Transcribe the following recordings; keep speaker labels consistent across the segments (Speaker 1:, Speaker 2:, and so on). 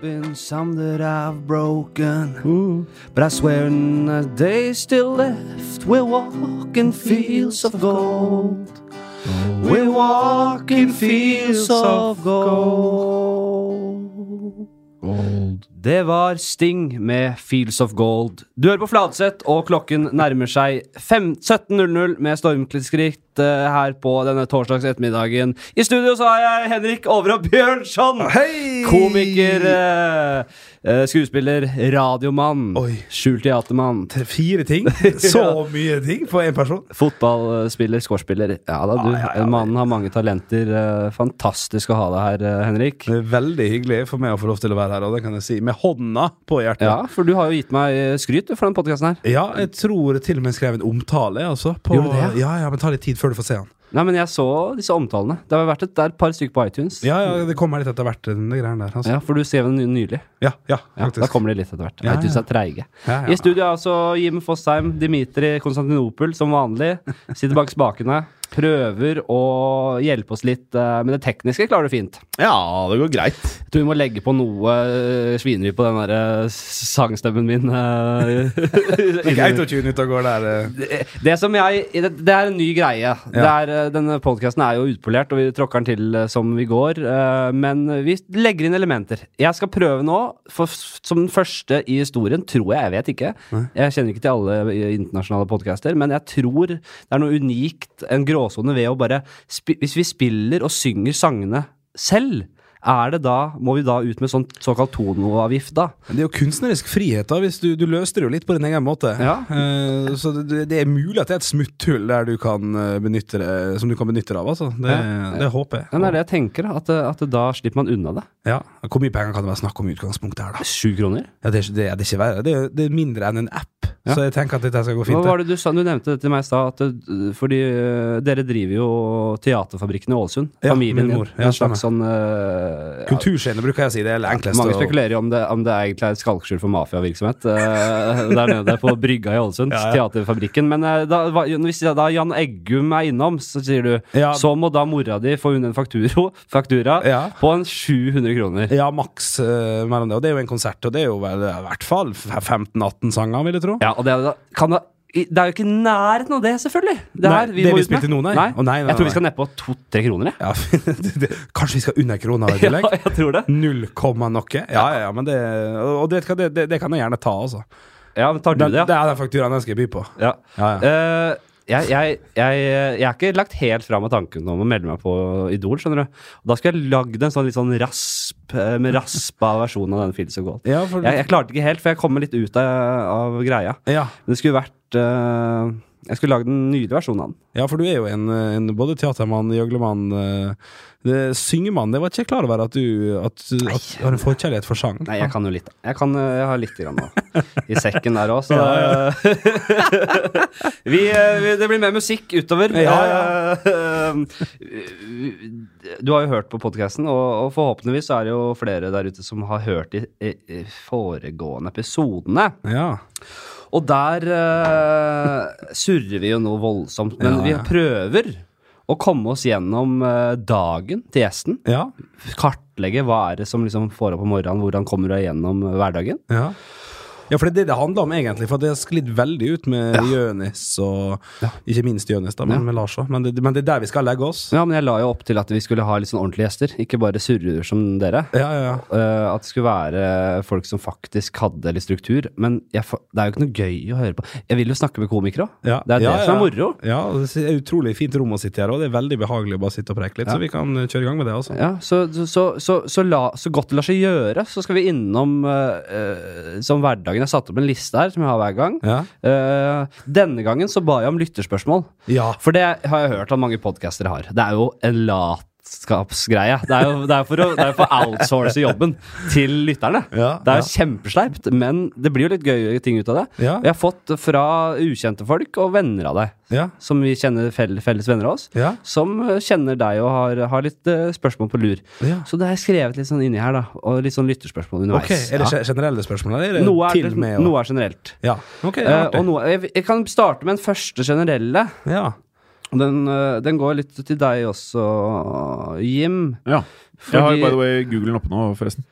Speaker 1: been some that I've broken. But I swear in the days still left, we're walking fields of gold. We're walking fields of gold. Det var Sting med Fields of Gold. Du hører på Fladseth, og klokken nærmer seg fem- 17.00 med stormskritt eh, her på denne torsdags ettermiddagen. I studio så har jeg Henrik Overå Bjørnson!
Speaker 2: Hei!
Speaker 1: Komiker, eh, eh, skuespiller, radiomann,
Speaker 2: Oi.
Speaker 1: skjult teatermann,
Speaker 2: Tre- Fire ting. Så mye ting på én person.
Speaker 1: fotballspiller, skårspiller. Ja da, du.
Speaker 2: Ja, ja, ja.
Speaker 1: Mannen har mange talenter. eh, Fantastisk å ha deg her, eh, Henrik.
Speaker 2: Det er veldig hyggelig for meg å få lov til å være her, og det kan jeg si med hånda på hjertet.
Speaker 1: Ja, for du har jo gitt meg eh, skryt du, for den podkasten her.
Speaker 2: Ja, jeg tror til og med jeg skrev en omtale. Altså, på,
Speaker 1: Gjorde du det,
Speaker 2: ja, ja, men Ta litt tid før du får se han.
Speaker 1: Nei, men jeg så disse omtalene. Det har vært et der par stykker på iTunes.
Speaker 2: Ja, ja, Det kommer litt etter hvert. Den der greien der altså.
Speaker 1: Ja, for du skrev den ny- nylig.
Speaker 2: Ja, ja,
Speaker 1: Ja,
Speaker 2: faktisk.
Speaker 1: da kommer de litt etter hvert.
Speaker 2: Ja,
Speaker 1: iTunes
Speaker 2: ja.
Speaker 1: er treige.
Speaker 2: Ja, ja.
Speaker 1: I studio er altså Jim Fosheim, Dimitri Konstantinopel som vanlig. Sitter bak spakene. Prøver å hjelpe oss litt, eh, men det tekniske klarer du fint.
Speaker 3: Ja, det går greit.
Speaker 1: Jeg tror vi må legge på noe eh, svineri på den der eh, sangstemmen min. eh,
Speaker 2: Det er greit å tune ut og gå der. eh.
Speaker 1: det, det som jeg Det, det er en ny greie. Det er, eh, denne podkasten er jo utpolert, og vi tråkker den til eh, som vi går. eh, Men vi legger inn elementer. Jeg skal prøve nå, for, f- som den første i historien, tror jeg. Jeg vet ikke. Jeg kjenner ikke til alle eh, internasjonale podcaster men jeg tror det er noe unikt, en gråsone, ved å bare spi- Hvis vi spiller og synger sangene selv, er det da, må vi da ut med sånn såkalt tonoavgift, da?
Speaker 2: Men Det er jo kunstnerisk frihet, da. Hvis du, du løste det jo litt på din egen måte.
Speaker 1: Ja.
Speaker 2: Eh, så det, det er mulig at det er et smutthull der du kan eh, benytte det, som du kan benytte deg av. Altså. Det,
Speaker 1: Ja.
Speaker 2: det håper
Speaker 1: Men
Speaker 2: jeg.
Speaker 1: det er det jeg tenker, da, at, eh, at da slipper man unna det.
Speaker 2: Ja. Hvor mye penger kan det være snakk om i utgangspunktet her, da?
Speaker 1: Sju kroner?
Speaker 2: Ja, det, er, ikke- det, er- det er ikke verre. Det er, det er mindre enn en app.
Speaker 1: Ja.
Speaker 2: Så jeg tenker at dette skal gå
Speaker 1: Hva
Speaker 2: fint.
Speaker 1: var det du sa? Du nevnte det til meg i stad, at det- fordi øh, dere driver jo Teaterfabrikken i Ålesund.
Speaker 2: Ja,
Speaker 1: familien
Speaker 2: min
Speaker 1: din.
Speaker 2: mor. Ja,
Speaker 1: en slags sånn øh, ja,
Speaker 2: Kulturscene bruker jeg å si. Det er det enkleste.
Speaker 1: Mange
Speaker 2: å-
Speaker 1: spekulerer jo om det, om det egentlig er et skalkeskjul for mafiavirksomhet øh, der nede på brygga i Ålesund.
Speaker 2: Ja, ja.
Speaker 1: Teaterfabrikken. Men øh, da, hva- hvis da Jan Eggum er innom, så sier du
Speaker 2: Ja.
Speaker 1: så må da mora di få hun en fakturo, faktura
Speaker 2: Ja.
Speaker 1: på en 700 kroner.
Speaker 2: Ja, maks eh, mellom det. Og det er jo en konsert, og det er jo vel, i hvert fall f- 15-18 sanger, vil jeg tro.
Speaker 1: Ja, og det er, jo da- kan da i- det er jo ikke i nærheten av det, selvfølgelig! Det,
Speaker 2: Nei,
Speaker 1: her,
Speaker 2: det
Speaker 1: må ut
Speaker 2: vi
Speaker 1: med.
Speaker 2: spilte nå, nei. Å, nei, nei,
Speaker 1: Jeg tror
Speaker 2: nei.
Speaker 1: vi skal nedpå to-tre kroner, jeg.
Speaker 2: Ja, det, det, kanskje vi skal under krona i tillegg?
Speaker 1: Ja, jeg tror det.
Speaker 2: Null komma noe. Ja, ja, ja, men det Og det, det, det, det kan jeg gjerne ta, altså.
Speaker 1: Ja, men tar du
Speaker 2: Den,
Speaker 1: det,
Speaker 2: Det
Speaker 1: ja?
Speaker 2: er den fakturaen jeg skal by på.
Speaker 1: ja.
Speaker 2: Ja, ja.
Speaker 1: Eh, jeg, jeg, jeg, jeg er ikke lagt helt fra meg tanken om å melde meg på Idol, skjønner du. Og da skulle jeg lagd en sånn litt sånn rasp, eh, med raspa versjon av den Fields of Gold.
Speaker 2: Ja, for,
Speaker 1: Jeg, jeg klarte ikke helt, for jeg kommer litt ut av, av greia.
Speaker 2: ja.
Speaker 1: Men det skulle vært eh, Jeg skulle lagd en nydelig versjon av den.
Speaker 2: ja, for du er jo en, en både teatermann, gjøglemann eh, det- Syngemann. Det var ikke jeg klar over at du, at, at du har en forkjærlighet for sang.
Speaker 1: Nei, jeg kan jo litt. Jeg, kan, eh, jeg har litt grann nå. i sekken der òg, så vi, eh, vi, Det blir mer musikk utover.
Speaker 2: Ja,
Speaker 1: Eh, du har jo hørt på podkasten, og, og forhåpentligvis så er det jo flere der ute som har hørt de eh, eh, foregående episodene.
Speaker 2: Ja.
Speaker 1: Og der eh, surrer vi jo noe voldsomt, men
Speaker 2: Ja, ja.
Speaker 1: vi prøver å komme oss gjennom eh, dagen til gjesten.
Speaker 2: Ja.
Speaker 1: Kartlegge hva er det som liksom får opp om morgenen, hvordan kommer du deg gjennom eh, hverdagen.
Speaker 2: Ja. Ja, for det er det det handler om, egentlig. For det har sklidd veldig ut med Jonis, og ikke minst Jonis, da, men med Lars òg. Men, det- men det er der vi skal legge oss.
Speaker 1: Ja, men jeg la jo opp til at vi skulle ha litt sånn ordentlige gjester, ikke bare surrer som dere.
Speaker 2: Ja, ja, ja.
Speaker 1: Eh, at det skulle være folk som faktisk hadde litt struktur. Men jeg, fa- det er jo ikke noe gøy å høre på. Jeg vil jo snakke med komikere òg.
Speaker 2: Ja.
Speaker 1: Det er
Speaker 2: ja,
Speaker 1: det som er
Speaker 2: ja.
Speaker 1: moro.
Speaker 2: Ja, og det er utrolig fint rom å sitte her, og det er veldig behagelig å bare sitte og preke litt. Så vi kan eh, kjøre i gang med det, altså.
Speaker 1: Ja, så, så, så, så, så, la, så godt det lar seg gjøre, så skal vi innom eh, eh, Som hverdagen. Jeg satte opp en liste her som jeg har hver gang.
Speaker 2: Ja.
Speaker 1: Eh, denne gangen så ba jeg om lytterspørsmål.
Speaker 2: Ja.
Speaker 1: For det har jeg hørt at mange podcaster har. Det er jo en latskapsgreie. Det er jo det er for å det er for å outsource jobben til lytterne.
Speaker 2: Ja,
Speaker 1: det er jo kjempesleipt, men det blir jo litt gøye ting ut av det.
Speaker 2: Ja.
Speaker 1: Jeg har fått fra ukjente folk og venner av deg,
Speaker 2: Ja.
Speaker 1: som vi kjenner fell, felles venner av oss,
Speaker 2: Ja.
Speaker 1: som eh, kjenner deg og har, har litt eh, spørsmål på lur.
Speaker 2: Ja.
Speaker 1: Så det har jeg skrevet litt sånn inni her, da. Og litt sånn lytterspørsmål underveis.
Speaker 2: Ok, Er det
Speaker 1: Ja.
Speaker 2: ge- generelle spørsmål, eller er det
Speaker 1: noe, er,
Speaker 2: til med og
Speaker 1: noe er generelt.
Speaker 2: Ja. Ok, det
Speaker 1: Eh,
Speaker 2: er
Speaker 1: og
Speaker 2: artig.
Speaker 1: noe, jeg, jeg kan starte med den første generelle.
Speaker 2: Ja.
Speaker 1: Og Den, øh, den går litt til deg også, Jim.
Speaker 3: Ja. Jeg har jo by the way Googlen oppe nå, forresten.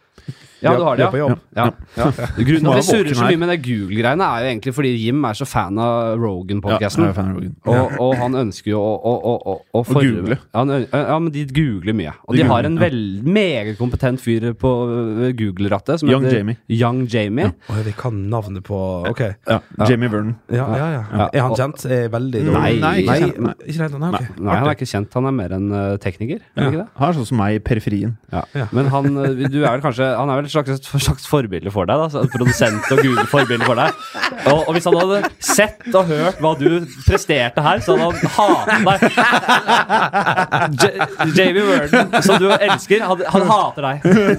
Speaker 1: Ja, du har det,
Speaker 2: Vi er på
Speaker 1: ja.
Speaker 2: jobb.
Speaker 1: ja. ja. Grunnen til
Speaker 3: Må
Speaker 1: at vi
Speaker 3: være
Speaker 1: surrer
Speaker 3: våken
Speaker 1: så
Speaker 3: her.
Speaker 1: mye med det Google-greiene, er jo egentlig fordi Jim er så fan av
Speaker 3: Ja, jeg er
Speaker 1: Rogan-podkasten.
Speaker 3: fan av Rogan.
Speaker 1: og, og han ønsker jo å, å, å, å, å forme-
Speaker 3: google.
Speaker 1: Ja, han ø- ja, men de googler mye. Og
Speaker 3: De
Speaker 1: de, har
Speaker 3: googler,
Speaker 1: en
Speaker 3: ja.
Speaker 1: vel, meget kompetent fyr på ø, Google-rattet som
Speaker 3: Young
Speaker 1: heter
Speaker 3: Jamie.
Speaker 1: Young Jamie.
Speaker 2: Oi, vi kan navnet på Ok.
Speaker 3: Ja, Jamie Vernon.
Speaker 2: Ja, ja, ja. Er han kjent? Er veldig dårlig.
Speaker 1: Nei,
Speaker 3: Nei,
Speaker 1: nei,
Speaker 3: ikke kjent, nei.
Speaker 2: Ikke helt, nei, ok.
Speaker 1: Nei, han er ikke kjent. Han er mer en ø, tekniker. Er han ikke det?
Speaker 3: Han er sånn som meg i periferien.
Speaker 1: Ja. Men han, eh, du er vel kanskje, han er vel et slags, et slags forbilde for deg? Da. så en Produsent og Google-forbilde for deg. Og, og hvis han hadde sett og hørt hva du presterte her, så hadde han hatet deg. J- Jamie Worden, som du elsker, han, han hater deg.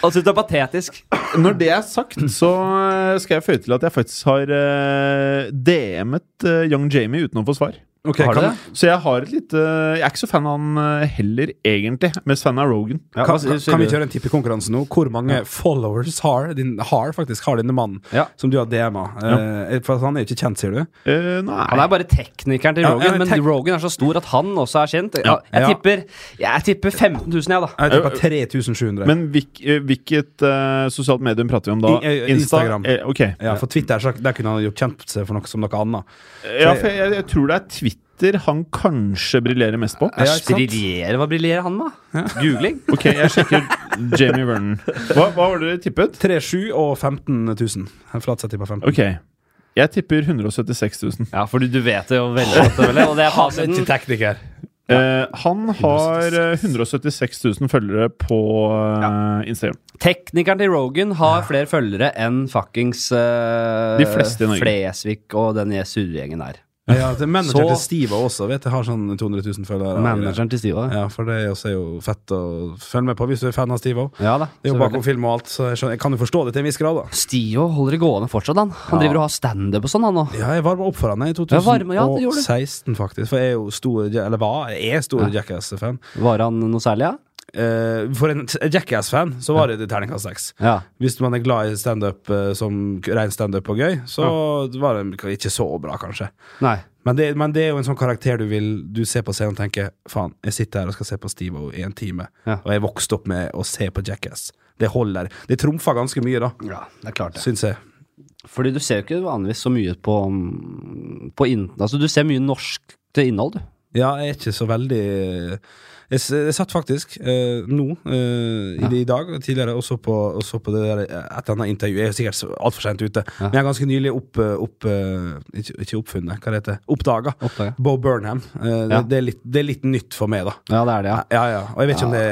Speaker 1: Han syns du er patetisk.
Speaker 3: Når det er sagt, så eh, skal jeg føye til at jeg faktisk har eh, DM-et eh, Young Jamie uten å få svar.
Speaker 2: Ok,
Speaker 1: Har du
Speaker 2: kan,
Speaker 1: det?
Speaker 3: Så jeg har et lite Jeg er ikke så fan av han eh, heller, egentlig. Mest fan av Rogan.
Speaker 1: Ja, hva
Speaker 2: kan,
Speaker 1: sier-
Speaker 2: kan,
Speaker 1: sier
Speaker 2: kan vi
Speaker 1: du?
Speaker 2: kjøre en tippekonkurranse nå? Hvor mange followers har din, har faktisk har denne mannen
Speaker 1: Ja.
Speaker 2: som du har DM-a? Eh, for han er jo ikke kjent, sier du?
Speaker 3: Eh, nei.
Speaker 1: Han er bare teknikeren til
Speaker 2: Ja,
Speaker 1: Rogan,
Speaker 2: ja,
Speaker 1: men
Speaker 2: tek-
Speaker 1: Rogan er så stor at han også er kjent. Ja,
Speaker 2: Ja.
Speaker 1: Jeg tipper, jeg tipper 15 000, jeg, da.
Speaker 2: Jeg tipper 3700.
Speaker 3: Men hvilk, eh, hvilket eh, sosialt medium prater vi om da?
Speaker 2: I- eh, Instagram.
Speaker 3: Eh, ok.
Speaker 2: ja, for Twitter så, der kunne han gjort kjent seg for noe som noe annet.
Speaker 3: Ja, for jeg, jeg tror det er Twitter han kanskje briljerer mest på.
Speaker 2: Ja, ikke sant?
Speaker 1: Briljerer, Hva briljerer han med? Googling?
Speaker 3: Ok, jeg sjekker Jamie Vernon. Hva, hva var det dere tippet?
Speaker 2: 37 og 15 000. En flat sett tipper 15
Speaker 3: Ok. Jeg tipper 176 000.
Speaker 1: Ja, for du, du vet det jo veldig godt. Ole, Og det er fasiten.
Speaker 2: Ikke tekniker.
Speaker 3: Eh, han har eh, 176 000 følgere på eh, Instagram.
Speaker 1: Teknikeren til Rogan har flere følgere enn fuckings eh,
Speaker 3: De fleste i Norge.
Speaker 1: Flesvig og den surregjengen der.
Speaker 2: Ja, det er
Speaker 1: Så-
Speaker 2: Manageren til Steve også, vet du. Har sånn 200 000 følgere.
Speaker 1: Manageren til Stiva.
Speaker 2: Ja, for det er også er jo fett å følge med på hvis du er fan av Steve òg.
Speaker 1: Ja da.
Speaker 2: Det er jo
Speaker 1: selvfølgelig.
Speaker 2: bakom film og alt, så jeg, skjønner, jeg kan jo forstå det til en viss grad, da.
Speaker 1: Stio holder det gående fortsatt, han. Han driver og har standup og sånn, han nå.
Speaker 2: Ja, jeg varma opp for han i
Speaker 1: Ja, varme, ja, det gjorde du.
Speaker 2: 2016, faktisk. For jeg er jo stor, ja- eller hva, jeg er stor Jackass-fan.
Speaker 1: Var han noe særlig, ja?
Speaker 2: Eh, for en t- Jackass-fan så var det det terningkast seks.
Speaker 1: Ja.
Speaker 2: Hvis man er glad i standup eh, som k- ren standup og gøy, så var det k- ikke så bra, kanskje.
Speaker 1: Nei.
Speaker 2: Men det, men det er jo en sånn karakter du vil Du ser på scenen og tenker faen, jeg sitter her og skal se på Steve-O i en time,
Speaker 1: Ja.
Speaker 2: og jeg vokste opp med å se på Jackass. Det holder. Det trumfer ganske mye, da,
Speaker 1: Ja, det er klart
Speaker 2: syns jeg.
Speaker 1: Fordi du ser jo ikke vanligvis så mye på, mm, på inn... Altså, du ser mye norsk til innhold, du.
Speaker 2: Ja, jeg er ikke så veldig Jeg, s- jeg satt faktisk eh, nå, eh, i, det i dag, tidligere, og så på, og så på det der eh, et eller annet intervju. Jeg er sikkert altfor sent ute, men jeg har ganske nylig opp... opp eh, ikke, ikke oppfunnet, hva det heter Oppdaga.
Speaker 1: Oppdaga.
Speaker 2: Bo Burnham. Eh, det,
Speaker 1: Ja.
Speaker 2: det, er litt, det er litt nytt for meg, da.
Speaker 1: Ja, det er det, ja.
Speaker 2: Ah, Ja, ja. Og jeg vet ikke om det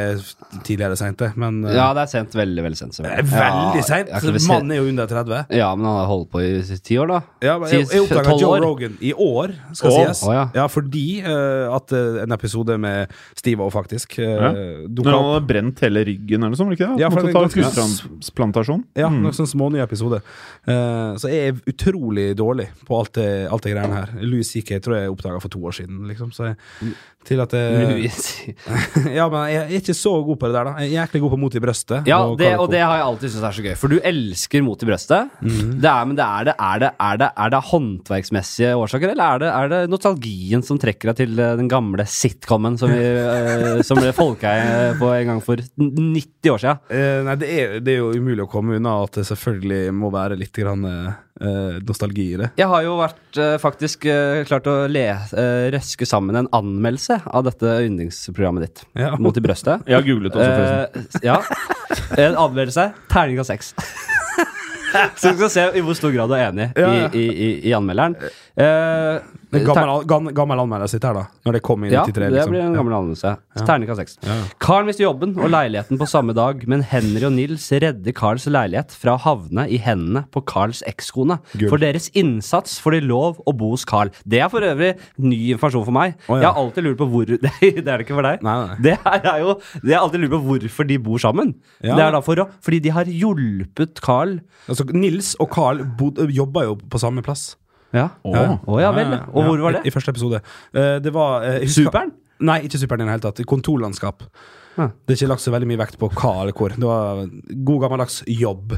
Speaker 2: er tidligere sent, det, men eh,
Speaker 1: Ja, det er sent. Veldig, veldig sent.
Speaker 2: det er veldig sent!
Speaker 1: Ja, jeg kan vel se-
Speaker 2: Mannen er jo under 30.
Speaker 1: Ja, men han har holdt på i ti år, da.
Speaker 2: Ja, men jeg,
Speaker 1: Ti-
Speaker 2: jeg oppdaga
Speaker 1: tolv
Speaker 2: Joe
Speaker 1: år.
Speaker 2: Rogan i år, skal
Speaker 3: Å,
Speaker 2: sies.
Speaker 1: å ja.
Speaker 2: fordi eh, at eh, en episode med Steve O faktisk uh,
Speaker 3: Ja. Når
Speaker 2: dukka
Speaker 3: han
Speaker 2: opp.
Speaker 3: hadde brent hele ryggen eller noe sånt? var det Ikke det?
Speaker 2: Ja,
Speaker 3: Han
Speaker 2: for det
Speaker 3: måtte
Speaker 2: er
Speaker 3: ta
Speaker 2: ganske-
Speaker 3: hustransplantasjon.
Speaker 2: Ja,
Speaker 1: Mm.
Speaker 2: sånn noen sånne smånye episoder. Eh, så jeg er utrolig dårlig på alt det, alt det greiene her. Louis CK tror jeg oppdaga for to år siden, liksom. Så jeg, til at jeg,
Speaker 1: Louis.
Speaker 2: Ja, men jeg er ikke så god på det der, da. Jeg er jæklig god på mot i brøstet.
Speaker 1: Ja,
Speaker 2: og
Speaker 1: det,
Speaker 2: Calico.
Speaker 1: og det har jeg alltid syntes er så gøy, for du elsker mot i brøstet.
Speaker 2: Mhm.
Speaker 1: Det er, men det er det, er, det, er, det, er det håndverksmessige årsaker, eller er det, er det nostalgien som trekker deg til eh, den gamle sitcomen som, vi, eh, som ble folkeeie på en gang for 90 år siden?
Speaker 2: Eh, nei, det er, det er jo umulig å komme unna at det selvfølgelig må være litt grann, eh, nostalgi i det.
Speaker 1: Jeg har jo vært eh, faktisk eh, klart å le, eh, røske sammen en anmeldelse av dette yndlingsprogrammet ditt.
Speaker 2: Ja.
Speaker 1: Mot i brøstet.
Speaker 3: Jeg har googlet også, forresten.
Speaker 1: Eh, ja. En anmeldelse. Terning av seks. Så vi skal se i hvor stor grad du er enig
Speaker 2: Ja, ja.
Speaker 1: i, i, i, i anmelderen. Eh,
Speaker 2: Men
Speaker 1: ter-
Speaker 2: gammel, gammel, gammel anmelder sitt her, da. Når det kom i
Speaker 1: ja,
Speaker 2: 93,
Speaker 1: det
Speaker 2: liksom.
Speaker 1: blir en gammel anmeldelse. Terning av seks. Karen mister jobben og leiligheten på samme dag, men Henry og Nils redder Karls leilighet fra å havne i hendene på Karls ekskone.
Speaker 2: Gull.
Speaker 1: For deres innsats får de lov å bo hos Karl. Det er for øvrig ny informasjon for meg.
Speaker 2: Å, ja.
Speaker 1: Jeg har alltid lurt på hvor Det er det ikke for deg.
Speaker 2: Nei, nei.
Speaker 1: Det her er jo Det er alltid lurt på hvorfor de bor sammen.
Speaker 2: Ja.
Speaker 1: Det er da for å Fordi de har hjulpet Carl
Speaker 2: Altså, Nils og Carl bod, jobba jo på samme plass.
Speaker 1: Ja. Å ja. vel.
Speaker 2: Ja, ja,
Speaker 1: Og
Speaker 2: ja.
Speaker 1: hvor var
Speaker 2: I,
Speaker 1: det?
Speaker 2: i første episode. Eh, det var eh, jeg husker-
Speaker 1: Superen?
Speaker 2: Nei, ikke Superen i det hele tatt. Kontorlandskap.
Speaker 1: Ja.
Speaker 2: Det er ikke lagt så veldig mye vekt på hva eller hvor. Det var god gammeldags jobb,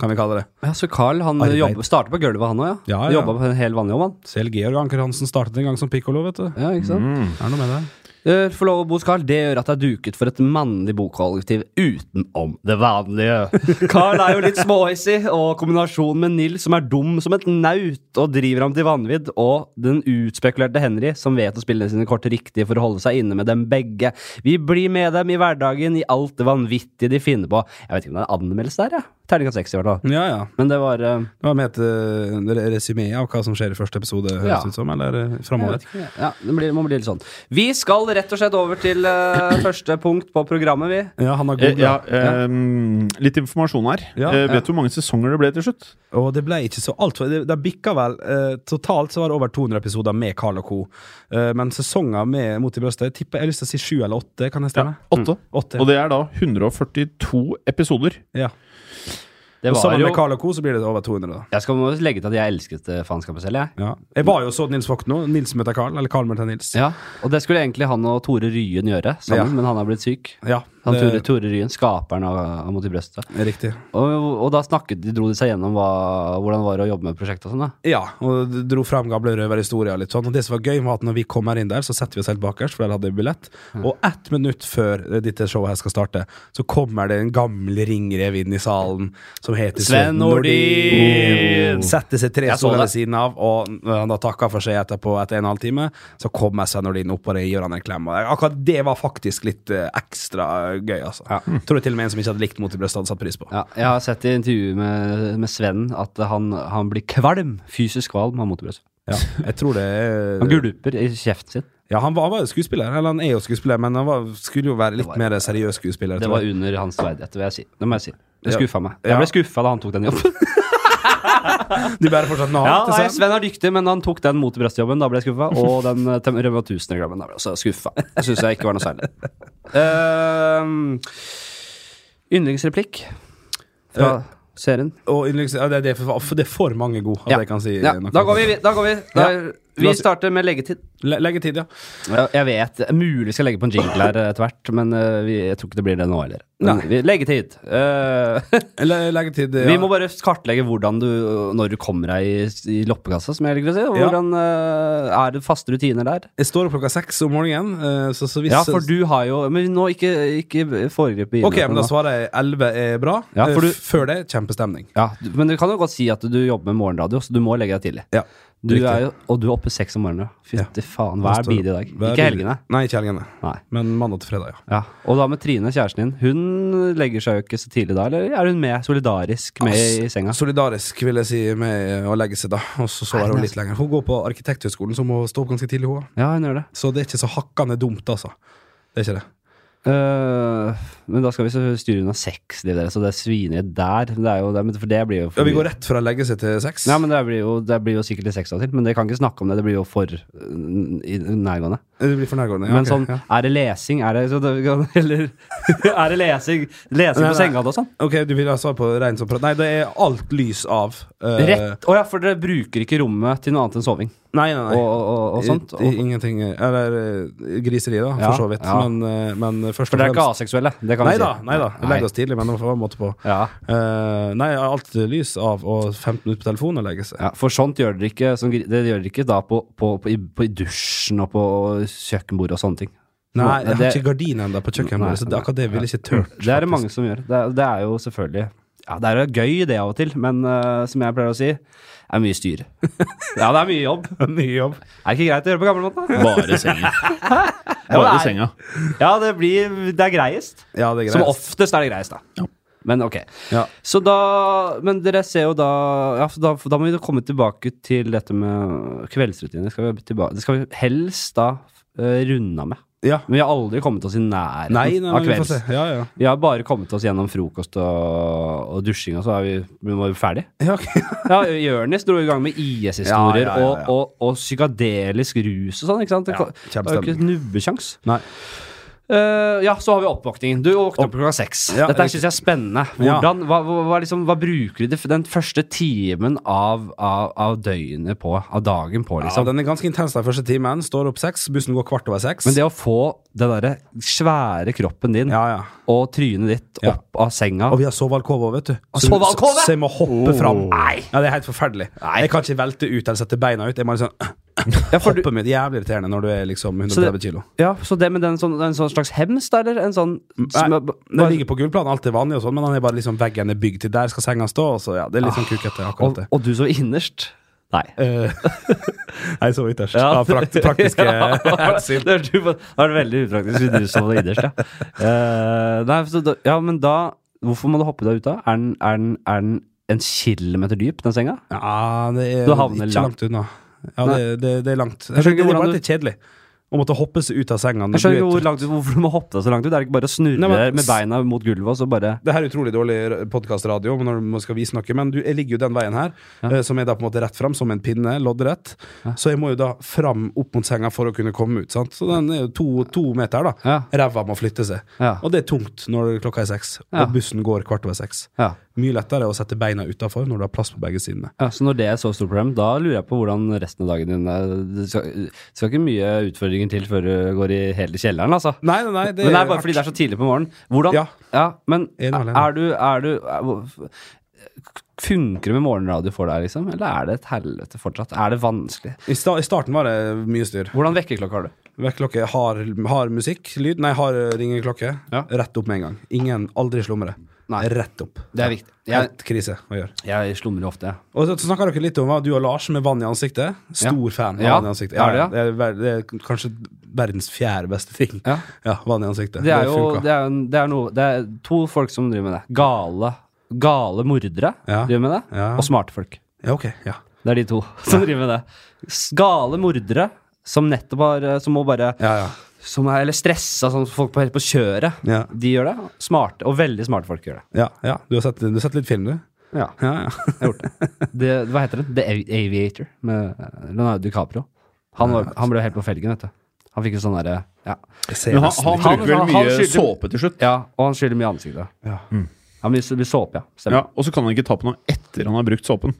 Speaker 2: kan vi kalle det.
Speaker 1: Ja, så Carl han
Speaker 2: Arbeid.
Speaker 1: jobber, starter på gulvet, han òg, ja.
Speaker 2: Ja, ja.
Speaker 1: Jobba på en hel vanlig jobb, han.
Speaker 2: Selv Georg Anker Hansen startet en gang som pikkolo, vet du.
Speaker 1: Ja, ikke sant?
Speaker 2: Er det noe med det?
Speaker 1: Eh, For lov å bo hos Carl, det gjør at det er duket for et mannlig bokollektiv utenom det vanlige. Carl er jo litt småhissig, og kombinasjonen med Nils, som er dum som et naut og driver ham til vanvidd, og den utspekulerte Henry, som vet å spille sine kort riktig for å holde seg inne med dem begge. Vi blir med dem i hverdagen, i alt det vanvittige de finner på. Jeg vet ikke om det er en anmeldelse der, jeg. Terningkast seks, i hvert fall.
Speaker 2: Ja, ja.
Speaker 1: Men det var eh,
Speaker 2: Det var med et uh, resymé av hva som skjer i første episode, høres
Speaker 1: Ja.
Speaker 2: ut som, eller uh,
Speaker 1: Jeg
Speaker 2: framover.
Speaker 1: vet ikke, Ja, det blir, må bli litt sånn. Vi skal rett og slett over til eh, første punkt på programmet, vi.
Speaker 2: Ja, han har
Speaker 3: Eh,
Speaker 2: god
Speaker 3: ja, ehm, litt informasjon her.
Speaker 2: Ja,
Speaker 3: eh,
Speaker 2: ja.
Speaker 3: vet du hvor mange sesonger det ble til slutt?
Speaker 2: Og det ble ikke så altfor Det, det bikka vel eh, Totalt så var det over 200 episoder med Carl og co. Eh, men sesonger med Mot i brøstet jeg tipper jeg har lyst til å si sju eller åtte, kan det stemme? Mm,
Speaker 3: Åtte.
Speaker 2: Åtte.
Speaker 3: Og det er da 142 episoder.
Speaker 2: ja.
Speaker 1: Det
Speaker 2: Og
Speaker 1: var
Speaker 2: sammen
Speaker 1: jo
Speaker 2: med Carl og co. så blir det over 200, da.
Speaker 1: Jeg skal må legge til at jeg elsket eh, faenskapet selv, jeg.
Speaker 2: Ja. Jeg var jo og så Nils Vogt nå. Nils møter Carl, eller Carl møter Nils.
Speaker 1: Ja, Og det skulle egentlig han og Tore Ryen gjøre sammen,
Speaker 2: Ja.
Speaker 1: men han er blitt syk.
Speaker 2: Ja,
Speaker 1: Han Tore,
Speaker 2: det
Speaker 1: Tore Ryen, skaperen av, av Mot i brøstet.
Speaker 2: er riktig.
Speaker 1: Og, og da snakket de, dro de seg gjennom hva, hvordan det var å jobbe med prosjektet og sånn, da.
Speaker 2: Ja, og d- dro frem gamle røverhistorier litt sånn. Og det som var gøy, var at når vi kommer inn der, så setter vi oss helt bakerst, for der hadde vi billett. Og ett minutt før eh, dette showet her skal starte, så kommer det en gammel ringrev inn i salen som heter Oh.
Speaker 1: Sven Nordin!
Speaker 2: Setter seg tre
Speaker 1: Jeg så
Speaker 2: stoler
Speaker 1: det.
Speaker 2: ved siden av, og når han da takker for seg etterpå etter en og en halv time, så kommer Sven Nordin opp og det gir han en klem. Og akkurat det var faktisk litt eh, ekstra gøy, altså. Tror jeg til og med en som ikke hadde likt Mot i brøstet, hadde satt pris på.
Speaker 1: Ja, jeg har sett i intervjuet med, med Sven at han, han blir kvalm. Fysisk kvalm av Mot i brøstet.
Speaker 2: Ja, jeg tror det er-
Speaker 1: Han gulper i kjeften sin.
Speaker 2: Ja, han var, han var jo skuespiller, eller han er jo skuespiller, men han var, skulle jo være litt
Speaker 1: var-
Speaker 2: mer seriøs skuespiller.
Speaker 1: Det
Speaker 2: tror
Speaker 1: var
Speaker 2: jeg.
Speaker 1: under hans verdighet, det vil jeg si. Det må jeg si. Det
Speaker 2: Ja.
Speaker 1: skuffa meg.
Speaker 2: Ja.
Speaker 1: Jeg ble skuffa da han tok den jobben.
Speaker 2: De bærer fortsatt navn
Speaker 1: Ja,
Speaker 2: til
Speaker 1: nei,
Speaker 2: Sven.
Speaker 1: Sven er dyktig, men han tok den mot brøstjobben. Da ble jeg skuffa. Og den eh, tem- Rømme 1000-grammen. Da ble jeg også skuffa. Det syns jeg ikke var noe særlig. Ehm, yndlingsreplikk fra
Speaker 2: Eh,
Speaker 1: serien.
Speaker 2: Og yndlings- ja, det, er- det, er for, for det er for mange gode, at jeg kan si
Speaker 1: ja.
Speaker 2: noe.
Speaker 1: Da går vi. Da går vi. Da,
Speaker 2: Ja.
Speaker 1: vi starter med leggetid.
Speaker 2: Le, leggetid, ja.
Speaker 1: Ja, Jeg vet, mulig skal legge på en jingle her etter hvert, men eh, vi, jeg tror ikke det blir det nå heller. Men
Speaker 2: Nei.
Speaker 1: vi- Leggetid. Eh,
Speaker 2: Le, leggetid, ja.
Speaker 1: Vi må bare kartlegge hvordan du, når du kommer deg i, i loppekassa, som jeg liker å si. Hvordan, eh, er det faste rutiner der?
Speaker 2: Jeg står opp klokka seks om morgenen, eh, så, så hvis
Speaker 1: Ja, for du har jo Men nå ikke, ikke foregripe
Speaker 2: Ok, men da
Speaker 1: begivenhetene.
Speaker 2: svarer jeg elleve er bra.
Speaker 1: Ja,
Speaker 2: Eh,
Speaker 1: for du-
Speaker 2: f- Før det, kjempestemning.
Speaker 1: ja, du- men du kan jo godt si at du jobber med morgenradio, så du må legge deg tidlig.
Speaker 2: Ja,
Speaker 1: Du
Speaker 2: riktig.
Speaker 1: er jo, og du er oppe seks om morgenen. Fytti faen, hva
Speaker 2: Jeg
Speaker 1: er
Speaker 2: står-
Speaker 1: bide i dag?
Speaker 2: hver
Speaker 1: Ikke
Speaker 2: bide.
Speaker 1: helgene.
Speaker 2: Nei, ikke helgene.
Speaker 1: Nei.
Speaker 2: Men mandag til fredag, ja.
Speaker 1: Ja. Og da med Trine, kjæresten din. Hun legger seg jo ikke så tidlig da, eller er hun med solidarisk med i senga?
Speaker 2: Solidarisk, vil jeg si, med å legge seg, da. Og så sover hun
Speaker 1: altså.
Speaker 2: litt lenger. Hun går på Arkitekthøgskolen, så hun må stå opp ganske tidlig, hun òg.
Speaker 1: Ja, hun gjør det.
Speaker 2: Så det er ikke så hakkande dumt, altså. Det er ikke det.
Speaker 1: Øh, men da skal vi så styre unna sexlivet deres, og det svineriet der. Det er jo, det, men for det blir jo for
Speaker 2: Ja, vi
Speaker 1: mye.
Speaker 2: går rett fra legge seg til sex.
Speaker 1: Nei, men det blir, jo, det blir jo sikkert litt sex av og til, men det kan ikke snakke om det. Det blir jo for øh, i- nærgående.
Speaker 2: Det blir for nærgående. Ja,
Speaker 1: men
Speaker 2: ok,
Speaker 1: sånn,
Speaker 2: ja.
Speaker 1: er det lesing? Er det, så det eller er det lesing? Lesing
Speaker 2: Nei,
Speaker 1: på
Speaker 2: nei.
Speaker 1: senga og sånn?
Speaker 2: Ok, du vil ha svar på rein som prat. Nei, det er alt lys av. eh,
Speaker 1: Rett. Å ja, for dere bruker ikke rommet til noe annet enn soving
Speaker 2: Nei, nei, nei.
Speaker 1: og, og, og sånt.
Speaker 2: I- i-
Speaker 1: Og,
Speaker 2: Ingenting eh, Eller eh, griseri, da,
Speaker 1: Ja,
Speaker 2: for så vidt.
Speaker 1: ja.
Speaker 2: Men, eh, men først
Speaker 1: for dere er ikke aseksuelle, det kan
Speaker 2: Nei
Speaker 1: vi si.
Speaker 2: da, nei da.
Speaker 1: Nei.
Speaker 2: Legg oss tidlig, men det må få være en måte på.
Speaker 1: Ja.
Speaker 2: Eh, nei, alt lys av og 15 minutter på telefonen og legge seg.
Speaker 1: Ja, for sånt gjør dere ikke, sånn, gri- det gjør dere ikke da på, på, på, i, på i dusjen og på kjøkkenbordet og sånne ting.
Speaker 2: Nei, jeg har
Speaker 1: det,
Speaker 2: ikke gardin ennå på
Speaker 1: Nei,
Speaker 2: kjøkkenbordet, så det,
Speaker 1: nei.
Speaker 2: akkurat det ville jeg ikke turt.
Speaker 1: det er det mange som gjør. Det, er- det er jo selvfølgelig ja, Det er jo gøy det av og til, men eh, som jeg pleier å si, det er mye styr. ja, det er mye jobb.
Speaker 2: Mye jobb.
Speaker 1: Er det ikke greit å gjøre på gamlemåten? da?
Speaker 3: Bare senga. Bare
Speaker 1: Ja, det er-
Speaker 3: senga.
Speaker 1: Ja, det, blir, det er greiest.
Speaker 2: Ja, det er greit.
Speaker 1: Som oftest er det greiest, da. Men ok.
Speaker 2: Ja.
Speaker 1: Så da Men dere ser jo da ja, for da, for da må vi da komme tilbake til dette med kveldsrutiner. Skal vi tilbake, det skal vi helst da uh, runde av med.
Speaker 2: Ja.
Speaker 1: Men vi har aldri kommet oss i nærheten
Speaker 2: Nei, nei,
Speaker 1: av
Speaker 2: men vi får
Speaker 1: kvelds.
Speaker 2: se. Ja, ja.
Speaker 1: Vi har bare kommet oss gjennom frokost og, og dusjing, og så er vi, vi var vi ferdig.
Speaker 2: Ja, ok.
Speaker 1: Ja, Jørnis dro i gang med IS-historier
Speaker 2: Ja, ja, ja, ja.
Speaker 1: Og, og, og psykadelisk rus og sånn. ikke sant? Det
Speaker 2: Ja,
Speaker 1: var jo ikke et nubbekjangs.
Speaker 2: Nei.
Speaker 1: Eh, ja, så har vi oppvåkningen. Du våkner opp klokka seks.
Speaker 2: Ja,
Speaker 1: Dette
Speaker 2: riktig.
Speaker 1: syns jeg er spennende.
Speaker 2: Ja.
Speaker 1: Hvordan, hva, hva, hva, liksom, hva bruker du det- den første timen av, av, av døgnet på? Av dagen på,
Speaker 2: Ja,
Speaker 1: liksom?
Speaker 2: den er ganske intens den første timen. Står opp seks, bussen går kvart over seks.
Speaker 1: Men det å få den derre svære kroppen din
Speaker 2: ja, ja.
Speaker 1: og trynet ditt
Speaker 2: Ja.
Speaker 1: opp av senga
Speaker 2: Og vi har sovealkove òg, vet du. Så-
Speaker 1: Ah, sovealkove?
Speaker 2: Så jeg må hoppe
Speaker 1: Oh.
Speaker 2: fram.
Speaker 1: Nei.
Speaker 2: Ja, det er helt forferdelig.
Speaker 1: Nei.
Speaker 2: Jeg kan ikke velte ut eller sette beina ut. Jeg må liksom
Speaker 1: Ja, for du,
Speaker 2: Hoppet mitt jævlig irriterende når du er liksom 130 kilo.
Speaker 1: ja, så det med den sånn, en sånn slags hems, da, eller? En sånn som er
Speaker 2: Nei,
Speaker 1: b-
Speaker 2: Den ligger på gulvplanen, alt er vanlig, og sånn men han er bare liksom veggen er bygd til der skal senga stå. Og så, ja, det er litt sånn kukete,
Speaker 1: Ah. og,
Speaker 2: akkurat det.
Speaker 1: og du som innerst? Nei.
Speaker 2: Eh, Nei, så ytterst.
Speaker 1: Ja.
Speaker 2: Av prakt, praktiske
Speaker 1: Ja.
Speaker 2: hensyn.
Speaker 1: Det hørtes ut på- det var veldig upraktisk hvis du sov innerst, ja. Eh, nei, så da, ja, men da Hvorfor må du hoppe deg ut da? Er den, er den, er den en kilometer dyp, den senga?
Speaker 2: Ja, det er
Speaker 1: Du havner
Speaker 2: ikke
Speaker 1: langt.
Speaker 2: langt unna. Ja,
Speaker 1: Nei.
Speaker 2: det, det, det er langt.
Speaker 1: skjønner
Speaker 2: Det,
Speaker 1: ikke
Speaker 2: det er
Speaker 1: hvordan
Speaker 2: bare
Speaker 1: du-
Speaker 2: litt kjedelig å måtte hoppe seg ut av senga.
Speaker 1: Jeg
Speaker 2: Når
Speaker 1: skjønner ikke
Speaker 2: du er
Speaker 1: hvor
Speaker 2: trøtt.
Speaker 1: langt, hvorfor du må hoppe deg så langt ut. Er det ikke bare å snurre
Speaker 2: Nei, men-
Speaker 1: med beina mot gulvet og så bare
Speaker 2: Det her er utrolig dårlig podkastradio, når man skal vise noe, men du, jeg ligger jo den veien her,
Speaker 1: Ja.
Speaker 2: eh, som er da på en måte rett fram, som en pinne, loddrett. Så jeg må jo da fram opp mot senga for å kunne komme ut. Sant? Så den er jo to, to meter, da.
Speaker 1: Ja.
Speaker 2: Ræva må flytte seg.
Speaker 1: Ja.
Speaker 2: Og det er tungt når klokka er seks,
Speaker 1: Ja.
Speaker 2: og bussen går kvart over seks.
Speaker 1: ja.
Speaker 2: Mye lettere å sette beina utafor når du har plass på begge sidene.
Speaker 1: Ja, Så når det er så stort problem, da lurer jeg på hvordan resten av dagen din er. Det skal, det skal ikke mye utfordringer til før du går i hele kjelleren, altså.
Speaker 2: Nei, nei, nei, det
Speaker 1: men det er
Speaker 2: er
Speaker 1: bare fordi det er så tidlig på morgenen. Hvordan
Speaker 2: Ja.
Speaker 1: men
Speaker 2: Enig,
Speaker 1: er,
Speaker 2: enig.
Speaker 1: du, er du er, hvor- Funker det med morgenradio for deg, liksom? Eller er det et helvete fortsatt? Er det vanskelig?
Speaker 2: I, sta I starten var det mye styr.
Speaker 1: Hvordan vekkerklokke har du?
Speaker 2: Vekkerklokke har, har musikk, lyd Nei, har eh, ringeklokke.
Speaker 1: Ja.
Speaker 2: Rett opp med en gang. Ingen, Aldri slumre.
Speaker 1: Nei.
Speaker 2: Rett opp.
Speaker 1: Det er viktig. Jeg,
Speaker 2: Helt krise å gjøre.
Speaker 1: jeg slumrer ofte, jeg.
Speaker 2: Og så snakka dere litt om hva du og Lars med vann i ansiktet. Stor fan av
Speaker 1: Ja.
Speaker 2: vann i ansiktet.
Speaker 1: Er det, ja?
Speaker 2: det, er, ver- det er kanskje verdens fjerde beste ting.
Speaker 1: Ja.
Speaker 2: vann i ansiktet.
Speaker 1: Det er jo
Speaker 2: funka.
Speaker 1: det er, en- det er noe, det er to folk som driver med det. Gale, gale mordere
Speaker 2: Ja.
Speaker 1: driver med det,
Speaker 2: Ja.
Speaker 1: og smarte folk.
Speaker 2: Ja, ok. Ja.
Speaker 1: Det er de to som driver med det. S- Gale mordere som nettopp har eh, Som må bare
Speaker 2: Ja, ja.
Speaker 1: som er, Eller stressa, sånn folk på, helt på kjøret.
Speaker 2: Ja.
Speaker 1: De gjør det. Smarte, og veldig smarte folk gjør det.
Speaker 2: ja, ja. Du, har sett, du har sett litt film, du?
Speaker 1: Ja,
Speaker 2: Ja, ja.
Speaker 1: jeg har gjort det. det. Hva heter det? The Avi- Aviator med eh, Leonardo DiCaprio. Han, var, han ble helt på felgen, vet du. Han fikk jo sånn derre ja.
Speaker 2: Jeg ser
Speaker 3: Men han,
Speaker 2: nesten
Speaker 3: han
Speaker 2: litt-
Speaker 1: Han-
Speaker 3: bruker vel
Speaker 1: han- han
Speaker 3: mye
Speaker 1: skyldte-
Speaker 3: såpe til slutt.
Speaker 1: ja, og han skylder mye i ansiktet.
Speaker 2: Ja.
Speaker 1: Han blir, blir såpe, ja.
Speaker 3: Ja,
Speaker 1: Stemmer.
Speaker 3: og så kan han ikke ta på noe etter han har brukt såpen.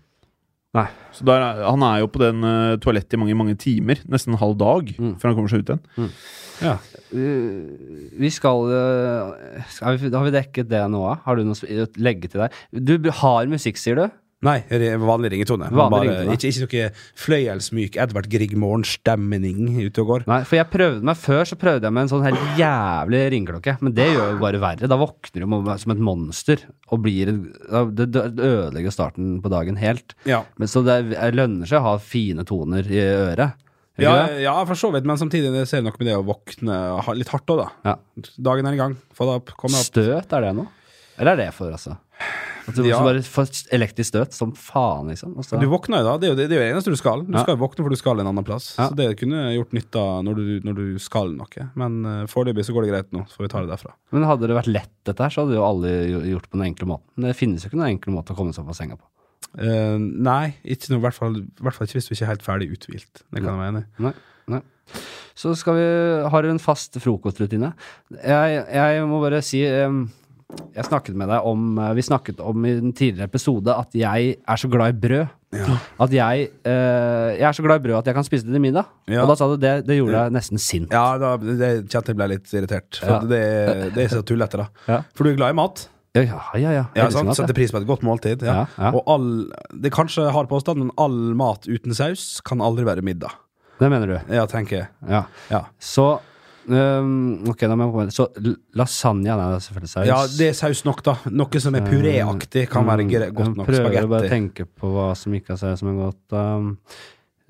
Speaker 1: Nei.
Speaker 3: Så der er, Han er jo på den eh, toalettet i mange mange timer, nesten en halv dag, før han kommer seg ut igjen.
Speaker 2: Ja.
Speaker 1: Vi skal eh, skal vi, Har vi dekket det nå? da? Har du noe sp- å legge til der? Du b- har musikk, sier du?
Speaker 2: Nei, re- vanlig ringetone.
Speaker 1: Vanlig
Speaker 2: Bare,
Speaker 1: ringetone.
Speaker 2: Ikke, ikke noe fløyelsmyk Edvard Grieg-morgen-stemning ute og går.
Speaker 1: Nei, for jeg prøvde meg før så prøvde jeg med en sånn helt jævlig ringeklokke. Men det gjør jo bare verre. Da våkner du mo- som et monster og blir en- Det det ødelegger starten på dagen helt.
Speaker 2: Ja.
Speaker 1: Men så det er- lønner seg å ha fine toner i øret. Gjør
Speaker 2: Ja, eh,
Speaker 1: det?
Speaker 2: ja, for så vidt, men samtidig det ser noe med det å våkne ha- litt hardt òg, da.
Speaker 1: ja.
Speaker 2: Dagen er i gang. Få deg opp. Kom deg opp.
Speaker 1: Støt, er det noe? Eller er det for, altså? At du
Speaker 2: Ja.
Speaker 1: så bare får elektrisk støt som faen, liksom. Og så,
Speaker 2: Du våkner jo da, det er jo det, det, er jo det eneste du skal. Du
Speaker 1: Ja.
Speaker 2: skal jo våkne for du skal en annen plass.
Speaker 1: Ja.
Speaker 2: Så det kunne gjort nytte av når, du- når du skal noe. Men uh, foreløpig så går det greit nå, så får vi ta det derfra.
Speaker 1: men hadde det vært lett, dette her, så hadde jo alle jo- gjort det på den enkle måten. Men det finnes jo ikke noen enkel måte å komme seg opp av senga på.
Speaker 2: Eh, nei, ikke noe, i hvert fall, i hvert fall ikke hvis du ikke er helt ferdig uthvilt. Det kan jeg være enig i.
Speaker 1: Nei, nei. Så skal vi Har dere en fast frokostrutine? Jeg, jeg må bare si em, Jeg snakket med deg om eh, Vi snakket om i en tidligere episode at jeg er så glad i brød. At jeg eh, Jeg er så glad i brød at jeg kan spise det til middag.
Speaker 2: Ja.
Speaker 1: Og da sa du det. Det gjorde deg nesten sint.
Speaker 2: Ja, da, det kjente jeg ble litt irritert. For
Speaker 1: Ja.
Speaker 2: det, det er så tullete, da.
Speaker 1: Ja.
Speaker 2: For du er glad i mat.
Speaker 1: Ja, ja, ja. ja.
Speaker 2: Ja,
Speaker 1: Jeg elsker
Speaker 2: sant?
Speaker 1: mat,
Speaker 2: Setter
Speaker 1: jeg.
Speaker 2: pris på et godt måltid. Ja.
Speaker 1: Ja, ja.
Speaker 2: Og all, det er kanskje hard påstand, men all mat uten saus kan aldri være middag.
Speaker 1: Det mener du.
Speaker 2: Ja, tenker jeg.
Speaker 1: Ja.
Speaker 2: Ja.
Speaker 1: Så em, Ok, da må jeg komme Så l- lasagne ja, Nei, det er selvfølgelig saus.
Speaker 2: ja, det er saus nok, da. Noe som er puréaktig kan være gre- godt nok.
Speaker 1: Mm. Prøver å bare
Speaker 2: Spagetti.
Speaker 1: tenke på hva som ikke er saus som er godt. Um,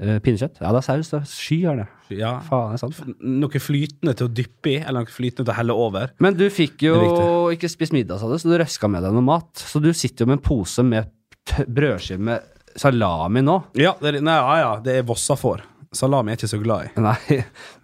Speaker 1: eh, pinnekjøtt? Ja, det er saus. Det er sky er det.
Speaker 2: Ja.
Speaker 1: Faen, det er sant.
Speaker 2: Noe flytende til å dyppe i, eller noe flytende til å helle over.
Speaker 1: Men du fikk jo
Speaker 2: Det er
Speaker 1: ikke spist middag, sa du, så du røska med deg noe mat. Så du sitter jo med en pose med t- brødskive med salami nå.
Speaker 2: Ja, det er, nei, ja, ja, det er vossa får. Salami er jeg ikke så glad i.
Speaker 1: Nei,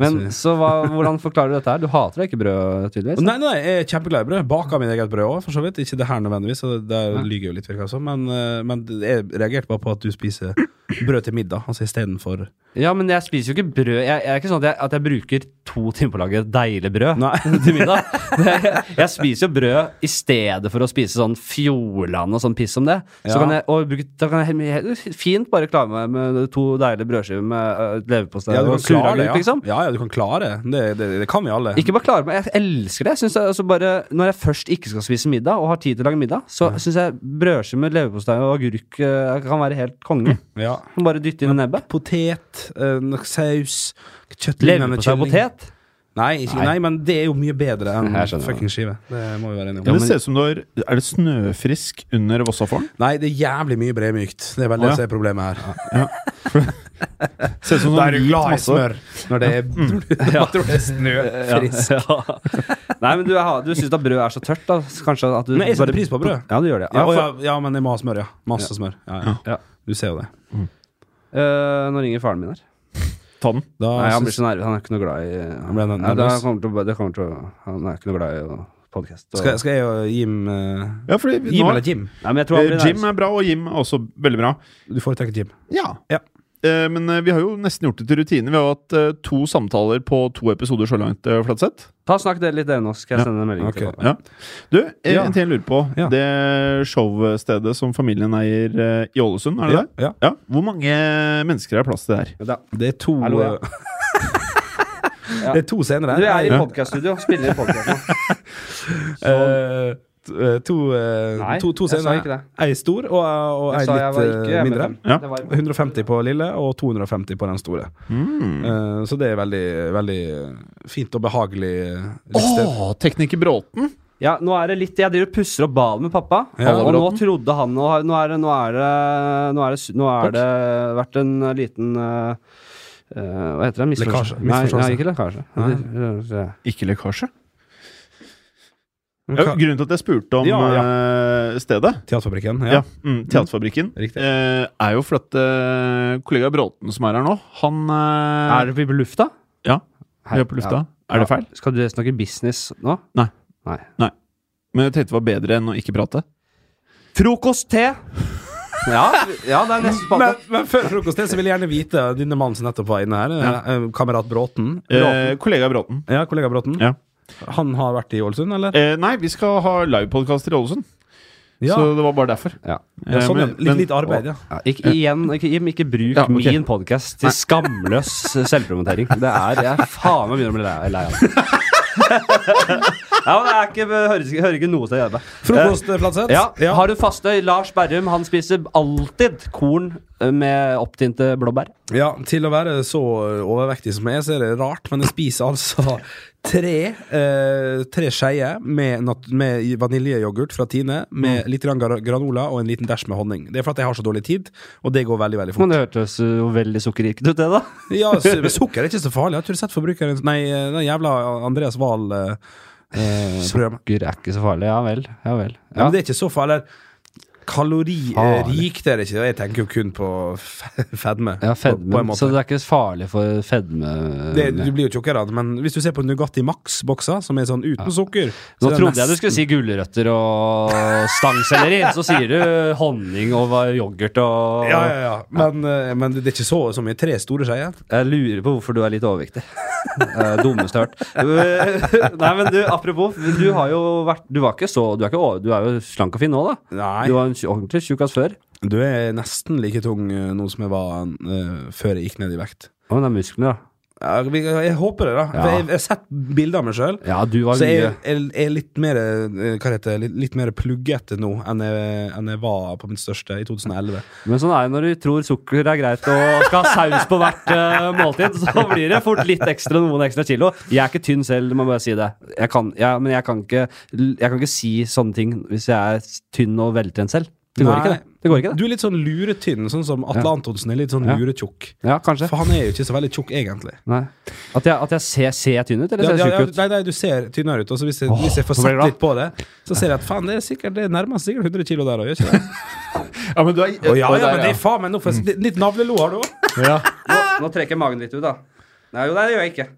Speaker 1: men så hva, hvordan forklarer du dette her? Du hater da ikke brød, tydeligvis?
Speaker 2: Nei, nei, jeg er kjempeglad i brød. Baker mitt eget brød òg, for så vidt. Ikke det her nødvendigvis, så der lyver jeg jo litt, virker det som. Men, eh, men jeg reagerte bare på at du spiser brød til middag, altså istedenfor
Speaker 1: Ja, men jeg spiser jo ikke brød. Jeg, jeg er ikke sånn at jeg, at jeg bruker to timer på å lage deilig brød
Speaker 2: Nei.
Speaker 1: til middag. Det, jeg spiser jo brød i stedet for å spise sånn Fjordland og sånn piss som det. Så
Speaker 2: Ja.
Speaker 1: kan jeg, og bruke, da kan jeg helt- helt fint bare klare meg med to deilige brødskiver med øh, leverpostei
Speaker 2: Ja, du
Speaker 1: og
Speaker 2: kan klare det,
Speaker 1: suraglup,
Speaker 2: ja.
Speaker 1: liksom.
Speaker 2: Ja, ja, du kan klare det. det. Det, det kan vi alle.
Speaker 1: Ikke bare klare meg, jeg elsker det. Jeg synes jeg, altså bare, når jeg først ikke skal spise middag, og har tid til å lage middag, så synes syns jeg brødskive med leverpostei og agurk øh, kan være helt konge.
Speaker 2: Ja,
Speaker 1: Som bare dytter inn i nebbet.
Speaker 2: Potet, eh, noe saus, kjøttlinjer med
Speaker 1: Leverpostei og
Speaker 2: kylling.
Speaker 1: potet.
Speaker 2: Nei, ikke,
Speaker 1: Nei.
Speaker 2: nei. men det er jo mye bedre enn
Speaker 1: Jeg skjønner
Speaker 2: fucking skive. Det må vi være enige om.
Speaker 1: Ja, men-
Speaker 3: det ser ut som du har Er det snøfrisk under Vossafallen?
Speaker 2: Nei, det er jævlig mye bredmykt. Det er vel
Speaker 3: Å,
Speaker 2: det
Speaker 3: ja.
Speaker 2: som er problemet her.
Speaker 3: Ser
Speaker 2: Da
Speaker 3: ut som sånn
Speaker 2: er du
Speaker 3: hvit
Speaker 2: glad i
Speaker 3: masse.
Speaker 2: smør når det er, når det er snøfrisk.
Speaker 1: Ja. Nei, men du, har- du syns da brød er så tørt, da. Så kanskje at du
Speaker 2: Men jeg setter pris på brød.
Speaker 1: Ja, du gjør det.
Speaker 2: Ja,
Speaker 1: for-
Speaker 2: ja, ja, men jeg må ha smør, ja. Masse smør. Ja, ja.
Speaker 1: Ja.
Speaker 2: Du ser jo det.
Speaker 1: Eh, nå ringer faren min her.
Speaker 3: Ta den.
Speaker 2: Da
Speaker 1: Nei, han blir
Speaker 2: syns-
Speaker 1: så nervøs. Han er ikke noe glad i eh,
Speaker 2: Han ble
Speaker 1: Nei, det
Speaker 2: nervøs.
Speaker 1: kommer til, å- det kommer til, å- Han er ikke noe glad i podkast.
Speaker 2: skal, skal jeg og Jim eh,
Speaker 3: Ja, fordi vi-
Speaker 2: Jim
Speaker 3: nå,
Speaker 2: eller Jim?
Speaker 1: Nei, men jeg tror han
Speaker 3: eh,
Speaker 1: blir
Speaker 3: Jim
Speaker 1: nervøs.
Speaker 3: er bra, og Jim er også veldig bra.
Speaker 2: Du foretrekker Jim.
Speaker 3: Ja.
Speaker 2: Ja.
Speaker 3: Eh, men eh, vi har jo nesten gjort det til rutine. Vi har hatt eh, to samtaler på to episoder så langt, eh, Flatseth.
Speaker 1: Ta og Snakk dere litt, dere nå, så skal jeg sende en melding til
Speaker 2: ok.
Speaker 1: dere.
Speaker 3: Ja. Du, eh,
Speaker 2: Ja.
Speaker 3: en ting jeg lurer på.
Speaker 2: Ja.
Speaker 3: Det showstedet som familien eier eh, i Ålesund, er det
Speaker 2: Ja,
Speaker 3: det?
Speaker 2: ja.
Speaker 3: Ja. Hvor mange mennesker er plass til der?
Speaker 1: Ja.
Speaker 2: Det er to
Speaker 1: Hallo, ja.
Speaker 2: eh, Det er to scener
Speaker 1: Du
Speaker 2: her.
Speaker 1: er i
Speaker 2: Nei,
Speaker 1: podkaststudio. Spiller i podkast nå.
Speaker 2: eh, t- eh, to, eh,
Speaker 1: sånn- Nei,
Speaker 2: to, to
Speaker 1: jeg sa
Speaker 2: scener.
Speaker 1: ikke det.
Speaker 2: Ei stor og, og ei
Speaker 1: Jeg sa jeg var
Speaker 2: litt
Speaker 1: ikke
Speaker 2: eh,
Speaker 1: hjemme
Speaker 2: mindre.
Speaker 1: fem.
Speaker 3: Ja.
Speaker 1: Det var-
Speaker 2: 150 på lille og 250 på den store.
Speaker 3: Mm.
Speaker 2: Eh, så det er veldig, veldig fint og behagelig eh, liste.
Speaker 3: Åh, tekniker Bråten!
Speaker 1: Ja, nå er det litt Jeg driver og pusser opp badet med pappa.
Speaker 2: Ja.
Speaker 1: og nå trodde han Nå har- nå er det Nå er det, nå er det, su- nå er det vært en liten eh, eh, Hva heter det? Misforståelse?
Speaker 2: Lekkasje.
Speaker 1: Nei,
Speaker 2: Misforståelse.
Speaker 1: nei, ikke lekkasje. Nei.
Speaker 3: Ikke lekkasje.
Speaker 2: Men
Speaker 3: Ja,
Speaker 2: hva-
Speaker 3: grunnen til at jeg spurte om
Speaker 2: Ja,
Speaker 3: eh, stedet,
Speaker 2: Teaterfabrikken.
Speaker 3: ja.
Speaker 2: Ja.
Speaker 3: mm, Teaterfabrikken,
Speaker 2: Riktig.
Speaker 3: eh, er jo for at eh, kollega Bråten som er her nå, han eh,
Speaker 1: Er vi på lufta?
Speaker 3: Ja,
Speaker 1: Hei,
Speaker 3: vi er på lufta.
Speaker 1: ja.
Speaker 3: Er det feil?
Speaker 1: Ja. Skal du snakke business nå?
Speaker 3: Nei.
Speaker 1: Nei.
Speaker 3: Men jeg tenkte det var bedre enn å ikke prate.
Speaker 1: Frokost-te! ja, ja, det er neste spalte.
Speaker 2: Men, men før frokost det, så vil jeg gjerne vite denne mannen som nettopp var inne her, eh, eh, kamerat Bråten.
Speaker 3: Eh, kollega Bråten.
Speaker 2: Ja, kollega Bråten.
Speaker 3: Ja.
Speaker 2: Han har vært i Ålesund, eller?
Speaker 3: Eh, nei, vi skal ha livepodkaster i Ålesund,
Speaker 2: Ja,
Speaker 3: så det var bare derfor. Eh,
Speaker 1: Ja.
Speaker 2: ja sånn, ja.
Speaker 3: men-
Speaker 2: Litt, litt arbeid, ja.
Speaker 1: Ja, ikke, igjen, ikke, Jim, ikke bruk
Speaker 3: Ja, ok.
Speaker 1: min podkast til skamløs selvpromotering. Det er Jeg er faen meg begynner å bli lei- lei av det. Ja, men det er ikke, hører, ikke- hører ikke noe til hjemme.
Speaker 2: Frokost, eh, Flatseth.
Speaker 1: Ja, Har du faste? Lars Berrum han spiser alltid korn eh, med opptinte blåbær.
Speaker 2: Ja, til å være så overvektig som jeg er, så er det rart, men jeg spiser altså tre, eh, tre skeier med, nat- med vaniljeyoghurt fra Tine, med litt grann gra- granola og en liten dæsj med honning. Det er for at jeg har så dårlig tid, og det går veldig, veldig
Speaker 1: Men
Speaker 2: fort.
Speaker 1: det hørtes eh, jo veldig sukkerrikt ut, det, da.
Speaker 2: Ja, s- men sukker er ikke så farlig. Jeg tror du har sett forbrukeren Nei, eh, den jævla Andreas Wahl eh, eh, programmet.
Speaker 1: Sukker er ikke så farlig. Ja vel. Ja vel.
Speaker 2: Ja,
Speaker 1: Ja.
Speaker 2: men det er ikke så farlig. Kaloririkt er det ikke. Jeg tenker jo kun på f- fedme.
Speaker 1: Ja,
Speaker 2: På, på en
Speaker 1: fedme.
Speaker 2: måte.
Speaker 1: Så det er ikke så farlig for fedme
Speaker 2: Det,
Speaker 1: eh,
Speaker 2: du blir jo tjukkere av det, men hvis du ser på Nugatti Max-boksa, som er sånn uten sukker så
Speaker 1: Nå
Speaker 2: er det
Speaker 1: trodde jeg du
Speaker 2: nesten-
Speaker 1: skulle si gulrøtter og stangselleri. Så sier du honning og hva- yoghurt og
Speaker 2: ja, ja, ja. Men, eh, men det er ikke så som i tre store skeier.
Speaker 1: Jeg lurer på hvorfor du er litt overvektig. Eh, Dummeste jeg har hørt. Nei, men du, apropos, du har jo vært Du var ikke så Du er, ikke, over- du er jo slank og fin nå, da.
Speaker 2: Nei.
Speaker 1: Du var en tj- ordentlig tjukkas før.
Speaker 2: Du er nesten like tung eh, nå som jeg var eh, før jeg gikk ned i vekt.
Speaker 1: Å, men det er musklene, da.
Speaker 2: Ja, vi- jeg håper det, da.
Speaker 1: Ja.
Speaker 2: For jeg, jeg har sett bilder av meg sjøl.
Speaker 1: Ja, du var
Speaker 2: Så jeg,
Speaker 1: mye
Speaker 2: jeg, jeg er litt mer, eh, hva heter, det, litt, litt mer pluggete nå enn jeg, enn jeg var på mitt største i 2011.
Speaker 1: Men sånn er det når du tror sukker er greit og skal ha saus på hvert eh, måltid, så blir det fort litt ekstra noen ekstra kilo. Jeg er ikke tynn selv, det må jeg bare si det. Jeg kan, ja, men jeg kan, ikke, jeg kan ikke si sånne ting hvis jeg er tynn og veltrent selv. Det går
Speaker 2: Nei.
Speaker 1: ikke, det. det, går ikke det.
Speaker 2: Du er litt sånn luretynn, sånn som Atle Antonsen er litt sånn
Speaker 1: Ja.
Speaker 2: luretjukk.
Speaker 1: Ja, kanskje.
Speaker 2: For han er jo ikke så veldig tjukk, egentlig.
Speaker 1: Nei. At jeg, at jeg ser, ser jeg tynn ut, eller
Speaker 2: Ja,
Speaker 1: ser jeg
Speaker 2: ja, ja,
Speaker 1: tjukk ut?
Speaker 2: nei, nei, du ser tynnere ut. Og så hvis, jeg, hvis jeg får
Speaker 1: nå ble jeg
Speaker 2: sett litt på det, så ser jeg at faen, det er sikkert Det nærmer seg sikkert 100 kilo der òg, gjør ikke det?
Speaker 3: Ja, men du er
Speaker 2: Å, ja,
Speaker 3: Oi,
Speaker 2: ja,
Speaker 3: der,
Speaker 2: men det er faen meg noe for det- Litt navlelo har du òg.
Speaker 1: Nå,
Speaker 2: Ah!
Speaker 1: nå trekker jeg magen litt ut, da. Nei, jo, nei, det gjør jeg ikke.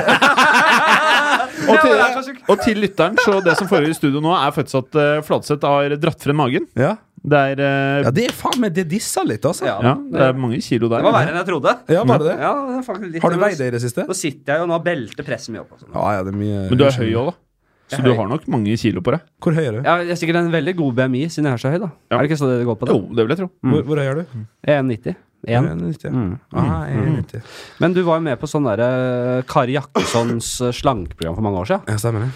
Speaker 3: Og til,
Speaker 1: det er så sjukt.
Speaker 3: og til lytteren, så det som foregår i studio nå, er faktisk at eh, Fladseth har dratt frem magen.
Speaker 2: Ja.
Speaker 3: Det er, eh,
Speaker 2: ja, det er faen meg Det disser litt, altså.
Speaker 1: Ja,
Speaker 2: Ja,
Speaker 3: ja, det er mange kilo der.
Speaker 1: Det var verre enn jeg trodde.
Speaker 2: var det det?
Speaker 1: Ja, det er faktisk litt
Speaker 2: Har du veid det i det siste?
Speaker 1: Nå sitter jeg jo nå og belter presset mye opp. og sånn.
Speaker 2: Ja, ja, det er mye
Speaker 3: Men du er høy òg, da. Så
Speaker 1: Jeg er
Speaker 3: du
Speaker 1: høy.
Speaker 3: har nok mange kilo på deg.
Speaker 2: Hvor høy er du?
Speaker 1: Ja, jeg er sikkert en veldig god BMI siden jeg er så høy, da.
Speaker 3: Ja.
Speaker 1: Er det ikke så det går på? da?
Speaker 3: Jo, det vil jeg tro.
Speaker 2: Hvor, hvor høy er du?
Speaker 1: Jeg er 1,90. En.
Speaker 2: 1,90. Ah, 1,90.
Speaker 1: Men du var jo med på sånn derre Kari Jakkessons eh, slankeprogram eh, for mange år siden.
Speaker 2: Ja, stemmer det.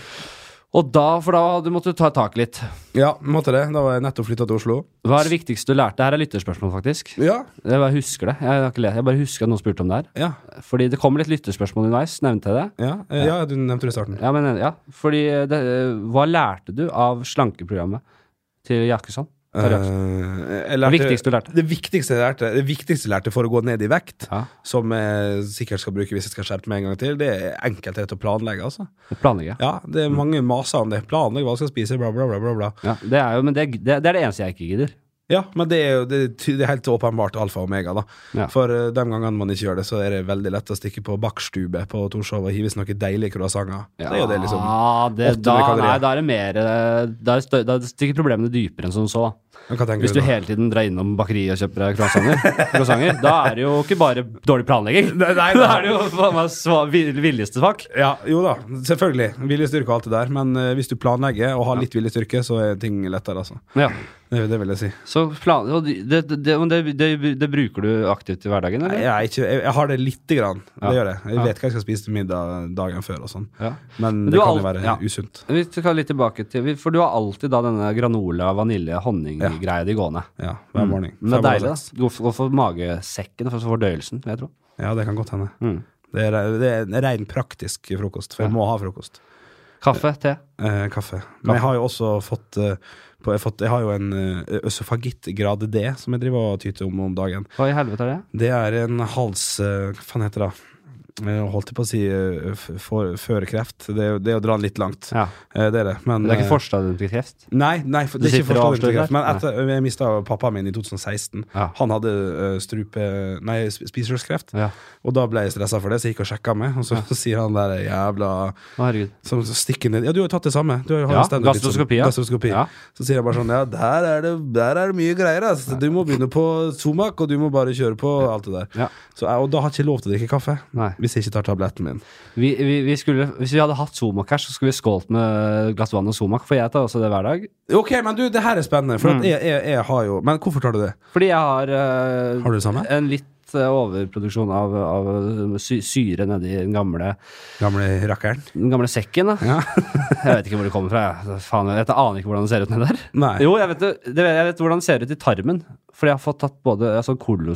Speaker 1: Og da, for da du måtte du ta tak litt.
Speaker 2: Ja, måtte det. Da var jeg nettopp flytta til Oslo.
Speaker 1: Hva er det viktigste du lærte? Her er lytterspørsmål, faktisk.
Speaker 2: Ja,
Speaker 1: Jeg bare husker det. Jeg, har ikke le- jeg bare husker at noen spurte om det her.
Speaker 2: ja,
Speaker 1: Fordi det kommer litt lytterspørsmål underveis, nevnte jeg det.
Speaker 2: ja, eh, ja du nevnte det i starten.
Speaker 1: Ja, men eh, ja, fordi det, eh, Hva lærte du av slankeprogrammet til Jakkesson?
Speaker 2: Eh,
Speaker 1: Tarjei Jakkesson?
Speaker 2: jeg
Speaker 1: Det
Speaker 2: lærte-
Speaker 1: viktigste du lærte?
Speaker 2: Det viktigste jeg lærte, det viktigste jeg lærte for å gå ned i vekt,
Speaker 1: Ja,
Speaker 2: som jeg sikkert skal bruke hvis jeg skal skjerpe meg en gang til, det er enkelthet å planlegge, altså.
Speaker 1: Planlegge.
Speaker 2: Ja, det er mange maser om det. Planlegg hva du skal spise, bla, bla, bla, bla. bla.
Speaker 1: Ja, det er jo, men det, det, det er det eneste jeg ikke gidder.
Speaker 2: Ja, men det er jo det, er ty- det er helt åpenbart alfa og omega, da.
Speaker 1: Ja.
Speaker 2: For eh, de gangene man ikke gjør det, så er det veldig lett å stikke på bakstube på Torshov og hive seg noen deilige croissanter. Det er jo det, liksom.
Speaker 1: Ja, Ah, det,
Speaker 2: 800
Speaker 1: da, nei,
Speaker 2: kalorier.
Speaker 1: da er det mer eh, Da, er stø, da stikker problemene dypere enn som så.
Speaker 2: Men Hva tenker
Speaker 1: Hvis du
Speaker 2: du da?
Speaker 1: hele tiden drar innom bakeriet og kjøper deg croissanter, croissanter, da er det jo ikke bare dårlig planlegging. Da er det jo faen meg sva- vil- villeste svak.
Speaker 2: Ja, jo da, selvfølgelig. Viljestyrke og alt det der. Men eh, hvis du planlegger og har litt viljestyrke, så er ting lettere, altså.
Speaker 1: Ja.
Speaker 2: Det, det vil jeg si.
Speaker 1: Så plan, og det, det, det, men det, det, det bruker du aktivt i hverdagen,
Speaker 2: Nei,
Speaker 1: eller?
Speaker 2: jeg, er ikke, jeg, jeg har det lite grann.
Speaker 1: Ja.
Speaker 2: Det gjør jeg. Jeg
Speaker 1: Ja.
Speaker 2: vet hva jeg skal spise til middag dagen før og sånn.
Speaker 1: Ja.
Speaker 2: Men
Speaker 1: du
Speaker 2: det
Speaker 1: har
Speaker 2: kan jo
Speaker 1: alt-
Speaker 2: være
Speaker 1: ja.
Speaker 2: usunt.
Speaker 1: Vi skal litt tilbake til For du har alltid da denne granola, vanilje, honninggreia di gående.
Speaker 2: Ja, hver morgen.
Speaker 1: Mm. Men det er
Speaker 2: Fem og
Speaker 1: deilig,
Speaker 2: seks.
Speaker 1: da. God for, god for magesekken, for fordøyelsen, vil jeg tro.
Speaker 2: Ja, det kan godt hende.
Speaker 1: Mm.
Speaker 2: Det er, det er en rein praktisk frokost, for jeg må ha frokost.
Speaker 1: Kaffe, te.
Speaker 2: Eh, kaffe. Men jeg har jo også fått, eh, på, jeg, har fått jeg har jo en eh, øsofagitt grad D som jeg driver og tyter om om dagen.
Speaker 1: Hva i helvete er det?
Speaker 2: Det er en hals... eh, Hva faen heter det? da? Jeg holdt på å si eh, f- for- førerkreft. Det, er jo- det er å dra den litt langt.
Speaker 1: Ja.
Speaker 2: Eh, Det er det. Men
Speaker 1: Det er
Speaker 2: eh,
Speaker 1: ikke forstadium til kreft?
Speaker 2: Nei, nei for,
Speaker 1: Du
Speaker 2: det er ikke
Speaker 1: sitter og
Speaker 2: forståelig
Speaker 1: avslører
Speaker 2: greit. Men
Speaker 1: der?
Speaker 2: etter, jeg mista pappaen min i 2016.
Speaker 1: Ja.
Speaker 2: Han hadde eh, strupe... Nei, sp- spiserørskreft.
Speaker 1: Ja.
Speaker 2: Og da ble jeg stressa for det, så jeg gikk og sjekka meg. Og så, så sier han der jævla
Speaker 1: Å, herregud.
Speaker 2: som stikker ned Ja, du har jo tatt det samme. Du har jo
Speaker 1: Ja,
Speaker 2: hatt standup litt som-
Speaker 1: gastroskopi, ja.
Speaker 2: gastroskopi.
Speaker 1: Ja.
Speaker 2: Så sier jeg bare sånn Ja, der er det, der er det mye greier, ass. Du må begynne på Zomac, og du må bare kjøre på alt det der.
Speaker 1: Ja.
Speaker 2: Så, jeg- og da har jeg ikke lov til å drikke kaffe.
Speaker 1: Nei.
Speaker 2: Hvis jeg ikke tar tabletten min.
Speaker 1: Vi, vi, vi skulle, hvis vi hadde hatt Somak her, så skulle vi skålt med et glass vann og Somak, for jeg tar også det hver dag.
Speaker 2: Ok, men du, det her er spennende, for
Speaker 1: Mm.
Speaker 2: at jeg, jeg, jeg har jo Men hvorfor tar du det?
Speaker 1: Fordi jeg har, eh,
Speaker 2: Har du det samme?
Speaker 1: en litt eh, overproduksjon av, av eh, sy syre nedi den gamle,
Speaker 2: Gamle rakkeren?
Speaker 1: den gamle sekken. Da.
Speaker 2: Ja.
Speaker 1: jeg vet ikke hvor det kommer fra. Jeg, Faen, jeg aner ikke hvordan det ser ut nedi der.
Speaker 2: Nei.
Speaker 1: Jo, jeg vet, det, det- jeg vet hvordan det ser ut i tarmen. Fordi jeg har fått tatt både altså,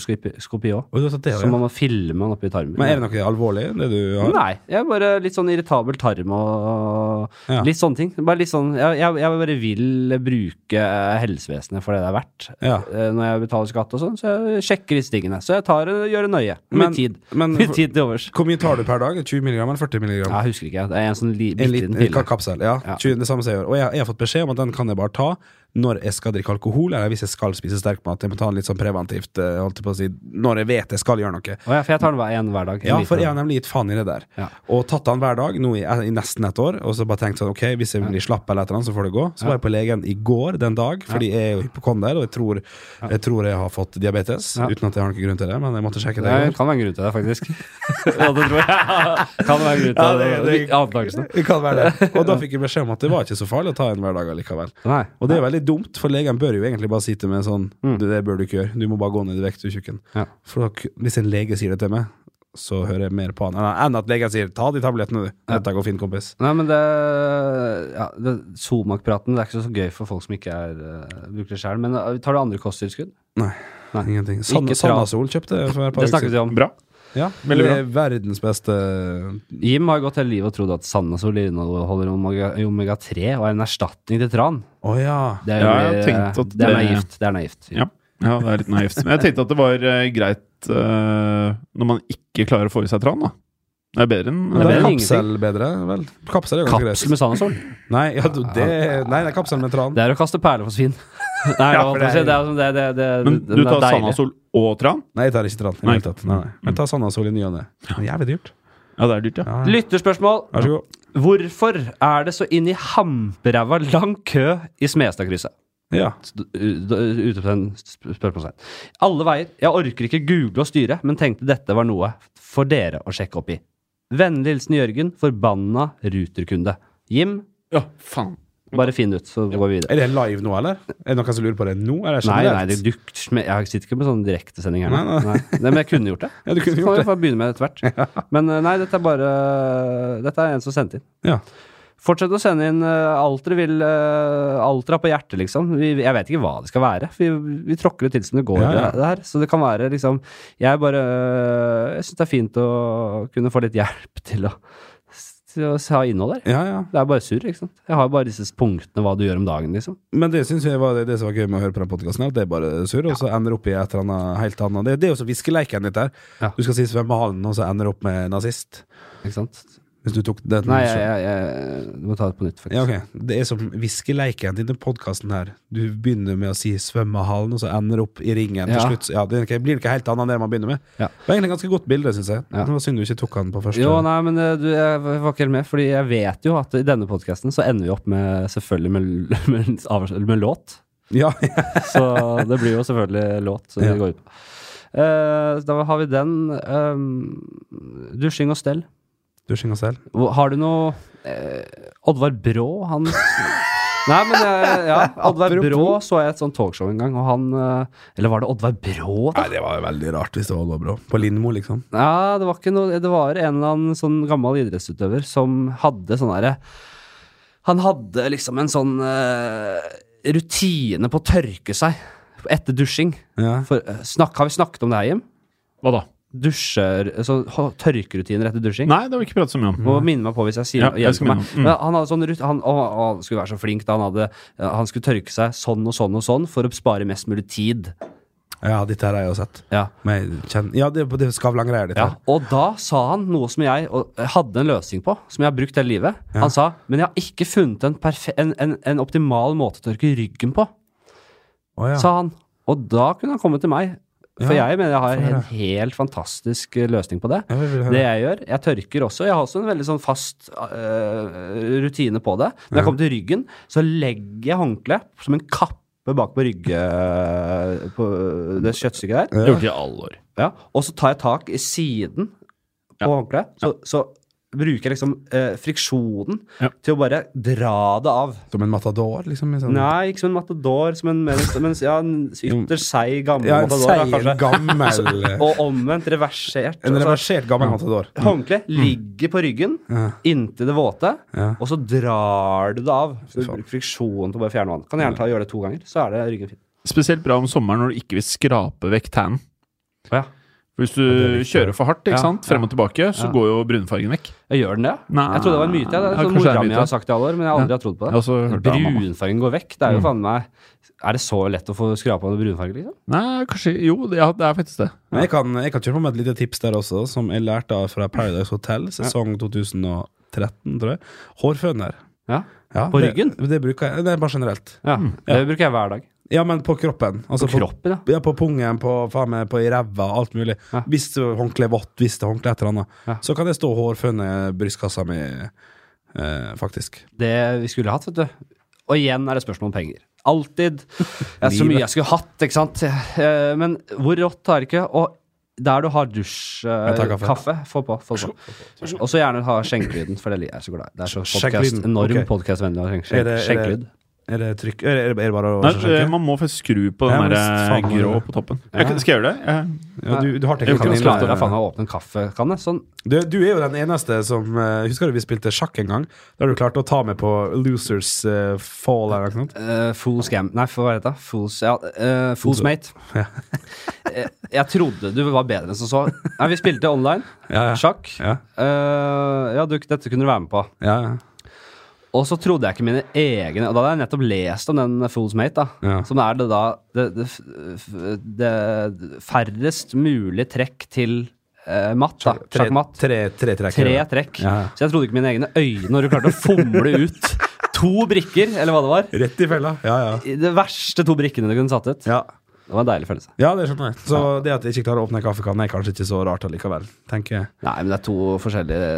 Speaker 1: koloskopi òg.
Speaker 2: Og du har tatt det,
Speaker 1: Så
Speaker 2: ja.
Speaker 1: man må filme den oppi tarmen.
Speaker 2: Men er det noe alvorlig, det du har?
Speaker 1: Nei. Jeg er bare litt sånn irritabel tarm og
Speaker 2: Ja.
Speaker 1: litt sånne ting. Bare litt sånn, jeg, jeg, jeg bare vil bruke eh, helsevesenet for det det er verdt.
Speaker 2: Ja.
Speaker 1: Eh, Når jeg betaler skatt og sånn, så jeg sjekker disse tingene. Så jeg tar det gjør det nøye. Med
Speaker 2: Men-
Speaker 1: tid.
Speaker 2: men-
Speaker 1: Med tid til overs.
Speaker 2: Hvor mye tar du per dag? 20 milligram eller 40
Speaker 1: Ja,
Speaker 2: milligram?
Speaker 1: jeg husker ikke. Det er en sånn li, bitte
Speaker 2: en liten
Speaker 1: liten pille.
Speaker 2: en ka- kapsel. Ja,
Speaker 1: Ja.
Speaker 2: 20, det samme som jeg gjør. Og jeg, jeg har fått beskjed om at den kan jeg bare ta når jeg skal drikke alkohol, eller hvis jeg skal spise sterkmat. Jeg må ta den litt sånn preventivt, eh, holdt jeg på å si, når jeg vet jeg skal gjøre noe.
Speaker 1: Å ja, for jeg tar den hver, en hver dag. En
Speaker 2: Ja,
Speaker 1: liten
Speaker 2: for jeg har
Speaker 1: en.
Speaker 2: nemlig gitt faen i det der.
Speaker 1: Ja.
Speaker 2: Og tatt den hver dag nå i, eh, i nesten et år, og så bare tenkt sånn, ok, hvis jeg blir slapp eller et eller annet, så får det gå. Så var jeg på legen i går den dag, fordi jeg er jo hypokonder, og jeg tror jeg, tror jeg har fått diabetes,
Speaker 1: Ja.
Speaker 2: uten at jeg har noen grunn til det, men jeg måtte sjekke det. i
Speaker 1: Det
Speaker 2: går.
Speaker 1: kan være en grunn til det, faktisk. ja, det tror jeg. kan være en grunn til det.
Speaker 2: Ja, det- det-
Speaker 1: Antakelsene.
Speaker 2: Det kan være det. Og da fikk jeg beskjed om at det var ikke så farlig å ta en hver dag likevel.
Speaker 1: Nei.
Speaker 2: Og det er veldig dumt, for legen bør jo egentlig bare sitte med sånn "Du, Det bør du ikke gjøre. Du må bare gå ned i vekt, du tjukken.
Speaker 1: Mm. Ja.
Speaker 2: For da, k- hvis en lege sier det til meg, så hører jeg mer på han enn- enn at legen sier 'ta de tablettene, du. Dette går fint, kompis'.
Speaker 1: Nei, men det, ja, det Somak-praten det er ikke så gøy for folk som ikke er, eh, bruker det sjøl. Men eh, tar du andre kosttilskudd?
Speaker 2: Nei.
Speaker 1: Nei.
Speaker 2: Ingenting. San,
Speaker 1: Ikke tra-
Speaker 2: Sandasol kjøpte jeg for et par
Speaker 1: Det snakket vi om.
Speaker 3: Bra.
Speaker 2: Ja,
Speaker 3: Veldig
Speaker 2: det er verdens beste
Speaker 1: Jim har gått hele livet og trodd at Sandnesol inneholder omega- omega-3 og er en erstatning til tran.
Speaker 2: Å ja.
Speaker 1: Det er,
Speaker 3: Ja, jeg
Speaker 1: eh,
Speaker 3: tenkte at
Speaker 1: det er
Speaker 3: det-
Speaker 1: naivt. Det er naivt.
Speaker 3: Ja. ja, det er litt naivt. Men jeg tenkte at det var eh, greit eh, når man ikke klarer å få i seg tran, da. Det er bedre enn
Speaker 2: Men da
Speaker 1: bedre
Speaker 2: er
Speaker 1: enn
Speaker 2: kapsel bedre, vel? Kapsel er jo ganske
Speaker 1: Kapsel
Speaker 2: greit.
Speaker 1: med Sandnesol.
Speaker 2: Nei, ja, du, det, nei, det er kapsel med tran.
Speaker 1: Det er å kaste perler for svin. Nei,
Speaker 2: Ja,
Speaker 1: hva
Speaker 2: for
Speaker 1: skal jeg si,
Speaker 2: det
Speaker 1: det er, det, det, det,
Speaker 3: Men
Speaker 1: det,
Speaker 3: du
Speaker 1: det er
Speaker 3: tar
Speaker 1: deilig.
Speaker 3: Sandasol og tran?
Speaker 2: Nei, jeg tar ikke tran. i det
Speaker 3: Nei.
Speaker 2: hele tatt. Nei, nei. Men ta Sandasol i ny og ne. Men Jævlig dyrt.
Speaker 3: Ja, det er dyrt, ja.
Speaker 2: Ja.
Speaker 1: Lytterspørsmål.
Speaker 2: Vær så god.
Speaker 1: Hvorfor er det så inn i hamperæva lang kø i Smestadkrysset?
Speaker 2: Ja.
Speaker 1: Ute på den spørsmålstegn. Alle veier. Jeg orker ikke google og styre, men tenkte dette var noe for dere å sjekke opp i. Vennlig hilsen Jørgen, forbanna ruterkunde. Jim,
Speaker 3: Ja, faen.
Speaker 1: bare finn ut, så går vi videre.
Speaker 2: Er det live nå, eller? Er det noen som lurer på det nå? Eller er det
Speaker 1: Nei, nei,
Speaker 2: generelt?
Speaker 1: det dukt, men jeg sitter ikke med sånn direktesending her. nå.
Speaker 2: Nei, nei.
Speaker 1: Nei. Nei, men jeg kunne gjort det.
Speaker 2: Ja, du kunne
Speaker 1: Så
Speaker 2: gjort
Speaker 1: kan vi bare begynne med det etter hvert. Men eh, nei, dette er bare Dette er en som sendte inn.
Speaker 2: Ja.
Speaker 1: Fortsett å sende inn eh, alt dere vil. eh, alt dere har på hjertet, liksom. Vi, jeg vet ikke hva det skal være. for Vi, vi tråkker det til som det går.
Speaker 2: Ja, ja.
Speaker 1: det- Det her. Så det kan være liksom Jeg bare eh, Jeg syns det er fint å kunne få litt hjelp til å, til å ha innhold der.
Speaker 2: Ja, ja.
Speaker 1: Det er bare surr, ikke sant. Jeg har bare disse punktene hva du gjør om dagen, liksom.
Speaker 2: Men det syns jeg var det, det som var gøy med å høre på den podkasten, at det er bare surr, og så ender det opp i et eller annet helt annet. Det, det er jo så viskeleiken ditt her.
Speaker 1: Ja.
Speaker 2: Du skal si svømmehalen, og så ender det opp med nazist.
Speaker 1: Ikke sant?
Speaker 2: Hvis du tok den
Speaker 1: Nei, jeg, jeg, jeg, du må ta det på nytt, faktisk.
Speaker 2: Ja, ok. Det er som viskeleiken til denne podkasten her. Du begynner med å si svømmehallen, og så ender det opp i ringen
Speaker 1: Ja.
Speaker 2: til slutt. Ja, det er ikke- blir ikke helt annet enn det man begynner med.
Speaker 1: Ja.
Speaker 2: Det var egentlig et ganske godt bilde, syns jeg.
Speaker 1: Ja.
Speaker 2: Det var synd du ikke tok han på første.
Speaker 1: Jo, nei, men eh, du, jeg var ikke helt med, fordi jeg vet jo at i denne podkasten så ender vi opp med selvfølgelig med, med, avs- med låt.
Speaker 2: Ja,
Speaker 1: Så det blir jo selvfølgelig låt som
Speaker 2: Ja.
Speaker 1: vi går ut på. Eh, da har vi den. eh, dusjing og stell.
Speaker 2: du synger selv.
Speaker 1: Hvor- Har du noe eh, Oddvar Brå, han Nei, men jeg, ja, Oddvar Brå så jeg et sånt talkshow en gang, og han eh, Eller var det Oddvar Brå, da?
Speaker 2: Nei, det var jo veldig rart hvis det var lov, bro. På Lindmo, liksom.
Speaker 1: Ja, det var ikke noe Det var en eller annen sånn gammel idrettsutøver som hadde sånn derre Han hadde liksom en sånn eh, rutine på å tørke seg etter dusjing.
Speaker 2: Ja.
Speaker 1: For, eh, snakk, har vi snakket om det her, Jim?
Speaker 3: Hva da?
Speaker 1: Dusjer, så, ho- tørkerutiner etter dusjing?
Speaker 3: Nei, det har vi ikke pratet så mye om.
Speaker 1: Må minne meg på hvis jeg sier
Speaker 3: Ja,
Speaker 1: noe
Speaker 3: jeg
Speaker 1: igjen
Speaker 3: skal
Speaker 1: til meg.
Speaker 3: minne om. Mm.
Speaker 1: Men Han hadde sånn rut- han, å, å, han skulle være så flink da han hadde eh, Han skulle tørke seg sånn og sånn og sånn for å spare mest mulig tid.
Speaker 2: ja, dette her har jeg jo sett.
Speaker 1: Ja.
Speaker 2: Men jeg kjenner Ja, det er på det Skavlan-greia ditt.
Speaker 1: Ja,
Speaker 2: her.
Speaker 1: og da sa han noe som jeg og, eh, hadde en løsning på, som jeg har brukt hele livet. Han sa men jeg har ikke funnet en, perfe en, en, en optimal måte å tørke ryggen på,
Speaker 2: Å, ja.
Speaker 1: sa han. Og da kunne han komme til meg. For
Speaker 2: Ja,
Speaker 1: jeg mener jeg har
Speaker 2: får
Speaker 1: en
Speaker 2: høre.
Speaker 1: helt fantastisk eh, løsning på det.
Speaker 2: Ja, vi vil høre.
Speaker 1: Det jeg gjør, jeg tørker også. Jeg har også en veldig sånn fast eh, rutine på det. Når jeg kommer til ryggen, så legger jeg håndkleet som en kappe bak på rygge... øh, På det kjøttstykket der.
Speaker 3: Det har vi gjort i alle år.
Speaker 1: Ja, og så tar jeg tak i siden på håndkleet. Så, så bruker jeg liksom eh, friksjonen
Speaker 3: Ja.
Speaker 1: til å bare dra det av.
Speaker 2: Som en matador, liksom? i Sånn.
Speaker 1: Nei, ikke som en matador, som en, men, men, ja, en ytterst seig gammel
Speaker 2: Ja, en
Speaker 1: matador. da,
Speaker 2: seig,
Speaker 1: kanskje.
Speaker 2: gammel
Speaker 1: Og omvendt, reversert.
Speaker 2: En Mm.
Speaker 1: Altså,
Speaker 2: reversert gammel matador.
Speaker 1: Håndkleet ligger på ryggen
Speaker 2: Ja.
Speaker 1: inntil det våte,
Speaker 2: Ja.
Speaker 1: og så drar du det av. Så du
Speaker 2: faen.
Speaker 1: bruker friksjonen til å bare fjerne vann. Kan gjerne ta og gjøre det to ganger, så er det ryggen fin.
Speaker 3: Spesielt bra om sommeren når du ikke vil skrape vekk tannen.
Speaker 1: Å ja.
Speaker 3: For Hvis du kjører for hardt, ikke
Speaker 1: Ja,
Speaker 3: sant, frem og tilbake, så går jo brunfargen vekk.
Speaker 1: Jeg gjør den det?
Speaker 3: Nei.
Speaker 1: Jeg trodde det var en myte. jeg. Det
Speaker 3: Ja,
Speaker 1: er sånn
Speaker 3: kanskje det er
Speaker 1: mora
Speaker 3: en
Speaker 1: mi
Speaker 3: myte.
Speaker 1: har sagt det i alle år, men jeg har aldri har trodd på
Speaker 3: Jeg har
Speaker 1: det.
Speaker 3: også hørt det av mamma. Mm.
Speaker 1: Brunfargen går vekk. Det er jo faen meg Er det så lett å få skrapa med brunfarge, liksom?
Speaker 3: Nei, kanskje Jo, det, ja, det er faktisk det.
Speaker 2: Men jeg kan, jeg kan kjøre på med et lite tips der også, som jeg lærte av fra Paradise Hotel, sesong 2013, tror jeg. Hårføner.
Speaker 1: Ja.
Speaker 2: Ja,
Speaker 1: På
Speaker 2: det-
Speaker 1: ryggen?
Speaker 2: Det, bruker jeg, det er bare generelt.
Speaker 1: ja.
Speaker 3: Mm.
Speaker 1: Det bruker jeg hver dag.
Speaker 2: Ja, men på kroppen. Altså
Speaker 1: På kroppen, ja.
Speaker 2: Ja, på pungen, på, faen meg, på i ræva, alt mulig.
Speaker 1: Ja.
Speaker 2: Hvis det er håndkle er vått, hvis det er håndkle et eller annet,
Speaker 1: Ja.
Speaker 2: så kan det stå hårføne i brystkassa mi, eh, faktisk.
Speaker 1: Det vi skulle hatt, vet du. Og igjen er det spørsmål om penger. Alltid. Det er så mye jeg skulle hatt, ikke sant. Eh, Men hvor rått er det ikke? Og der du har dusj, eh,
Speaker 2: Jeg tar kaffe.
Speaker 1: kaffe, få på. Få på. Og så gjerne ha skjenkelyden, for det liker jeg så glad i. Det er så podcast,
Speaker 2: Skjenkelyden,
Speaker 1: enorm
Speaker 2: ok.
Speaker 1: podkastvennlig å ha
Speaker 2: Er
Speaker 1: skjenk-
Speaker 2: det- er det-
Speaker 1: skjenkelyd.
Speaker 2: Er det trykk Er det, er det- er det bare å
Speaker 3: Nei, eh,
Speaker 2: sjekke?
Speaker 1: eh,
Speaker 3: Man må faktisk skru på
Speaker 2: Ja,
Speaker 3: den
Speaker 2: men
Speaker 3: der eh,
Speaker 2: faen,
Speaker 3: grå
Speaker 2: man-
Speaker 3: på toppen. Jeg kan- skal jeg gjøre det? Jeg-
Speaker 2: Ja, du, du har
Speaker 1: Jeg
Speaker 2: teknikken
Speaker 1: kan
Speaker 2: inne
Speaker 1: ikke klare
Speaker 2: der.
Speaker 1: å faen meg åpne en kaffekanne. Sånn.
Speaker 2: Du, du er jo den eneste som eh, Husker du vi spilte sjakk en gang? Da du klarte å ta med på Losers eh, Fall eller noe sånt?
Speaker 1: Eh, Fool's Gam... Nei, for hva heter det? Fool's, ja, eh, Fool's Mate. Eh, jeg trodde du var bedre enn som så. Nei, vi spilte online.
Speaker 2: Ja, ja.
Speaker 1: Sjakk.
Speaker 2: Ja.
Speaker 1: Eh, ja, du, dette kunne du være med på.
Speaker 2: Ja, ja.
Speaker 1: Og så trodde jeg ikke mine egne Og da hadde jeg nettopp lest om den Fool's Mate, da.
Speaker 2: Ja.
Speaker 1: Som er det da det, det, f- f- det færrest mulig trekk til eh, matt, da.
Speaker 2: Tre,
Speaker 1: Sjakkmatt.
Speaker 2: tre, tre trekk.
Speaker 1: Tre trekk.
Speaker 2: Ja, ja.
Speaker 1: Så jeg trodde ikke mine egne øyne når du klarte å fomle ut to brikker, eller hva det var.
Speaker 2: Rett i fella. Ja, ja.
Speaker 1: I Det verste to brikkene du kunne satt ut.
Speaker 2: Ja.
Speaker 1: Det var en deilig følelse.
Speaker 2: ja, det skjønner jeg. Så det at jeg ikke klarer å åpne en kaffekanne, er kanskje ikke så rart allikevel, tenker jeg.
Speaker 1: Nei, men det er to forskjellige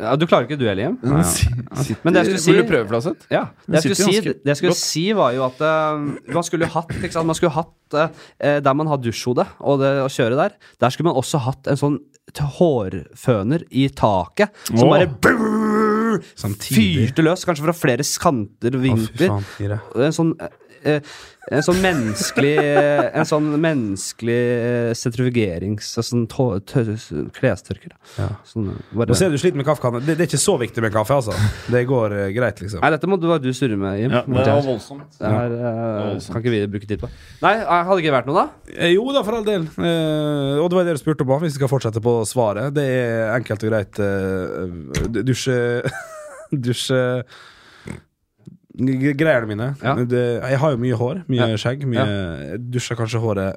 Speaker 1: ja, Du klarer ikke du heller, Jim.
Speaker 3: Sitter-
Speaker 1: Men det jeg skulle si-
Speaker 3: Vil du prøve, Flaseth?
Speaker 1: Ja. Det
Speaker 3: Men
Speaker 1: jeg,
Speaker 3: sitter
Speaker 1: skulle si,
Speaker 3: ganske
Speaker 1: det jeg skulle
Speaker 3: godt.
Speaker 1: si, var jo at eh, man skulle jo hatt, ikke sant? Man skulle hatt eh, eh, Der man har dusjhode og det å kjøre der, der skulle man også hatt en sånn t- hårføner i taket som
Speaker 3: Åh.
Speaker 1: bare brrrr,
Speaker 2: Samtidig.
Speaker 1: fyrte løs, kanskje fra flere kanter og
Speaker 2: Å, fy
Speaker 1: vinkler.
Speaker 2: faen, Ire.
Speaker 1: en sånn eh, eh, en sånn menneskelig eh, En sånn menneskelig eh, sentrifugerings... Sånn tå- tø- klestørker. da. Sånn, eh, bare-
Speaker 2: Nå ser du sliter med kaffekannen. Det, det er ikke så viktig med kaffe, altså. Det går eh, greit, liksom.
Speaker 1: Nei, dette må du bare du surre med, Jim.
Speaker 3: Ja,
Speaker 1: det
Speaker 3: det var
Speaker 1: her,
Speaker 3: voldsomt.
Speaker 1: det her eh, kan ikke vi bruke tid på. Nei, eh, hadde ikke vært noe, da?
Speaker 2: Eh, Jo da, for all del. Eh, og det var det du spurte om, hvis vi skal fortsette på svaret. Det er enkelt og greit eh, d- dusje Dusje g- Greiene mine.
Speaker 1: Ja.
Speaker 2: Det, jeg har jo mye hår, mye
Speaker 1: Ja.
Speaker 2: skjegg. Mye, jeg Dusjer kanskje håret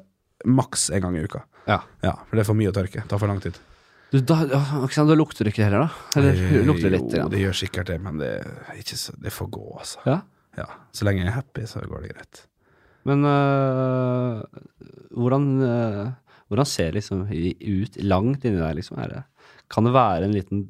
Speaker 2: maks en gang i uka.
Speaker 1: Ja.
Speaker 2: Ja, For det er for mye å tørke. Tar for lang tid.
Speaker 1: Du, da, ja, ikke sant, da lukter du ikke heller, da? Eller
Speaker 2: Eh,
Speaker 1: lukter litt?
Speaker 2: Jo,
Speaker 1: Ja.
Speaker 2: det gjør sikkert det, men det, er ikke så, det får gå, altså.
Speaker 1: Ja.
Speaker 2: Ja, Så lenge jeg er happy, så går det greit.
Speaker 1: Men øh, hvordan, øh, hvordan ser liksom i- ut langt inni der, liksom? Er det, kan det være en liten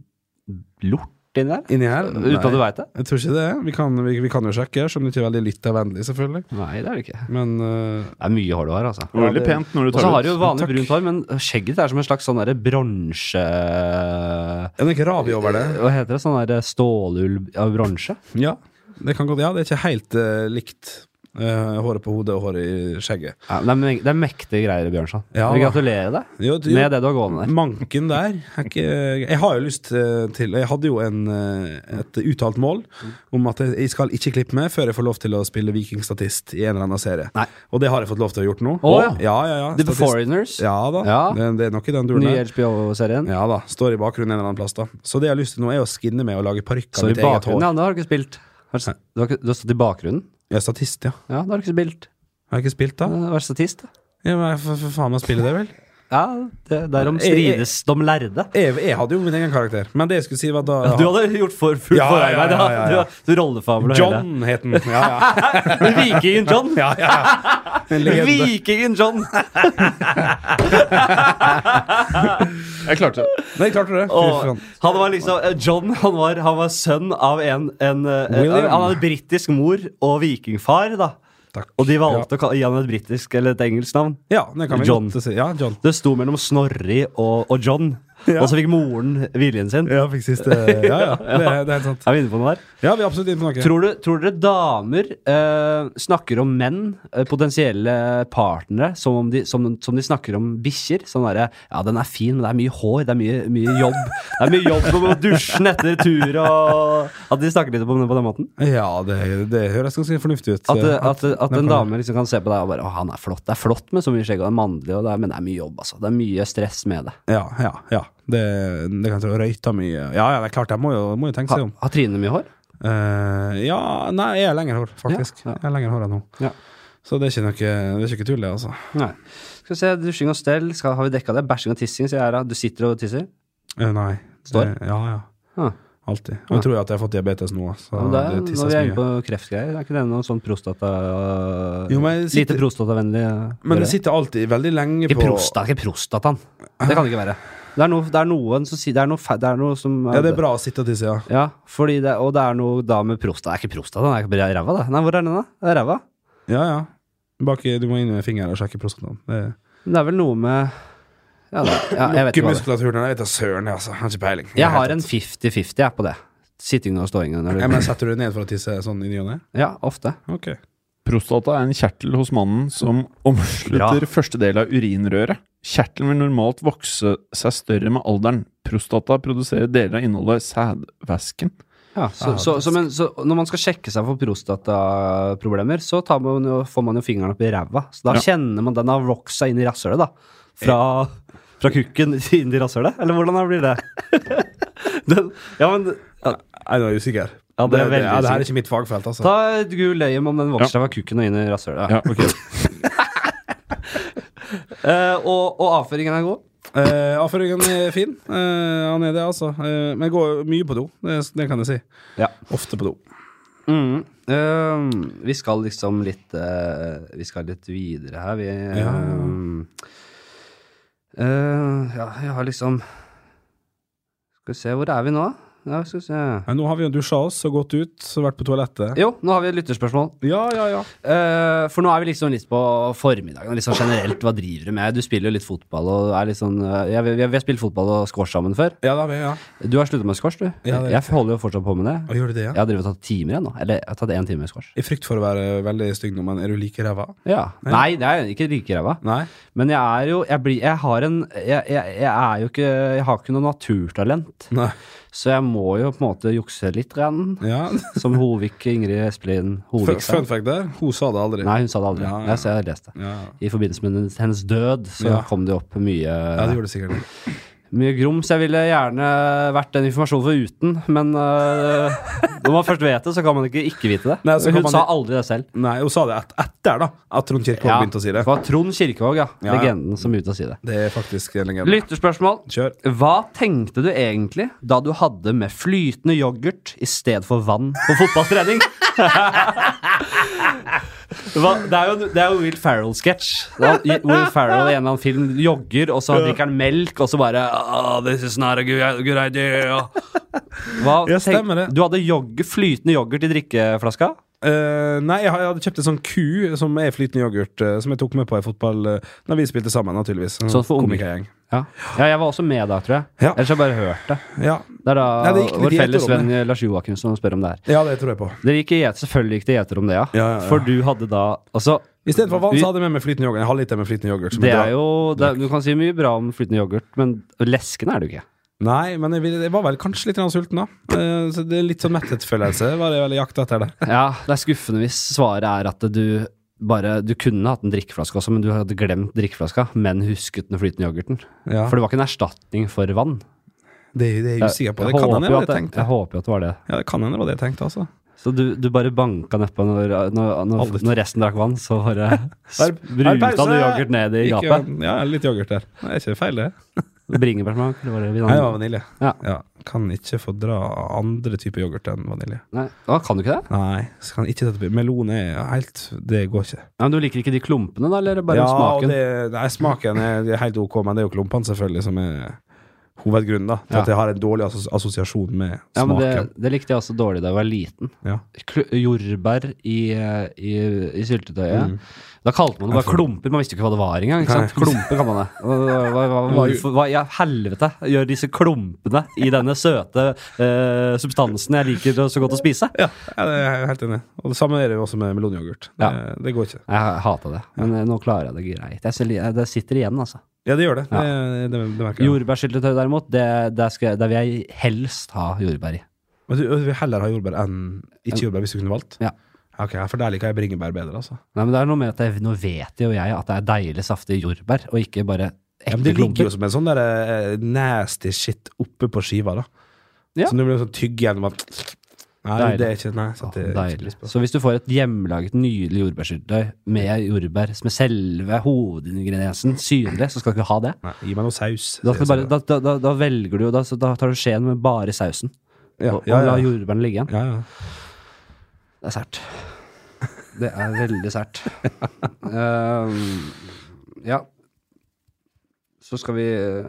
Speaker 1: lort inni der?
Speaker 2: Inni her?
Speaker 1: Uten at du veit det?
Speaker 2: Jeg tror ikke det. Vi kan, vi, vi kan jo sjekke, som ikke er veldig lyttervennlig, selvfølgelig.
Speaker 1: Nei, det er det ikke.
Speaker 2: Men eh,
Speaker 1: Det er mye hår du har, altså.
Speaker 3: Det var veldig pent når du
Speaker 1: Og så
Speaker 3: tar
Speaker 1: har du
Speaker 3: det
Speaker 1: jo
Speaker 3: ut.
Speaker 1: vanlig
Speaker 2: Takk.
Speaker 1: brunt hår, men skjegget ditt er som en slags sånn derre bronse...
Speaker 2: er det ikke ravi over det?
Speaker 1: Hva heter det? Sånn derre stålull av bronse?
Speaker 2: Ja, det kan godt Ja, det er ikke helt eh, likt. eh, håret på hodet og håret i skjegget.
Speaker 1: Ja, det, er, me- det er mektige greier, Bjørnson.
Speaker 2: Ja,
Speaker 1: Jeg vil
Speaker 2: da.
Speaker 1: gratulere deg
Speaker 2: Jo, jo,
Speaker 1: med det du har gående der.
Speaker 2: Manken der er ikke, Jeg har jo lyst eh, til Jeg hadde jo en, eh, et uttalt mål om at jeg- jeg skal ikke klippe meg før jeg får lov til å spille vikingstatist i en eller annen serie.
Speaker 1: Nei.
Speaker 2: Og det har jeg fått lov til å gjort nå.
Speaker 1: Å,
Speaker 2: ja, ja, ja.
Speaker 1: The
Speaker 2: Statist-
Speaker 1: Foreigners,
Speaker 2: Ja da.
Speaker 1: Ja.
Speaker 2: Det, det er nok i den duren
Speaker 1: nye
Speaker 2: der.
Speaker 1: HBO-serien.
Speaker 2: Ja da, Står i bakgrunnen en eller annen plass, da. Så det jeg har lyst til nå, er å skinne med og lage parykk
Speaker 1: Så i
Speaker 2: av mitt eget
Speaker 1: bakgrunnen,
Speaker 2: hår.
Speaker 1: ja, da har du ikke spilt. Har du, s-
Speaker 2: Nei.
Speaker 1: du, har ikke, du har stått i bakgrunnen?
Speaker 2: Jeg er statist, ja.
Speaker 1: Ja, da har du ikke spilt. Eh,
Speaker 2: Har jeg ikke spilt, da?
Speaker 1: Vær statist, da.
Speaker 2: Ja, men jeg får får faen meg spille det, vel?
Speaker 1: Ja, det, derom
Speaker 2: Jeg- jeg-
Speaker 1: strides de lærde.
Speaker 2: Jeg, jeg hadde jo min egen karakter, men det jeg skulle si, var da
Speaker 1: Du hadde gjort for fullt
Speaker 2: Ja, ja, ja,
Speaker 1: forarbeid.
Speaker 2: ja, ja, ja.
Speaker 1: Du, du rollefabler og
Speaker 2: John het den. Ja, ja.
Speaker 1: hele. Vikingen John!
Speaker 2: ja, ja. En legende.
Speaker 1: Vikingen John!
Speaker 3: Jeg klarte det.
Speaker 2: Nei, klarte du det? Fy
Speaker 1: Og
Speaker 2: faen.
Speaker 1: han var liksom eh, John han var, han var sønn av en, en eh,
Speaker 2: William.
Speaker 1: Han hadde britisk mor og vikingfar, da.
Speaker 2: Takk.
Speaker 1: Og de valgte å ka- gi han et britisk eller et engelsk navn.
Speaker 2: Ja, det kan vi
Speaker 1: John.
Speaker 2: godt si. Ja, John.
Speaker 1: Det sto mellom Snorri og, og John,
Speaker 2: Ja.
Speaker 1: og så fikk moren viljen sin.
Speaker 2: Ja, fikk siste Ja, ja. Det, er- det er helt sant.
Speaker 1: Er vi inne på noe der?
Speaker 2: Ja, vi er absolutt inne på noe.
Speaker 1: Tror, du, tror dere damer eh, snakker om menn, eh, potensielle partnere, som, om de, som, som de snakker om bikkjer? Sånn derre Ja, den er fin, men det er mye hår, det er mye, mye jobb. Det er mye jobb om å dusje etter tur og At de snakker litt om det på den måten?
Speaker 2: Ja, det, det høres ganske fornuftig ut.
Speaker 1: At, eh, at, at
Speaker 2: det
Speaker 1: en
Speaker 2: kan-
Speaker 1: dame liksom kan se på deg og bare Å, han er flott. Det er flott med så mye skjegg, og det er mannlig, og det er, men det er mye jobb, altså. Det er mye stress med det.
Speaker 2: Ja, ja. ja. Det, det kan jeg tro. Røyta mye Ja, ja, det er klart, jeg må jo, må jo tenke
Speaker 1: Ha,
Speaker 2: seg om.
Speaker 1: har Trine mye hår?
Speaker 2: Eh, ja, nei, jeg har lengre hår, faktisk.
Speaker 1: Ja, ja.
Speaker 2: Jeg har lengre hår enn hun.
Speaker 1: Ja.
Speaker 2: Så det er ikke noe, det er ikke tull, det, altså.
Speaker 1: Nei. Skal vi se, dusjing og stell, skal, har vi dekka det? Bæsjing og tissing, sier jeg her. da. Du sitter og tisser?
Speaker 2: Eh, nei.
Speaker 1: Står?
Speaker 2: Det- Ja, ja.
Speaker 1: Ah.
Speaker 2: Alltid. Og jeg tror jeg at jeg har fått diabetes nå, så
Speaker 1: Ja, men det er,
Speaker 2: det
Speaker 1: når
Speaker 2: tisses
Speaker 1: vi er inne
Speaker 2: mye.
Speaker 1: på kreftgreier, er ikke det noe sånn prostata...
Speaker 2: Jo, men jeg sitter-
Speaker 1: Lite prostatavennlig eh,
Speaker 2: Men
Speaker 1: greie?
Speaker 2: det sitter alltid veldig lenge
Speaker 1: Ikke
Speaker 2: på
Speaker 1: prosta, ikke prostataen. Det kan det ikke være. Det er, noe- det er noen som sier Det er noe, fe- det er noe som
Speaker 2: Ja, det er bra å sitte og tisse, ja.
Speaker 1: Ja, fordi det, og det er noe da med prostata Det er ikke prostataen, det er ikke bare ræva, det. Nei, hvor er den, da? Det er ræva.
Speaker 2: Ja, ja. Bak, i- du må inn med fingeren og sjekke prostataen. Det
Speaker 1: Men det er vel noe med Ja, det, ja jeg vet
Speaker 2: Ikke
Speaker 1: ikke hva det er.
Speaker 2: muskulaturen. Jeg vet da søren, jeg, altså. Jeg har ikke peiling.
Speaker 1: Jeg har en 50-50, jeg, på det. Sitting og ståing. når du-
Speaker 2: Ja, men Setter du deg ned for å tisse sånn i ny og ne?
Speaker 1: Ja, ofte.
Speaker 2: Ok.
Speaker 3: Prostata er en kjertel hos mannen som omslutter første del av urinrøret. Kjertelen vil normalt vokse seg større med alderen. Prostata produserer deler av innholdet i sædvæsken.
Speaker 1: Ja, så,
Speaker 3: Ah,
Speaker 1: så, så, men, så når man skal sjekke seg for prostataproblemer, så tar man jo, får man jo fingeren opp i ræva. Så da
Speaker 3: Ja.
Speaker 1: kjenner man den har vokst seg inn i rasshølet, da. Fra, fra kukken inn i rasshølet? Eller hvordan blir det? den, ja, men ja,
Speaker 2: Nei, nå er jeg usikker.
Speaker 1: Ja, det er veldig
Speaker 2: ja, det her er
Speaker 1: usikker.
Speaker 2: ikke mitt fagfelt, altså.
Speaker 1: Ta et gul leim om den vokser seg fra kukken og inn i rasshølet.
Speaker 3: Ja, ok.
Speaker 1: Eh, og, og avføringen er god.
Speaker 2: Eh, Avføringen er fin. Eh, han er det, altså. Eh, men jeg går mye på do. Det, det kan jeg si.
Speaker 1: Ja.
Speaker 2: Ofte på do.
Speaker 1: Mm. Eh, vi skal liksom litt eh, Vi skal litt videre her, vi. eh,
Speaker 2: Ja.
Speaker 1: eh, ja, jeg har liksom Skal vi se, hvor er vi nå? ja, skal vi se.
Speaker 2: Nei, nå har vi jo dusja oss og gått ut og vært på toalettet.
Speaker 1: Jo, nå har vi et lytterspørsmål.
Speaker 2: Ja, ja, ja.
Speaker 1: Eh, for nå er vi liksom litt på formiddagen. Litt sånn generelt, hva driver du med? Du spiller jo litt fotball og er litt sånn eh, ja, vi, vi har- vi har spilt fotball og squash sammen før.
Speaker 2: Ja, da, er vi, ja.
Speaker 1: Du har sluttet med squash, du.
Speaker 2: Ja, det er
Speaker 1: jeg holder jo fortsatt på med det.
Speaker 2: Og gjør du det, ja?
Speaker 1: Jeg har drevet og tatt timer igjen nå. Eller jeg har tatt én time med squash.
Speaker 2: I frykt for å være veldig stygg nå, men er du like ræva?
Speaker 1: Ja. Nei, det er ikke like ræva.
Speaker 2: Nei?
Speaker 1: Men jeg er jo Jeg, blir, jeg har en jeg, jeg, jeg er jo ikke Jeg har ikke noe naturtalent.
Speaker 2: Nei.
Speaker 1: Så jeg må jo på en måte jukse litt, grann,
Speaker 2: Ja.
Speaker 1: som Hovik Ingrid Espelin Hovik
Speaker 2: Fun,
Speaker 1: sa.
Speaker 2: fun fact der, hun sa det aldri.
Speaker 1: Nei, hun sa det aldri.
Speaker 2: Ja, ja.
Speaker 1: Jeg, så jeg har lest det.
Speaker 2: Ja,
Speaker 1: I forbindelse med hennes- hennes død så
Speaker 2: Ja.
Speaker 1: kom det opp mye,
Speaker 2: ja det gjorde det sikkert.
Speaker 1: mye grums. Jeg ville gjerne vært den informasjonen foruten, men øh, når man først vet det, så kan man ikke ikke vite det.
Speaker 2: Nei, så kan
Speaker 1: hun
Speaker 2: man-
Speaker 1: sa aldri det selv.
Speaker 2: Nei, hun sa det et etter, da. At Trond Kirkvaag
Speaker 1: Ja,
Speaker 2: begynte å si det.
Speaker 1: det var Trond Kirkevåg, ja.
Speaker 2: Ja, ja.
Speaker 1: Legenden som begynte å si det.
Speaker 2: Det er faktisk en legende.
Speaker 1: Lytterspørsmål.
Speaker 2: Kjør.
Speaker 1: Hva tenkte du egentlig da du hadde med flytende yoghurt i stedet for vann på fotballtrening? Hva, det, er jo, det er jo Will Ferrell-sketsj. Da Will Ferrell i en eller annen film jogger, og så drikker han melk, og så bare «Ah, This is not a good, good idea. Hva,
Speaker 2: Ja,
Speaker 1: tenk-
Speaker 2: stemmer det.
Speaker 1: Du hadde jogg, flytende yoghurt i drikkeflaska?
Speaker 2: Eh, nei, jeg hadde kjøpt en sånn ku som er flytende yoghurt, eh, som jeg tok med på i fotball uh, Når vi spilte sammen, naturligvis. En
Speaker 1: Sånn for unge.
Speaker 2: komikergjeng.
Speaker 1: Ja. ja, jeg var også med da, tror jeg.
Speaker 2: Ja.
Speaker 1: Ellers har jeg bare hørt det.
Speaker 2: Ja.
Speaker 1: Det er da
Speaker 2: Nei, det gikk litt
Speaker 1: vår
Speaker 2: i
Speaker 1: felles
Speaker 2: gjeterommet.
Speaker 1: venn eh, Lars Joakim som spør om det her.
Speaker 2: ja, det tror jeg på.
Speaker 1: Dere gikk i gjet, selvfølgelig gikk det gjeter om det, ja.
Speaker 2: Ja, ja, ja.
Speaker 1: For du hadde da Altså,
Speaker 2: Istedenfor vann
Speaker 1: Vi-
Speaker 2: så hadde jeg med meg flytende yoghurt. En halvliter med flytende yoghurt. som
Speaker 1: det
Speaker 2: jeg
Speaker 1: er
Speaker 2: drakk.
Speaker 1: jo det, Du kan si mye bra om flytende yoghurt, men leskende er du ikke.
Speaker 2: Nei, men jeg, ville- jeg var vel kanskje litt grann sulten, da. Eh, så det er Litt sånn metthetsfølelse var jeg vel i jakt etter der.
Speaker 1: Ja, det er skuffende hvis svaret er at du bare Du kunne hatt en drikkeflaske også, men du hadde glemt drikkeflaska, men husket den flytende yoghurten.
Speaker 2: Ja.
Speaker 1: For det var ikke en erstatning for vann.
Speaker 2: Det, det er jeg usikker på. Det kan
Speaker 1: håper
Speaker 2: hende det
Speaker 1: jo
Speaker 2: var
Speaker 1: at
Speaker 2: det jeg
Speaker 1: det, jeg
Speaker 2: tenkte.
Speaker 1: håper jo at det var det.
Speaker 2: Ja, det kan hende det var det jeg tenkte, altså.
Speaker 1: Så du, du bare banka nedpå når, når, når,
Speaker 2: Aldri.
Speaker 1: når resten drakk vann, så bare
Speaker 2: er
Speaker 1: spruta
Speaker 2: pause!
Speaker 1: du yoghurt ned i
Speaker 2: Ikke-
Speaker 1: gapet.
Speaker 2: Ja, litt yoghurt der. Det er ikke feil, det.
Speaker 1: Bringebærsmak, eller var det
Speaker 2: Nei, det var
Speaker 1: vinange?
Speaker 2: vanilje.
Speaker 1: Ja.
Speaker 2: Kan ikke fordra andre typer yoghurt enn vanilje.
Speaker 1: Nei, Å, kan du ikke det?
Speaker 2: Nei, så kan ikke dette bli Melon er helt Det går ikke.
Speaker 1: Ja, men Du liker ikke de klumpene, da? Eller bare
Speaker 2: ja, og
Speaker 1: smaken?
Speaker 2: Det, nei, smaken er, det er helt ok, men det er jo klumpene selvfølgelig som er hovedgrunnen da, til
Speaker 1: Ja.
Speaker 2: at jeg har en dårlig assos assosiasjon med
Speaker 1: ja, men det,
Speaker 2: smaken.
Speaker 1: det likte jeg også dårlig da jeg var liten.
Speaker 2: Ja.
Speaker 1: Kl jordbær i, eh, i, i syltetøyet.
Speaker 2: Mm.
Speaker 1: Da kalte man det bare klumper. Man visste jo ikke hva det var engang. ikke sant? Klumper kan man det. Og det var- var- var- Hvorfor hva i helvete gjør disse klumpene i denne søte eh, substansen jeg liker så godt å spise?
Speaker 2: Ja, ja, det er jeg helt enig. i. Og det samme er det jo også med melonyoghurt. Det,
Speaker 1: Ja.
Speaker 2: det går ikke.
Speaker 1: Jeg hata det, men eh, nå klarer jeg det greit. Jeg, ser- jeg- det sitter igjen, altså.
Speaker 2: Ja, det gjør det. Det, det, det merker jeg.
Speaker 1: Jordbærsyltetøy derimot, det, det, skal, jeg- det vil jeg helst ha jordbær i.
Speaker 2: Men du du vil heller ha jordbær enn ikke jordbær, hvis du kunne valgt?
Speaker 1: Ja.
Speaker 2: Ok, ja, for der liker jeg bringebær bedre, altså.
Speaker 1: Nei, men det er noe med at jeg, Nå vet jo jeg at det er deilig saftig jordbær, og ikke bare
Speaker 2: Ja, men
Speaker 1: ekte
Speaker 2: det ligger
Speaker 1: klumper.
Speaker 2: jo som en sånn der eh, nasty shit oppe på skiva, da.
Speaker 1: Ja.
Speaker 2: Som du blir sånn tygg gjennom at Nei,
Speaker 1: Deilig.
Speaker 2: det er ikke Nei, så
Speaker 1: Ja,
Speaker 2: sånn det er ikke
Speaker 1: deilig.
Speaker 2: lyst på.
Speaker 1: Så hvis du får et hjemmelaget, nydelig jordbærsyltetøy med jordbær som er selve hovedingrediensen synlig, så skal du ikke ha det.
Speaker 2: Nei, gi meg noe saus.
Speaker 1: Da, skal
Speaker 2: sier
Speaker 1: du bare,
Speaker 2: jeg så.
Speaker 1: da, da, da, da velger du jo da, så da tar du skjeen med bare sausen,
Speaker 2: ja,
Speaker 1: og,
Speaker 2: ja,
Speaker 1: og lar
Speaker 2: ja.
Speaker 1: jordbærene ligge igjen.
Speaker 2: ja, ja.
Speaker 1: Det er sært. Det er veldig sært. Ehm, ja. Så skal vi eh,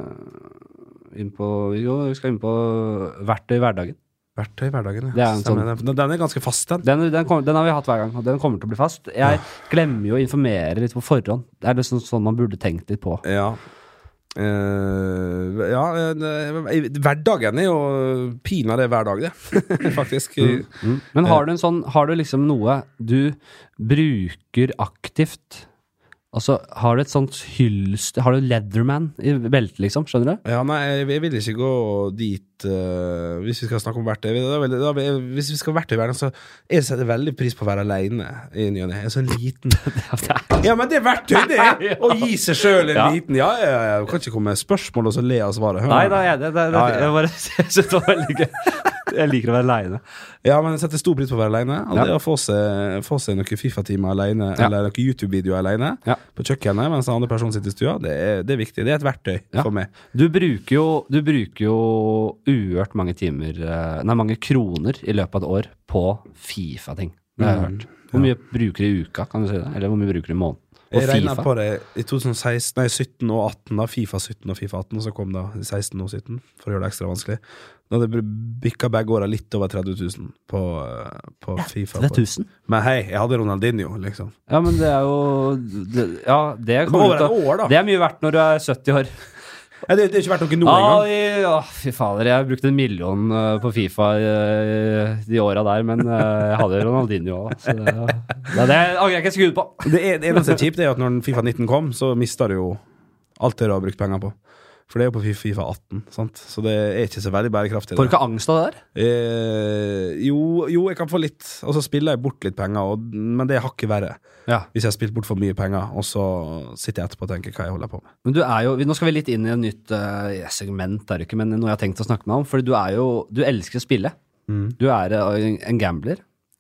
Speaker 1: inn på Jo, vi skal inn på verktøy i hverdagen.
Speaker 2: Verktøy i hverdagen, ja.
Speaker 1: Det er en sånn-
Speaker 2: Stemmer det. Den er ganske fast, den.
Speaker 1: Den, den, kom, den har vi hatt hver gang, og den kommer til å bli fast. Jeg glemmer jo å informere litt på forhånd. Det er liksom sånn man burde tenkt litt på.
Speaker 2: Ja. Eh, ja eh, eh, Hverdagen er jo pinadø hver dag, det. Faktisk.
Speaker 1: Mm. Men har du en sånn Har du liksom noe du bruker aktivt? Altså, har du et sånt hylster Har du Leatherman i beltet, liksom? Skjønner du?
Speaker 2: Ja, nei, jeg, jeg vil ikke gå dit eh, Hvis vi skal snakke om verktøy da vil, da vil, Hvis vi skal ha verktøy i verden, så Jeg setter veldig pris på å være aleine i ny og ne. Jeg er så liten. Ja, men det er verktøy, det! Å gi seg sjøl en
Speaker 1: Ja.
Speaker 2: liten Ja, ja, ja. Du kan ikke komme med spørsmål og så le av svaret. Hør
Speaker 1: Nei,
Speaker 2: nå.
Speaker 1: da er jeg det. det, det
Speaker 2: Ja, ja.
Speaker 1: Jeg bare jeg synes det var veldig gøy. Jeg liker å være aleine.
Speaker 2: Ja, men jeg setter stor pris på å være alene. Og
Speaker 1: Ja.
Speaker 2: det å få seg, få seg noen Fifa-timer alene,
Speaker 1: Ja.
Speaker 2: eller noen YouTube-videoer alene,
Speaker 1: Ja.
Speaker 2: på kjøkkenet mens den andre personen sitter i stua, det er, det er viktig. Det er et verktøy
Speaker 1: Ja.
Speaker 2: for meg.
Speaker 1: Du bruker jo, du bruker jo uørt mange timer eh, Nei, mange kroner i løpet av et Mm. år på Fifa-ting. Det har jeg hørt. Hvor mye bruker du i uka, kan du si det? Eller hvor mye bruker du i måneden? Og
Speaker 2: Jeg regna
Speaker 1: Fifa.
Speaker 2: på det i 2016, nei, 17 og 18, da. Fifa 17 og Fifa 18, og så kom da 16 og 17, for å gjøre det ekstra vanskelig. Da hadde det bikka begge åra litt over 30 000 på, eh, på Fifa.
Speaker 1: 3000?
Speaker 2: Men hei, jeg hadde Ronaldinho, liksom.
Speaker 1: Ja, men det er jo det, Ja, det
Speaker 2: Det var
Speaker 1: kommer
Speaker 2: over
Speaker 1: ut av
Speaker 2: et år, da.
Speaker 1: Det er mye verdt når du er 70 år.
Speaker 2: Nei, det, det er ikke verdt noe nå
Speaker 1: Ah,
Speaker 2: engang.
Speaker 1: i- å, fy fader, jeg har brukt en million eh, på Fifa eh, de åra der, men eh, jeg hadde Ronaldinho òg, så det, det, det angrer jeg ikke et sekund på.
Speaker 2: Det, er, det eneste kjipt er jo at når Fifa 19 kom, så mista du jo alt det du har brukt penger på. For det er jo på Fi- Fifa 18, sant? så det er ikke så veldig bærekraftig.
Speaker 1: Får du
Speaker 2: det.
Speaker 1: ikke angst av det der?
Speaker 2: Eh, jo, jo, jeg kan få litt, og så spiller jeg bort litt penger, og, men det er hakket verre.
Speaker 1: Ja.
Speaker 2: Hvis jeg har spilt bort for mye penger, og så sitter jeg etterpå og tenker hva jeg holder på med.
Speaker 1: Men du er jo, vi- Nå skal vi litt inn i et nytt eh, segment, er det ikke, men noe jeg har tenkt å snakke med deg om. Fordi du er jo Du elsker å spille. Du er eh, en gambler.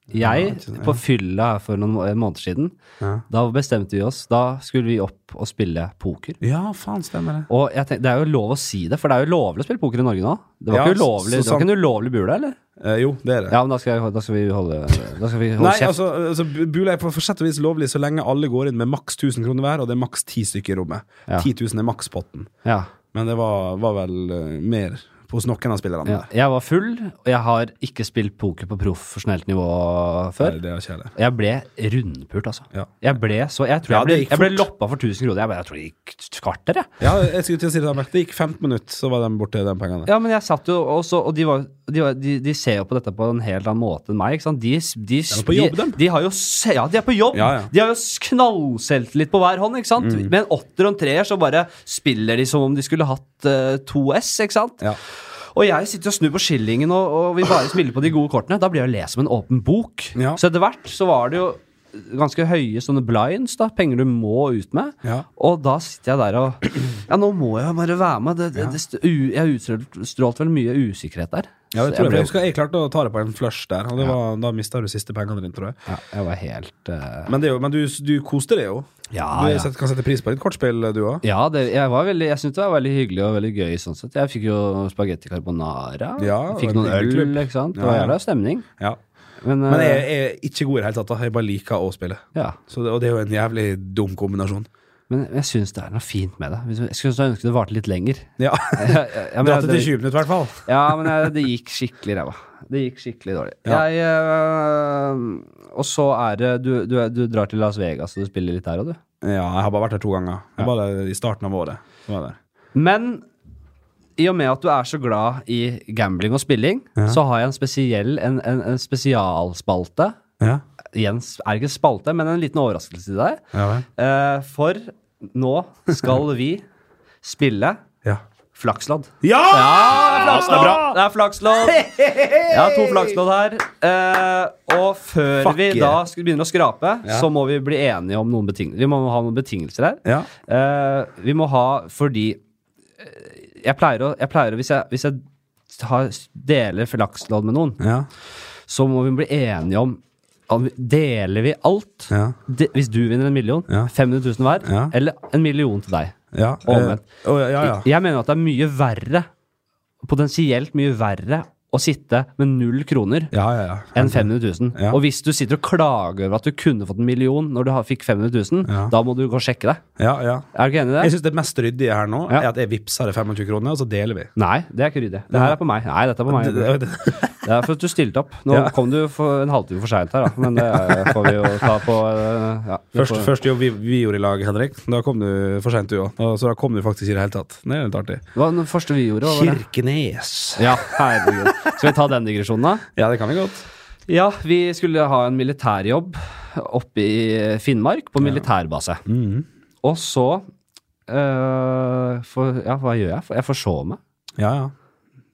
Speaker 1: Jeg,
Speaker 2: ikke sant,
Speaker 1: på fylla her for noen må- måneder siden,
Speaker 2: Ja,
Speaker 1: da bestemte vi oss. Da skulle vi opp og spille poker.
Speaker 2: faen, stemmer det.
Speaker 1: Og jeg tenkte, Det er jo lov å si det, for det er jo lovlig å spille poker i Norge nå. Det var
Speaker 2: Ja,
Speaker 1: ikke ulovlig,
Speaker 2: så
Speaker 1: det var
Speaker 2: sant.
Speaker 1: ikke en ulovlig bule, eller?
Speaker 2: Eh, jo, det er det.
Speaker 1: Ja, men da skal, jeg, da skal vi holde, da skal vi holde
Speaker 2: Nei,
Speaker 1: kjeft.
Speaker 2: altså, altså bu- Bula er på for sett og vis lovlig så lenge alle går inn med maks 1000 kroner hver, og det er maks 10 stykker i rommet.
Speaker 1: Ja.
Speaker 2: 10 000 er makspotten.
Speaker 1: Ja,
Speaker 2: Men det var, var vel eh, mer hos noen av spillerne.
Speaker 1: ja.
Speaker 2: der.
Speaker 1: Jeg var full, og jeg har ikke spilt poker på profesjonelt nivå før.
Speaker 2: Nei, Det er kjedelig.
Speaker 1: Og jeg ble rundpult, altså.
Speaker 2: Ja.
Speaker 1: Jeg ble så Jeg tror
Speaker 2: Ja,
Speaker 1: jeg ble,
Speaker 2: det gikk
Speaker 1: jeg ble
Speaker 2: fort.
Speaker 1: loppa for 1000 kroner. Jeg, bare, jeg tror det gikk kvarter, jeg.
Speaker 2: Ja, jeg skulle til å si det samme. Det gikk 15 minutter, så var de borte, de pengene.
Speaker 1: Ja, men jeg satt jo også Og de, var, de, var, de, de ser jo på dette på en helt annen måte enn meg, ikke sant. De, de,
Speaker 2: er på jobb, dem.
Speaker 1: de, de har jo se, Ja, de er på jobb.
Speaker 2: Ja, Mm. ja.
Speaker 1: De har jo s- knallselvtillit på hver hånd, ikke sant. Med en åtter og en treer så bare spiller de som om de skulle hatt eh, to S, ikke sant.
Speaker 2: Ja.
Speaker 1: Og jeg sitter og snur på skillingen og, og vil bare smile på de gode kortene. Da blir jeg å lese som en åpen bok.
Speaker 2: Ja.
Speaker 1: Så etter hvert så var det jo ganske høye sånne blinds, da, penger du må ut med.
Speaker 2: Ja.
Speaker 1: Og da sitter jeg der og Ja, nå må jeg bare være med. Det, det, det, st- u, jeg utstrålte vel mye usikkerhet der.
Speaker 2: Ja,
Speaker 1: Så
Speaker 2: det tror jeg,
Speaker 1: ble-
Speaker 2: jeg, husker, jeg klarte å ta det på en flush der, og det var, da mista du siste pengene dine, tror jeg.
Speaker 1: ja, jeg var helt eh,
Speaker 2: Men, det er jo, men du, du koste deg jo.
Speaker 1: Ja,
Speaker 2: du
Speaker 1: ja.
Speaker 2: set- kan sette pris på litt kortspill, du òg.
Speaker 1: Ja, det, jeg, var veldig, jeg syntes det var veldig hyggelig og veldig gøy sånn sett. Jeg fikk jo spagetti carbonara.
Speaker 2: Ja,
Speaker 1: fikk
Speaker 2: det var
Speaker 1: noen
Speaker 2: en
Speaker 1: øl,
Speaker 2: hyggelig klubb.
Speaker 1: ikke sant. Det
Speaker 2: Ja,
Speaker 1: var
Speaker 2: ja.
Speaker 1: jævla stemning.
Speaker 2: Ja.
Speaker 1: Men,
Speaker 2: Men jeg
Speaker 1: eh,
Speaker 2: jeg er ikke god i det hele tatt. da Jeg bare liker å spille.
Speaker 1: ja.
Speaker 2: Så det, og det er jo en jævlig dum kombinasjon.
Speaker 1: Men jeg syns det er noe fint med det. Jeg skulle ønske det varte litt lenger.
Speaker 2: Ja,
Speaker 1: Ja, ja, ja, men,
Speaker 2: Dratt det
Speaker 1: det,
Speaker 2: til 20 minutter, i hvert fall.
Speaker 1: ja, men jeg, det gikk skikkelig ræva. Det gikk skikkelig dårlig.
Speaker 2: Ja.
Speaker 1: Jeg, øh, og så er det du, du, du drar til Las Vegas og du spiller litt der òg, du.
Speaker 2: Ja, jeg har bare vært der to ganger. Jeg var der i starten av året. Så var jeg der.
Speaker 1: Men i og med at du er så glad i gambling og spilling, så har jeg en spesiell en, en, en spesialspalte.
Speaker 2: Ja.
Speaker 1: Jens er ikke en spalte, men en liten overraskelse til deg.
Speaker 2: Ja, vel.
Speaker 1: Eh, for nå skal vi spille
Speaker 2: ja.
Speaker 1: flakslodd.
Speaker 2: ja! Ah,
Speaker 1: Ja, flakslodd. Det er flakslodd. Jeg har to flakslodd her. Eh, og før
Speaker 2: Fuck
Speaker 1: vi
Speaker 2: yeah.
Speaker 1: da sk- begynner å skrape,
Speaker 2: Ja.
Speaker 1: så må vi bli enige om noen betingelser. Vi må ha noen betingelser her.
Speaker 2: Ja.
Speaker 1: Eh, vi må ha fordi eh, Jeg pleier å, jeg pleier å hvis, jeg, hvis jeg har, deler flakslodd med noen,
Speaker 2: Ja.
Speaker 1: så må vi bli enige om, om vi- Deler vi alt?
Speaker 2: Ja.
Speaker 1: De, hvis du vinner en million,
Speaker 2: Ja.
Speaker 1: 500 000 hver,
Speaker 2: Ja.
Speaker 1: eller en million til deg?
Speaker 2: Ja.
Speaker 1: Og
Speaker 2: Eh,
Speaker 1: omvendt.
Speaker 2: å, ja, ja.
Speaker 1: Jeg mener at det er mye verre, potensielt mye verre, å sitte med null kroner
Speaker 2: ja, ja, ja.
Speaker 1: enn 500 000.
Speaker 2: Ja.
Speaker 1: Og hvis du sitter og klager over at du kunne fått en million når du har- fikk 500 000,
Speaker 2: Ja.
Speaker 1: da må du gå og sjekke deg.
Speaker 2: ja, ja.
Speaker 1: Er du ikke enig i
Speaker 2: Jeg
Speaker 1: det?
Speaker 2: syns det mest ryddige her nå
Speaker 1: Ja.
Speaker 2: er at jeg vippser det 25 kroner, og så deler vi.
Speaker 1: Nei, det er ikke ryddig. Det her er på meg. Nei, dette er på meg.
Speaker 2: Det,
Speaker 1: Det
Speaker 2: det, det.
Speaker 1: er for at du stilte opp. Nå
Speaker 2: Ja.
Speaker 1: kom du for en halvtime for seint her, da. Men det eh, får vi jo ta på eh, ja, det
Speaker 2: Først,
Speaker 1: får-
Speaker 2: først jobb vi, vi gjorde i lag, Henrik. Da kom du for seint, du òg. Så da kom du faktisk ikke i det hele tatt. Det er litt artig.
Speaker 1: Hva var det første vi gjorde? Hva var det?
Speaker 2: Kirkenes.
Speaker 1: Ja, herregud. Skal vi ta den digresjonen, da?
Speaker 2: Ja, det kan vi godt.
Speaker 1: Ja, vi skulle ha en militærjobb oppe i Finnmark, på militærbase.
Speaker 2: Mhm.
Speaker 1: Og så eh, for, Ja, hva gjør jeg? For- Jeg forsov meg.
Speaker 2: Ja, ja.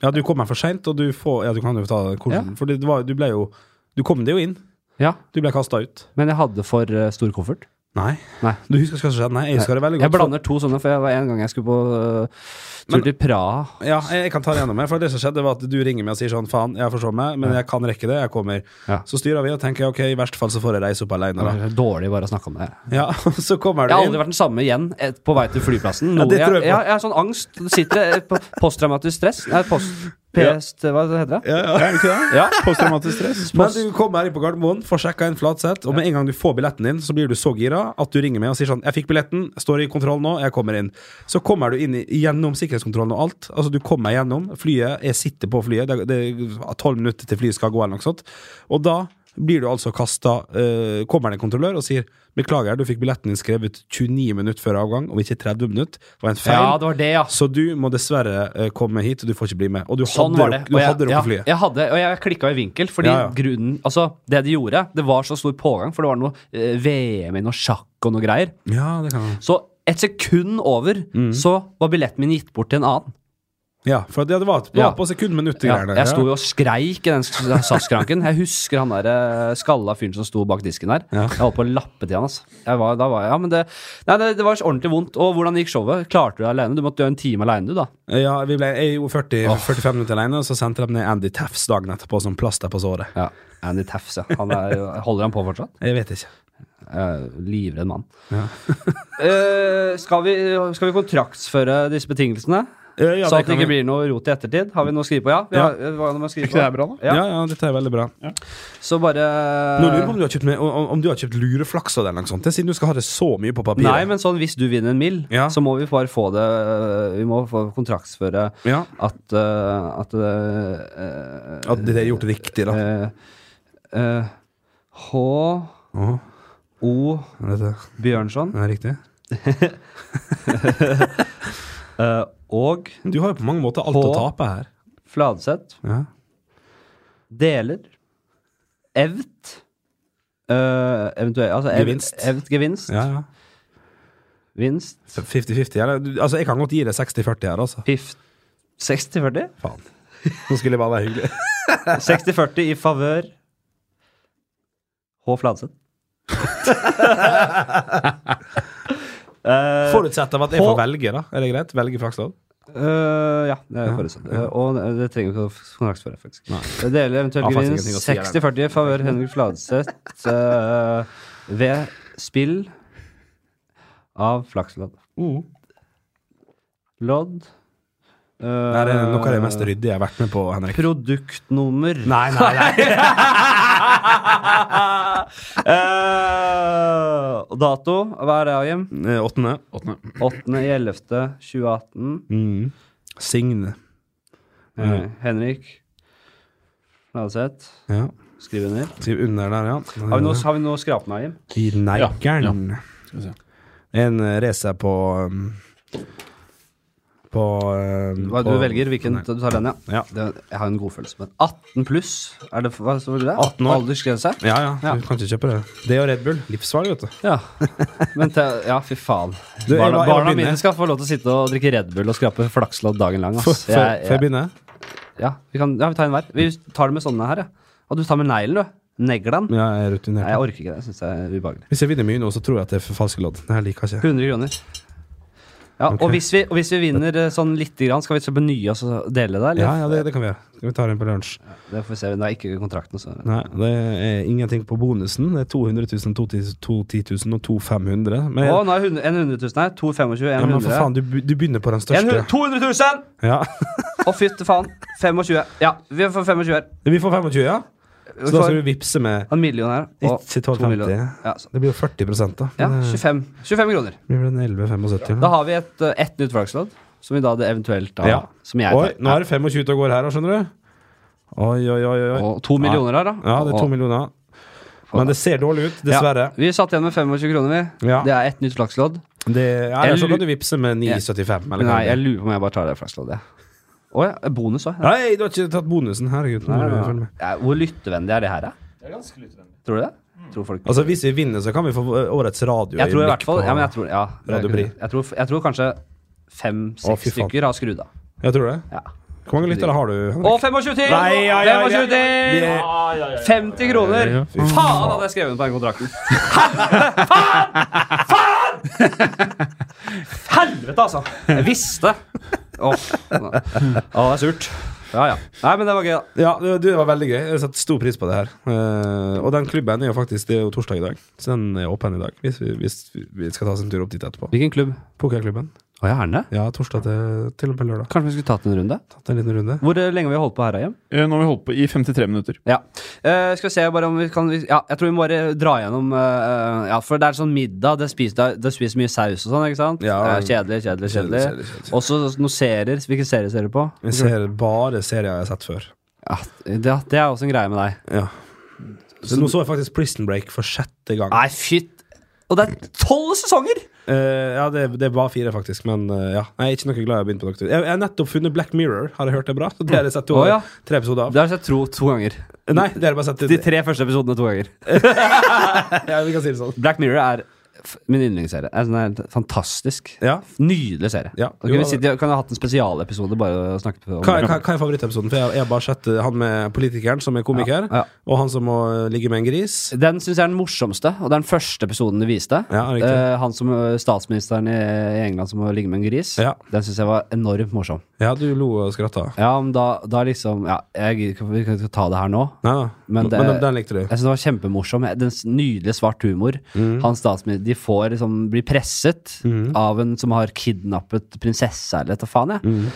Speaker 2: Ja, du kom her for seint, og du får Ja, du kan jo ta det hvordan
Speaker 1: Ja.
Speaker 2: For det var, du ble jo Du kom det jo inn.
Speaker 1: Ja,
Speaker 2: Du ble kasta ut.
Speaker 1: men jeg hadde for eh, stor koffert.
Speaker 2: Nei.
Speaker 1: Nei.
Speaker 2: Du husker hva som skjedde? Nei, jeg husker det veldig
Speaker 1: Jeg
Speaker 2: godt.
Speaker 1: blander to sånne, for jeg var en gang jeg skulle på eh, tur
Speaker 2: Men-
Speaker 1: til Praha.
Speaker 2: Ja, jeg jeg kan ta det gjennom meg. For det som skjedde, var at du ringer meg og sier sånn Faen, jeg forsov meg, men jeg kan rekke det. Jeg kommer.
Speaker 1: Ja.
Speaker 2: Så styrer vi og tenker ok, i verste fall så får jeg reise opp alene,
Speaker 1: Det
Speaker 2: da.
Speaker 1: var Dårlig bare å snakke om det.
Speaker 2: Ja, så
Speaker 1: Jeg
Speaker 2: kommer du
Speaker 1: har
Speaker 2: inn.
Speaker 1: aldri vært den samme igjen eh, på vei til flyplassen.
Speaker 2: Ja,
Speaker 1: Noe,
Speaker 2: det
Speaker 1: jeg,
Speaker 2: tror jeg
Speaker 1: jeg,
Speaker 2: på.
Speaker 1: jeg har sånn angst. Sitter eh, på posttraumatisk stress. Nei, post, PS, hva heter det?
Speaker 2: Ja, ja.
Speaker 3: Er det ikke det?
Speaker 1: Ja.
Speaker 3: Posttraumatisk stress.
Speaker 2: Men du kommer her inn på Gardermoen, får sjekka inn Flatseth, og med en gang du får billetten din, så blir du så gira at du ringer meg og sier sånn 'Jeg fikk billetten, står i kontroll nå, jeg kommer inn'. Så kommer du inn i- gjennom sikkerhetskontrollen og alt. Altså, du kommer gjennom flyet, jeg sitter på flyet, det det er tolv minutter til flyet skal gå, eller noe sånt. Og da blir du altså kasta Kommer det en kontrollør og sier 'Beklager, du fikk billetten din skrevet 29 minutter før avgang, og ikke 30 minutter'. Det var en feil.
Speaker 1: Ja, det var det, ja.
Speaker 2: Så du må dessverre eh, komme hit, og du får ikke bli med. Og du
Speaker 1: Sånn
Speaker 2: hadde,
Speaker 1: var det.
Speaker 2: rukk- du
Speaker 1: jeg,
Speaker 2: hadde rukket
Speaker 1: ja,
Speaker 2: flyet.
Speaker 1: jeg hadde, og jeg klikka i vinkel, fordi
Speaker 2: Ja, ja.
Speaker 1: grunnen Altså, det de gjorde, det var så stor pågang, for det var noe eh, VM i noe sjakk og noe greier.
Speaker 2: Ja, det kan jeg.
Speaker 1: Så et sekund over,
Speaker 2: Mm.
Speaker 1: så var billetten min gitt bort til en annen.
Speaker 2: Ja, for det var, det var
Speaker 1: Ja.
Speaker 2: på sekundminuttet.
Speaker 1: Ja,
Speaker 2: greiene der,
Speaker 1: jeg sto
Speaker 2: ja.
Speaker 1: jo og skreik i den SAS-skranken. Jeg husker han der eh, skalla fyren som sto bak disken der.
Speaker 2: Ja.
Speaker 1: Jeg holdt på å lappe til han, altså. Jeg var, da var jeg, ja, men det, nei, det, det var så ordentlig vondt. Og hvordan gikk showet? Klarte du deg alene? Du måtte gjøre en time alene, du, da.
Speaker 2: ja, vi ble jeg gjorde 40, 45 minutter alene, og så sendte de ned Andy Taffs dagen etterpå som plaster på såret.
Speaker 1: Ja. Andy Taffs, ja. Han er, jo- holder han på fortsatt?
Speaker 2: Jeg vet ikke.
Speaker 1: Jeg er livredd mann. Eh, skal, vi, skal vi kontraktsføre disse betingelsene?
Speaker 2: Eh, ja,
Speaker 1: så at
Speaker 2: det
Speaker 1: det
Speaker 2: kan
Speaker 1: ikke
Speaker 2: vi-
Speaker 1: blir noe rot i ettertid? Har vi noe å skrive på? Ja. Vi
Speaker 2: Ja.
Speaker 1: har- eh, hva er det man skriver
Speaker 3: ikke det
Speaker 1: på?
Speaker 3: er bra, da?
Speaker 2: Ja.
Speaker 1: Ja.
Speaker 2: ja, dette er veldig bra.
Speaker 1: Så bare
Speaker 2: Nå lurer jeg på om du har kjøpt, med, om, om du har kjøpt lureflaks av det, eller noe sånt, det er siden du skal ha det så mye på papiret.
Speaker 1: Nei, men sånn hvis du vinner en mill,
Speaker 2: Ja.
Speaker 1: så må vi bare få det øh, Vi må få kontraktsføre
Speaker 2: ja.
Speaker 1: at øh, At øh,
Speaker 2: At det er gjort riktig, da.
Speaker 1: øh, øh, H.
Speaker 2: Åh,
Speaker 1: O.
Speaker 2: dette
Speaker 1: Bjørnson
Speaker 2: det er riktig.
Speaker 1: øh, og
Speaker 2: Du har jo på mange måter alt
Speaker 1: På-
Speaker 2: å tape her.
Speaker 1: Fladseth
Speaker 2: Ja.
Speaker 1: deler evt øh, eventuelt altså ev,
Speaker 2: Gevinst.
Speaker 1: Evt gevinst.
Speaker 2: Ja, ja.
Speaker 1: Vinst.
Speaker 2: 50-50. eller? Du- Altså, jeg kan godt gi deg 60-40 her, altså.
Speaker 1: Piff. 60-40?
Speaker 2: Faen. Nå skulle jeg bare være hyggelig.
Speaker 1: 60-40 i favør H. Fladseth. Eh,
Speaker 2: Forutsett av at jeg får
Speaker 1: På-
Speaker 2: velge, da. Er det greit? Velge flakslodd?
Speaker 1: eh, ja, det er forutsatt. Eh, Og det trenger vi ikke å kontraktsføre, faktisk. Det deler eventuelt
Speaker 2: Ja, faktisk
Speaker 1: gevinst
Speaker 2: ingenting å si her.
Speaker 1: 60-40 i favør Henrik Fladseth eh, ved spill av flakslodd.
Speaker 2: Mm.
Speaker 1: Lodd eh,
Speaker 2: Nei, det er noe av det mest ryddige jeg har vært med på, Henrik.
Speaker 1: Produktnummer.
Speaker 2: Nei, nei, nei.
Speaker 1: Eh, og dato, hva er det, Agim?
Speaker 2: Eh, Åttende.
Speaker 1: 8.11.2018.
Speaker 2: Mm. Signe.
Speaker 1: Eh, Henrik Fladseth.
Speaker 2: Ja.
Speaker 1: Skriv under.
Speaker 2: Skriv under der, ja.
Speaker 1: Har vi noe, har vi noe å skrape med, Agim?
Speaker 2: I neikeren.
Speaker 3: Skal vi se.
Speaker 2: En eh, racer på um, På um,
Speaker 1: Hva, du
Speaker 2: på-
Speaker 1: velger hvilken du tar den, ja.
Speaker 2: Ja.
Speaker 1: Det, jeg har en godfølelse på den. 18 pluss, er det hva står det?
Speaker 2: 18 år.
Speaker 1: Aldersgrense?
Speaker 2: Ja, ja,
Speaker 1: Ja.
Speaker 2: Du kan ikke kjøpe det. Det og Red Bull. Livsfarlig, vet du.
Speaker 1: Ja. Men te, ja, fy faen.
Speaker 2: Du, jeg
Speaker 1: barna
Speaker 2: må- jeg må
Speaker 1: barna
Speaker 2: begynne.
Speaker 1: mine skal få lov til å sitte og drikke Red Bull og skrape flakslodd dagen lang.
Speaker 2: Får
Speaker 1: Ass.
Speaker 2: får- får jeg begynne?
Speaker 1: Ja, vi, kan, ja, vi tar en hver. Vi tar det med sånne her, ja. Og du tar med neglen, du. Neglen.
Speaker 2: Ja, jeg er
Speaker 1: Nei, jeg
Speaker 2: rutinert.
Speaker 1: orker ikke det. Jeg syns det er ubehagelig.
Speaker 2: Hvis jeg vinner mye nå, så tror jeg at det er for falske lodd. Det her liker jeg ikke.
Speaker 1: 100 kroner. Ja, og,
Speaker 2: Ok.
Speaker 1: hvis vi, og hvis vi vinner eh, sånn lite grann, skal vi så benye oss og dele det?
Speaker 2: Ja,
Speaker 1: Eller?
Speaker 2: ja, det, det kan vi gjøre. Skal vi ta den på lunsj?
Speaker 1: Det får vi se. Det er ikke kontrakten, så
Speaker 2: Nei, det er ingenting på bonusen. Det er 200 000, 210 000 og 2500. Men,
Speaker 1: Å, nå er hun- en 100 000 her. 225,
Speaker 2: ja, men for
Speaker 1: 100.
Speaker 2: faen, du, be- du begynner på den
Speaker 1: En
Speaker 2: største.
Speaker 1: hu- 200 000!
Speaker 2: Ja.
Speaker 1: Å, fytte faen. 25. Ja, vi får 25 her.
Speaker 2: Vi får 25, ja? Så
Speaker 1: Vi
Speaker 2: da skal
Speaker 1: får
Speaker 2: vi vippse med
Speaker 1: en million her. Og
Speaker 2: Ikke
Speaker 1: 2
Speaker 2: 12,50.
Speaker 1: millioner. Ja, så.
Speaker 2: Det blir jo 40 da.
Speaker 1: ja,
Speaker 2: Men, eh,
Speaker 1: 25. 25 kroner.
Speaker 2: Det blir en 11,75.
Speaker 1: Da har vi et, eh, ett nytt flakslodd, som vi da det eventuelt da,
Speaker 2: Ja.
Speaker 1: Som jeg tar.
Speaker 2: Oi, nå er det 25 ute og går her, da, skjønner du. Oi, oi, oi. oi.
Speaker 1: Og to millioner her, da.
Speaker 2: Ja, det er to
Speaker 1: Og-
Speaker 2: millioner. Men det ser dårlig ut,
Speaker 1: Ja,
Speaker 2: dessverre.
Speaker 1: vi satt igjen med 25 kroner, vi.
Speaker 2: Ja.
Speaker 1: Det er ett nytt flakslodd.
Speaker 2: Det, ja,
Speaker 1: Jeg
Speaker 2: eller så
Speaker 1: lu-
Speaker 2: kan du vippse med 9,75. eller hva
Speaker 1: Nei,
Speaker 2: det
Speaker 1: jeg
Speaker 2: er.
Speaker 1: lurer på om jeg bare tar det flaksloddet. jeg. Å ja. Bonus òg.
Speaker 2: Nei, du har ikke tatt bonusen. Herregud. Nå må du følge med.
Speaker 1: Hvor lyttevennlig er det her, da? Tror du det? Tror folk
Speaker 2: Altså, Hvis vi vinner, så kan vi få eh, årets radio.
Speaker 1: Jeg tror i hvert
Speaker 2: øyeblikk
Speaker 1: fall
Speaker 2: på-
Speaker 1: Ja, men jeg tror, ja, det
Speaker 2: Radio
Speaker 1: kunne-
Speaker 2: Bri.
Speaker 1: jeg, tror, jeg tror kanskje
Speaker 2: Å,
Speaker 1: fem-seks
Speaker 2: fy faen.
Speaker 1: stykker har skrudd av.
Speaker 2: Ja, tror du det?
Speaker 1: Ja.
Speaker 2: Hvor mange lyttere har du? Henrik?
Speaker 1: Og 25 til!
Speaker 2: Nei, ja, ja,
Speaker 1: 25
Speaker 2: ja, ja.
Speaker 1: til! Ah,
Speaker 2: Vi er-
Speaker 1: 50 kroner! Faen, hadde jeg skrevet den på den kontrakten! Helvete! Faen! Faen! Helvete, altså! Jeg visste! Åh, Åh, det er surt. Ja, ja. Nei, men det var gøy, da.
Speaker 2: Ja, det, det var veldig gøy. Jeg setter stor pris på det her. Eh, og den klubben er jo faktisk Det er jo torsdag i dag, så den er åpen i dag. Hvis vi, hvis vi skal ta oss en tur opp dit etterpå.
Speaker 1: Hvilken klubb?
Speaker 2: Pokerklubben.
Speaker 1: Å, ja, er den det?
Speaker 2: Ja, torsdag til, til og med lørdag.
Speaker 1: Kanskje vi skulle tatt en runde?
Speaker 2: Tatt en liten runde.
Speaker 1: Hvor eh, lenge har vi holdt på her, Hjem?
Speaker 3: Eh, Nå har vi holdt på i 53 minutter.
Speaker 1: Ja. Eh, skal vi se bare om vi kan vi- Ja, jeg tror vi må bare dra gjennom eh, Ja, for det er sånn middag. Det spises, det er- det spises mye saus og sånn, ikke sant?
Speaker 2: Ja.
Speaker 1: Eh, kjedelig, kjedelig, kjedelig.
Speaker 2: Kjedelig, kjedelig, kjedelig.
Speaker 1: Også noen serier. Hvilke serier ser du på?
Speaker 2: Vi ser bare serier jeg har sett før.
Speaker 1: Ja, det, det er også en greie med deg.
Speaker 2: Ja. Så nå så jeg faktisk Prison Break for sjette gang.
Speaker 1: Nei, fytt! Og det er tolv sesonger!
Speaker 2: Eh, ja, det, det var fire, faktisk, men eh, ja. Jeg er ikke noe glad i å begynne på Doctor Jeg jeg har nettopp funnet Black Mirror. Har jeg hørt det bra? Så det har jeg sett to,
Speaker 1: Å, ja.
Speaker 2: tre episoder av.
Speaker 1: Det har jeg sett tro to ganger.
Speaker 2: Nei, det har jeg bare sett
Speaker 1: De tre første episodene to ganger.
Speaker 2: ja, Vi kan si det sånn.
Speaker 1: Black Mirror er f- min yndlingsserie. Er sånn her fantastisk.
Speaker 2: Ja.
Speaker 1: Nydelig serie.
Speaker 2: Ja.
Speaker 1: Da kan,
Speaker 2: Jo,
Speaker 1: vi sitte, kan jeg ha hatt en spesialepisode bare å snakke om
Speaker 2: Hva, er- hva, hva er favorittepisoden? For jeg, jeg har bare sett eh, han med politikeren som er komiker,
Speaker 1: Ja, ja.
Speaker 2: og han som må eh, ligge med en gris.
Speaker 1: Den syns jeg er den morsomste, og det er den første episoden du viste.
Speaker 2: Ja, riktig.
Speaker 1: Eh, han som eh, statsministeren i i England som må ligge med en gris.
Speaker 2: Ja.
Speaker 1: Den syns jeg var enormt morsom.
Speaker 2: Ja, du lo og skratta.
Speaker 1: Ja, men da, da liksom Ja, jeg gidder ikke- vi kan ikke ta det her nå.
Speaker 2: Nei da.
Speaker 1: Men
Speaker 2: Men,
Speaker 1: det-
Speaker 2: den, den likte du.
Speaker 1: Jeg synes det var kjempemorsom. Den s- nydelige svart humor. Han statsminister, De får liksom bli presset av en som har kidnappet prinsesse eller hva faen, jeg.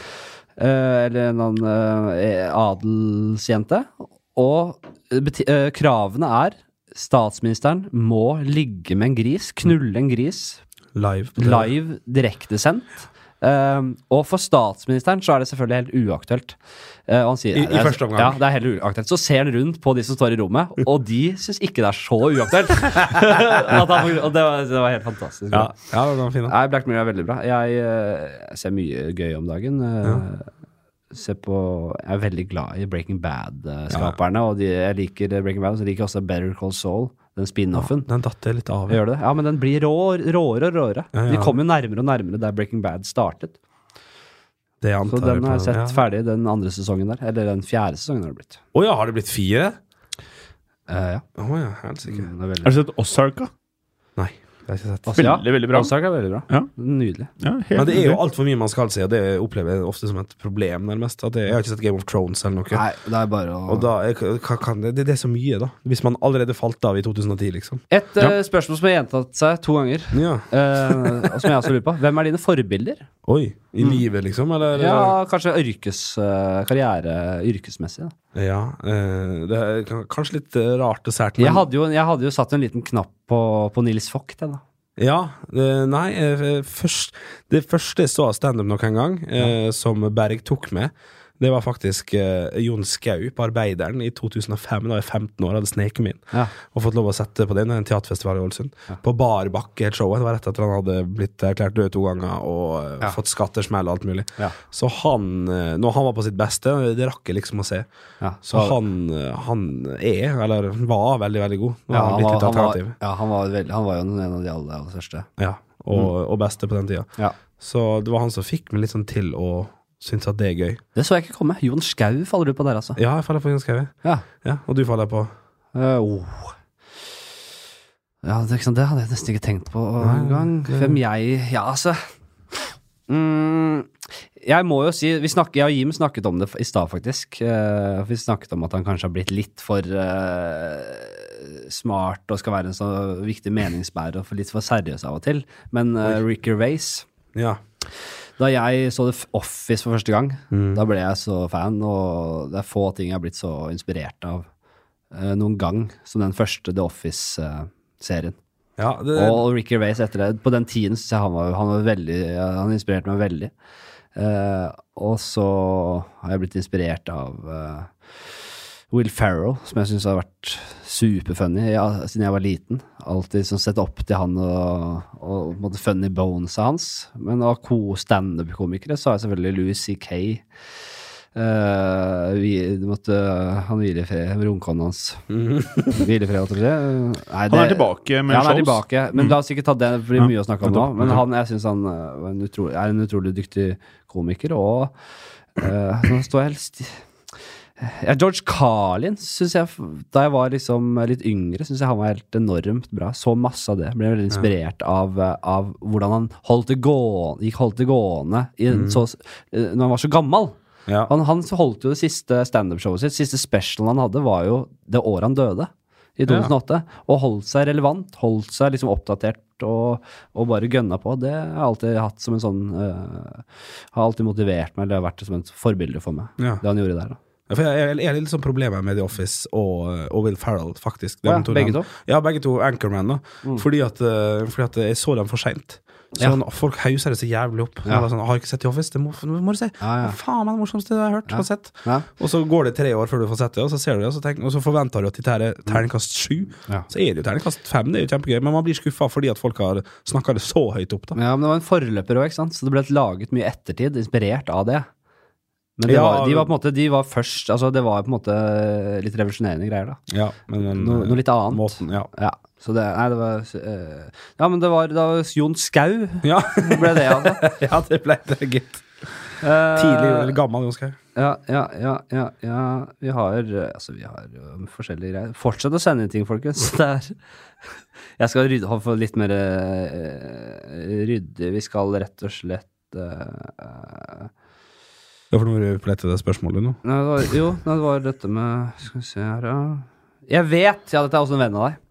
Speaker 1: Eh, eller en annen eh, adelsjente. Og eh, beti eh, kravene er statsministeren må ligge med en gris, knulle en gris,
Speaker 2: Live. på TV.
Speaker 1: live direktesendt. Um, og for statsministeren så er det selvfølgelig helt uaktuelt. Eh, og han sier,
Speaker 2: I- i
Speaker 1: "Det er-
Speaker 2: første omgang."
Speaker 1: Ja, det er helt uaktuelt. Så ser han rundt på de som står i rommet, og de syns ikke det er så uaktuelt. At han, og det, var, det var helt fantastisk.
Speaker 2: Ja, ja den var fin. da.
Speaker 1: Nei, Black Mirror er veldig bra. Jeg eh, ser mye gøy om dagen. eh, Ser på, jeg er veldig glad i Breaking Bad-skaperne. Og de, jeg liker eh, Breaking Bad, og så liker jeg også Better Call Saul, den spin-offen.
Speaker 2: Den datt jeg litt av.
Speaker 1: Gjør det? Ja, men den blir rå, råere og råere.
Speaker 2: Ja, ja.
Speaker 1: De kommer jo nærmere og nærmere der Breaking Bad startet.
Speaker 2: Det
Speaker 1: Så
Speaker 2: antar jeg
Speaker 1: den
Speaker 2: på.
Speaker 1: har jeg sett
Speaker 2: Ja.
Speaker 1: ferdig den andre sesongen der. Eller den fjerde sesongen har det blitt.
Speaker 2: Å ja, har det blitt fire?
Speaker 1: Eh, ja.
Speaker 2: Å ja, helt sikkert.
Speaker 1: Den er veldig
Speaker 3: Har du sett Ozarka?
Speaker 2: Nei, det har jeg ikke sett.
Speaker 1: Også, ja,
Speaker 3: Veldig, veldig bra.
Speaker 1: Ozark er veldig bra.
Speaker 3: Ja.
Speaker 1: Nydelig.
Speaker 3: Ja, helt
Speaker 2: Men det er jo
Speaker 3: nydelig.
Speaker 2: altfor mye man skal si, og det opplever jeg ofte som et problem, nærmest. At jeg, jeg har ikke sett Game of Thrones eller noe.
Speaker 1: Nei, det er bare å
Speaker 2: Og da er, hva kan det, det er så mye, da. Hvis man allerede falt av i 2010, liksom.
Speaker 1: Et eh, spørsmål som har gjentatt seg to ganger,
Speaker 2: Ja.
Speaker 1: eh, og som jeg også lurer på. Hvem er dine forbilder?
Speaker 2: Oi. I livet, liksom? Eller?
Speaker 1: Ja, kanskje yrkes, eh, karriere yrkesmessig. Da.
Speaker 2: Ja, eh, det er kan- kanskje litt eh, rart og sært, men
Speaker 1: Jeg, hadde jo, jeg hadde jo satt en liten knapp på, på Nils Vogt, jeg, da.
Speaker 2: Ja. eh, Nei, eh, først, det første jeg så av standup nok en gang, eh, som Berg tok med, det var faktisk eh, Jon Skau på Arbeideren i 2005. Da var jeg 15 år, hadde sneket min.
Speaker 1: Ja.
Speaker 2: og fått lov å sette på den, en teaterfestival i Ålesund. På bar bakke, het showet. Det var rett etter han hadde blitt erklært død to ganger og eh,
Speaker 1: Ja.
Speaker 2: fått skattesmell og alt mulig.
Speaker 1: Ja.
Speaker 2: Så han, eh, når han var på sitt beste, det rakk jeg liksom å se.
Speaker 1: Ja,
Speaker 2: Så han, eh, han er, eller var, veldig, veldig god. Nå
Speaker 1: ja,
Speaker 2: har han blitt litt
Speaker 1: han var,
Speaker 2: alternativ.
Speaker 1: ja, han, var veldig, han var jo en av de aller, aller største.
Speaker 2: Ja, og,
Speaker 1: Mm.
Speaker 2: og beste på den tida.
Speaker 1: Ja.
Speaker 2: Så det var han som fikk meg litt sånn til å synes at det er gøy.
Speaker 1: Det så jeg ikke komme. Jon Skau faller du på der, altså.
Speaker 2: Ja, jeg faller på Jon Skau. jeg.
Speaker 1: Ja.
Speaker 2: Ja, og du faller på
Speaker 1: Eh, oh. ja det, er ikke sant, det hadde jeg nesten ikke tenkt på engang. Hvem jeg Ja, altså. Mm, jeg må jo si vi snakker, Jeg og Jim snakket om det i stad, faktisk. Eh, vi snakket om at han kanskje har blitt litt for eh, smart og skal være en så viktig meningsbærer og for litt for seriøs av og til. Men uh, Ricky Race
Speaker 2: Ja.
Speaker 1: da jeg så The F- Office for første gang, da ble jeg så fan, og det er få ting jeg har blitt så inspirert av eh, noen gang som den første The eh, Office-serien.
Speaker 2: ja det,
Speaker 1: og Ricky Race etter det. På den tiden syns jeg han var, han var veldig Han inspirerte meg veldig. Eh, og så har jeg blitt inspirert av eh, Will Ferrell, som jeg syns har vært superfunny ja, siden jeg var liten. Alltid sånn sett opp til han og, og på en måte funny bonesa hans. Men av co standup-komikere så har jeg selvfølgelig Louis C.K. Eh, vi, du måtte, han hviler i fred. Runkene hans. Hviler i fred, holdt jeg på å si. Eh, nei,
Speaker 3: Mm. Han er
Speaker 1: det-
Speaker 3: tilbake med
Speaker 1: ja, han er
Speaker 3: shows.
Speaker 1: tilbake. Men la oss ikke ta det, for det blir mye å snakke om nå.
Speaker 3: nettopp,
Speaker 1: Men han, jeg syns han eh, var en utro, er en utrolig dyktig komiker, og eh, Nå står jeg helt sti... Ja, George Carlin syns jeg, da jeg var liksom litt yngre, syns jeg han var helt enormt bra. Så masse av det. Ble veldig inspirert av, eh, av hvordan han holdt det gående, gikk holdt det gående i, en
Speaker 3: Mm.
Speaker 1: så, eh, når han var så gammel.
Speaker 2: ja.
Speaker 1: Han, han holdt jo det siste standup-showet sitt. Siste specialen han hadde, var jo det året han døde. i 2008. Og holdt seg relevant, holdt seg liksom oppdatert og, og bare gønna på. Det har jeg alltid hatt som en sånn eh, Har alltid motivert meg, eller har vært som et forbilde for meg,
Speaker 2: Ja.
Speaker 1: det han gjorde der. da.
Speaker 2: Ja, For jeg, jeg, jeg har litt sånn problemer med The Office og, eh, og Will Ferrell, faktisk.
Speaker 1: Å ja,
Speaker 2: De to
Speaker 1: begge
Speaker 2: dem.
Speaker 1: to? Mm.
Speaker 2: Ja, begge to Anchorman. da fordi, at, eh, fordi at jeg så dem for seint.
Speaker 1: Ja.
Speaker 2: Sånn, Folk hauser det så jævlig opp. Jeg var Sånn, 'Har du ikke sett The Office?' Det må, det må du se.
Speaker 1: Ja, ja.
Speaker 2: Faen meg det morsomste jeg har hørt og sett.
Speaker 1: Ja.
Speaker 2: Og så går det tre år før du får sett det, og så ser du det, og så, tenker, og så forventer du at dette her er terningkast sju.
Speaker 1: Ja.
Speaker 2: Så er det jo terningkast fem, det er jo kjempegøy, men man blir skuffa fordi at folk har snakka det så høyt opp, da.
Speaker 1: Ja, men det var en forløper òg, ikke sant? Så det ble laget mye ettertid, inspirert av det. Men det
Speaker 2: Ja.
Speaker 1: var, de var på en måte De var først Altså, det var på en måte litt revolusjonerende greier, da.
Speaker 2: Ja, men, men, eh,
Speaker 1: Noe, noe litt annet.
Speaker 2: Mm. Måten, ja.
Speaker 1: Ja. Så det Nei, det var eh, Ja, men det var da Jon Skau
Speaker 2: Ja.
Speaker 1: ble det av det.
Speaker 2: ja, det ble det, gitt.
Speaker 1: Eh,
Speaker 2: Tidlig, eller gammel, ganske.
Speaker 1: Ja, ja, ja, ja, ja. Vi har eh, Altså, vi har jo forskjellige greier. Fortsett å sende inn ting, folkens. Det er Jeg skal rydde ha- få litt mer eh, ryddig. Vi skal rett og slett eh,
Speaker 2: Ja, for nå er du på lett etter det spørsmålet nå.
Speaker 1: Nei, det var, jo, nei, det var dette med Skal vi se her, ja. Jeg vet Ja, dette er også en venn av deg.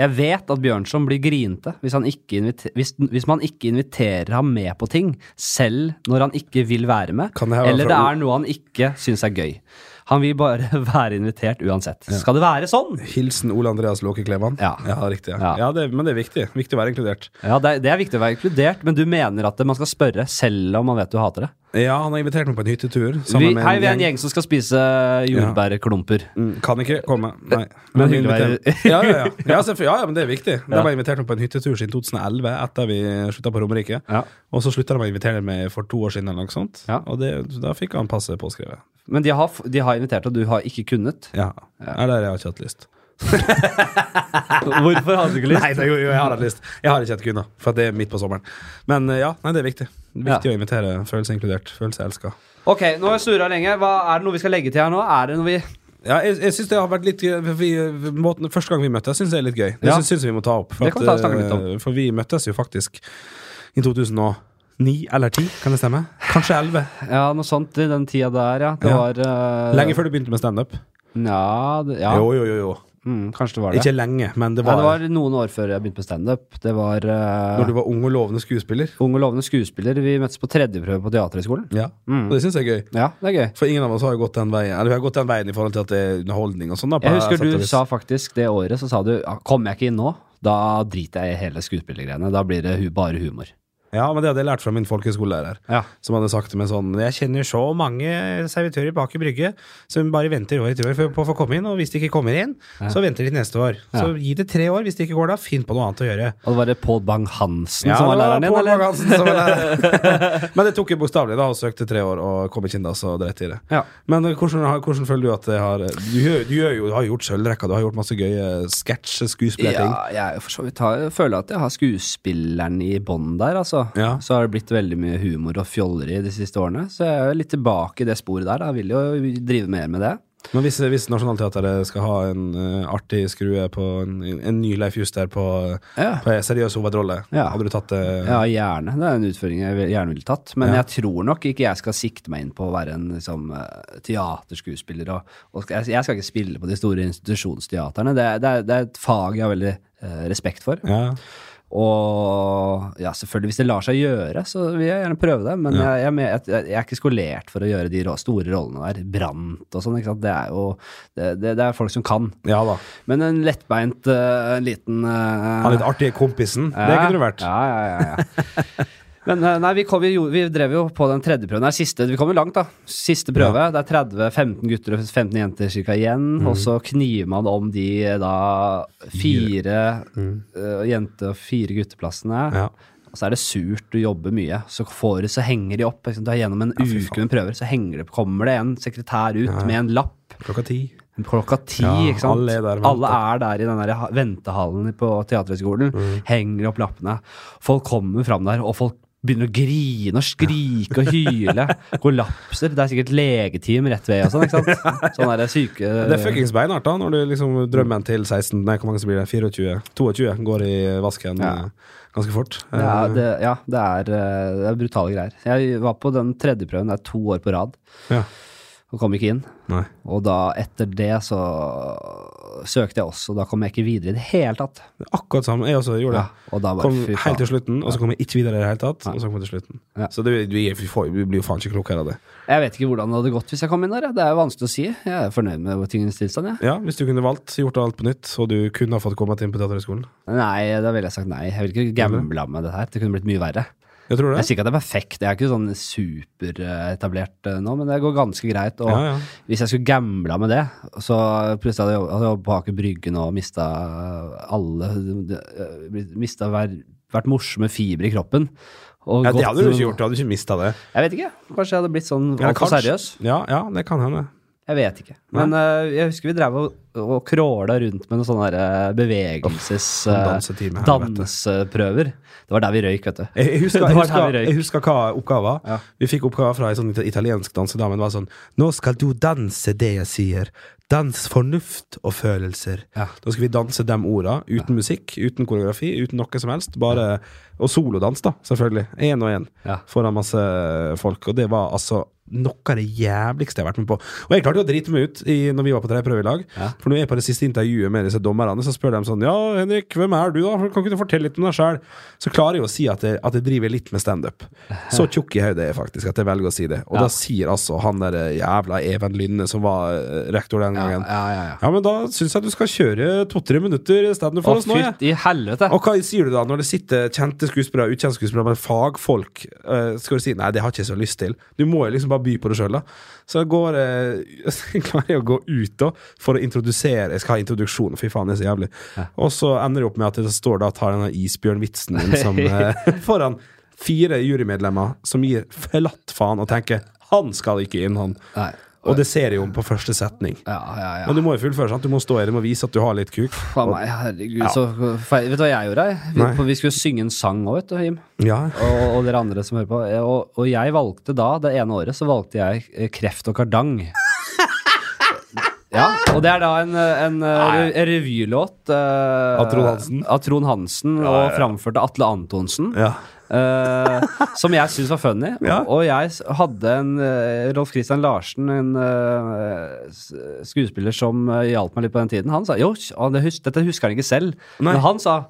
Speaker 1: Jeg vet at Bjørnson blir grinete hvis, han ikke invite- hvis, hvis man ikke inviterer ham med på ting, selv når han ikke vil være med,
Speaker 2: Kan det her være
Speaker 1: eller det
Speaker 2: fra-
Speaker 1: er noe han ikke syns er gøy. Han vil bare være invitert uansett. Skal det være sånn?
Speaker 2: Hilsen Ole Andreas Låkeklevan.
Speaker 1: Ja.
Speaker 2: riktig. Ja,
Speaker 1: Ja.
Speaker 2: ja det, men det er viktig. Viktig å være inkludert.
Speaker 1: Ja, det, er- det er viktig å være inkludert, men du mener at man skal spørre selv om man vet du hater det?
Speaker 2: Ja, han har invitert meg på en hyttetur. sammen
Speaker 1: Vi,
Speaker 2: med
Speaker 1: hei, vi er en gjeng som skal spise jordbærklumper.
Speaker 2: Mm, Kan ikke komme. Nei.
Speaker 1: Men
Speaker 2: vi
Speaker 1: Eh, hyggelig å
Speaker 2: inviterer-
Speaker 1: være-
Speaker 2: ja, ja, ja. Ja, selvfø- ja, ja, men det er viktig. De har invitert meg på en hyttetur siden 2011, etter vi slutta på Romerike.
Speaker 1: Ja.
Speaker 2: Og så slutta de å invitere meg for to år siden, eller noe sånt.
Speaker 1: Ja.
Speaker 2: Og det, da fikk han passe påskrevet.
Speaker 1: Men de har, f- de har invitert, og du har ikke kunnet.
Speaker 2: Ja. Eller jeg har ikke hatt lyst.
Speaker 1: Hvorfor hadde du ikke lyst?
Speaker 2: Nei, det, jo, jo, jeg har hatt lyst. Jeg har ikke hatt kunna, for at det er midt på sommeren. Men eh, ja, nei, det er viktig. Viktig å invitere. Følelse inkludert. Følelse elska.
Speaker 1: Ok, nå har jeg surra lenge. Hva, er det noe vi skal legge til her nå? Er det noe vi
Speaker 2: Ja, jeg, jeg synes det har vært litt gøy, for vi, måten, Første gang vi møttes, syns jeg er litt gøy. Det
Speaker 1: Ja.
Speaker 2: synes syns jeg vi må ta opp. For,
Speaker 1: Det kan vi ta og snakke
Speaker 2: eh,
Speaker 1: litt om.
Speaker 2: for vi møttes jo faktisk i 2009 eller 10, kan det stemme? Kanskje 11.
Speaker 1: Ja, noe sånt i den tida der, ja. Det
Speaker 2: Ja.
Speaker 1: var eh,
Speaker 2: Lenge før du begynte med standup.
Speaker 1: Ja, det, ja.
Speaker 2: Jo, jo, jo, jo.
Speaker 1: Mm, kanskje det var det.
Speaker 2: Ikke lenge, men det
Speaker 1: Nei,
Speaker 2: var,
Speaker 1: det var noen år før jeg begynte med standup. Det var eh,
Speaker 2: når du var ung og lovende skuespiller.
Speaker 1: ung og lovende skuespiller. Vi møttes på tredjeprøve på Teaterhøgskolen.
Speaker 2: Ja. Og det syns jeg er gøy.
Speaker 1: Ja, det er gøy.
Speaker 2: For ingen av oss har jo gått den veien Eller vi har gått den veien i forhold til at det er underholdning og sånn. da, på
Speaker 1: Jeg husker
Speaker 2: sett og
Speaker 1: du
Speaker 2: vis.
Speaker 1: sa faktisk det året, så sa du ja, kommer jeg ikke inn nå, da driter jeg i hele skuespillergreiene. Da blir det hu bare humor.
Speaker 2: Ja, men det hadde jeg lært fra min folkehøyskolelærer.
Speaker 1: Ja.
Speaker 2: Som hadde sagt til meg sånn Jeg kjenner så mange servitører på Aker Brygge som bare venter år etter år for- på å få komme inn, og hvis de ikke kommer inn, så venter de til neste år. Så gi det tre år. Hvis det ikke går da, finn på noe annet å gjøre.
Speaker 1: Og det var det Pål Bang-Hansen som
Speaker 2: det
Speaker 1: var
Speaker 2: var
Speaker 1: læreren din,
Speaker 2: Pål
Speaker 1: eller?
Speaker 2: Bang-Hansen som var lærer. men det tok jeg bokstavelig, da, og søkte tre år, og kom ikke inn da, så dreit i det.
Speaker 1: Ja.
Speaker 2: Men eh, hvordan, har- hvordan føler du at det har Du, gjør, du gjør jo, du har gjort sølvrekka, du har gjort masse gøye sketsj, skuespillerting.
Speaker 1: Ja, jeg er for så vidt har, jeg føler at jeg har skuespilleren i bånd der, altså.
Speaker 2: Ja.
Speaker 1: Så har det blitt veldig mye humor og fjolleri de siste årene. Så jeg er jo litt tilbake i det sporet der. da. Jeg vil jo drive mer med det.
Speaker 2: Men hvis, hvis Nationaltheatret skal ha en eh, artig skrue på en, en ny Leif Juster på, eh,
Speaker 1: Ja.
Speaker 2: på en seriøs hovedrolle,
Speaker 1: Ja.
Speaker 2: hadde du tatt eh, det?
Speaker 1: Ja, gjerne. Det er en utføring jeg vil- gjerne ville tatt. Men
Speaker 2: Ja.
Speaker 1: jeg tror nok ikke jeg skal sikte meg inn på å være en liksom, eh, teaterskuespiller. Og, og skal- jeg, jeg skal ikke spille på de store institusjonsteaterne. Det, er- det, er- det er et fag jeg har veldig eh, respekt for.
Speaker 2: Ja.
Speaker 1: Og ja, selvfølgelig, hvis det lar seg gjøre, så vil jeg gjerne prøve det. Men jeg, jeg, men- jeg, jeg er ikke skolert for å gjøre de rå- store rollene der. Brant og sånn. ikke sant? Det er jo det, det, det er folk som kan.
Speaker 2: ja da.
Speaker 1: Men en lettbeint eh, en liten eh,
Speaker 2: Han litt artige kompisen, det kunne du vært.
Speaker 1: Ja, ja, ja, ja. Men eh, nei, vi, kom, vi, gjorde- vi drev jo på den tredje prøven. Nei, siste, vi kom jo langt, da. Siste prøve. Det er 30-15 gutter og 15 jenter cirka igjen.
Speaker 2: Mhm.
Speaker 1: Og så kniver man om de eh, da fire
Speaker 2: Mhm.
Speaker 1: eh, jente- og fire gutteplassene.
Speaker 2: Ja.
Speaker 1: Og så er det surt, du jobber mye. Så, får, du- så henger de opp. Liksom, du er gjennom en
Speaker 2: fy
Speaker 1: uke med prøver, så henger det, kommer det en sekretær ut med en lapp.
Speaker 2: Klokka ti.
Speaker 1: Klokka ti,
Speaker 2: Ja,
Speaker 1: ikke sant?
Speaker 2: alle er der og
Speaker 1: Alle
Speaker 2: venter.
Speaker 1: er der i den der ha- ventehallen på Teaterhøgskolen.
Speaker 2: Mm.
Speaker 1: Henger opp lappene. Folk kommer fram der, og folk begynner å grine og skrike og hyle. Kollapser. Det er sikkert legeteam rett ved og sånn, ikke sant? Sånn der syke
Speaker 2: Det er fuckings beinhardt, da, når du liksom drømmen til 16 Nei, hvor mange som blir det? 24? 22 går i vasken
Speaker 1: Ja.
Speaker 2: eh, ganske fort.
Speaker 1: ja,
Speaker 2: Eh,
Speaker 1: det, ja, det er, eh, det er brutale greier. Jeg var på den tredje prøven der to år på rad
Speaker 2: ja.
Speaker 1: og kom ikke inn.
Speaker 2: Nei.
Speaker 1: Og da, etter det, så søkte jeg også, og da kom jeg ikke videre i det hele tatt.
Speaker 2: Akkurat samme. Jeg også gjorde det.
Speaker 1: Ja, og da bare
Speaker 2: Kom
Speaker 1: fy
Speaker 2: helt til
Speaker 1: faen.
Speaker 2: slutten, og så kom jeg ikke videre i det hele tatt.
Speaker 1: Nei.
Speaker 2: Og så kom jeg til slutten.
Speaker 1: Ja.
Speaker 2: Så du, du, vi får, vi blir jo faen ikke klokere av det.
Speaker 1: Jeg vet ikke hvordan det hadde gått hvis jeg kom inn der. jeg. Det er jo vanskelig å si. Jeg er fornøyd med tingenes tilstand, jeg.
Speaker 2: Ja, Hvis du kunne valgt, gjort alt på nytt, og du kunne ha fått kommet inn på Teaterhøgskolen.
Speaker 1: Nei, da ville jeg sagt nei. Jeg vil ikke gamble med det her. Det kunne blitt mye verre.
Speaker 2: Jeg tror
Speaker 1: Jeg
Speaker 2: det.
Speaker 1: sier ikke at det er perfekt. Jeg er ikke sånn superetablert eh, nå, men det går ganske greit. Og
Speaker 2: Ja, ja.
Speaker 1: hvis jeg skulle gambla med det, så plutselig hadde jeg jobb- hadde jeg jobbet på Aker Brygge nå og mista alle Mista hver, hvert morsomme fiber i kroppen. Og
Speaker 2: Ja, det
Speaker 1: gått-
Speaker 2: hadde du ikke gjort. Du hadde ikke mista det.
Speaker 1: Jeg vet ikke. Kanskje jeg hadde blitt sånn
Speaker 2: Ja,
Speaker 1: altfor
Speaker 2: kanskje.
Speaker 1: seriøs.
Speaker 2: Ja, ja, det kan hende.
Speaker 1: Jeg vet ikke. Men eh, jeg husker vi drev og, og kråla rundt med noen sånne der, eh, bevegelses...
Speaker 2: sånn
Speaker 1: eh,
Speaker 2: dansetime, helvete.
Speaker 1: danseprøver. Det var der vi røyk, vet du.
Speaker 2: Jeg, jeg, husker,
Speaker 1: Det
Speaker 2: jeg,
Speaker 1: var der
Speaker 2: husker,
Speaker 1: vi røyk.
Speaker 2: jeg husker hva oppgava
Speaker 1: Ja.
Speaker 2: Vi fikk oppgave fra ei sånn ita- italiensk dansedame. Det var sånn Nå skal du danse det jeg sier. Dans fornuft og følelser.
Speaker 1: Ja.
Speaker 2: Da skal vi danse de orda, uten musikk, uten koreografi, uten noe som helst. Bare, Og solodans, da, selvfølgelig. Én og én.
Speaker 1: Ja.
Speaker 2: Foran masse folk. Og det var altså noe av det jævligste jeg har vært med på. Og jeg klarte jo å drite meg ut i, når vi var på tre prøver i lag. For når jeg er på det siste intervjuet med disse dommerne, så spør de sånn Ja, Henrik, hvem er du, da? Kan ikke du fortelle litt om deg sjøl? Så klarer jeg å si at jeg, at jeg driver litt med standup. Så tjukk i hodet er jeg faktisk at jeg velger å si det. Og
Speaker 1: Ja.
Speaker 2: da sier altså han der jævla Even Lynne, som var eh, rektor den gangen Ja,
Speaker 1: ja, ja, ja.
Speaker 2: men da syns jeg du skal kjøre to-tre minutter standup
Speaker 1: Å,
Speaker 2: for oss nå, jeg.
Speaker 1: fytti helvete!
Speaker 2: Og hva sier du da når det sitter kjente skuespillere og ukjente skuespillere, men fagfolk? eh, skal du si nei, det har ikke jeg så lyst til? Du må jo liksom bare by på det sjøl, da. Så jeg går eh, så klarer jeg å gå ut da for å introdusere Jeg skal ha introduksjon, fy faen, det er så jævlig. Og så ender det opp med at jeg står da og tar denne isbjørnvitsen min som eh, foran fire jurymedlemmer som gir flatt faen og tenker 'han skal ikke inn', han.
Speaker 1: Nei.
Speaker 2: Og det ser jeg jo på første setning.
Speaker 1: Ja, ja, ja.
Speaker 2: Men du må jo fullføre, sant? Du må stå i det, du må vise at du har litt kuk.
Speaker 1: Faen meg, herregud, så feil. Vet du hva jeg gjorde? jeg? Vi,
Speaker 2: Nei.
Speaker 1: på- vi skulle synge en sang òg, vet du, Jim.
Speaker 2: Ja.
Speaker 1: Og, og dere andre som hører på. Eh, Og, og jeg valgte da, det ene året, så valgte jeg eh, Kreft og Kardang. Ja, og det er da en, eh, en eh, re- revylåt eh,
Speaker 2: Av Trond Hansen?
Speaker 1: Av Trond Hansen og framførte Atle Antonsen.
Speaker 2: ja.
Speaker 1: eh, som jeg syns var funny.
Speaker 2: Ja.
Speaker 1: Og jeg s- hadde en eh, Rolf Christian Larsen, en eh, s- skuespiller som eh, hjalp meg litt på den tiden, han sa jo, s- han- det hus dette husker han ikke selv,
Speaker 2: Nei.
Speaker 1: men han sa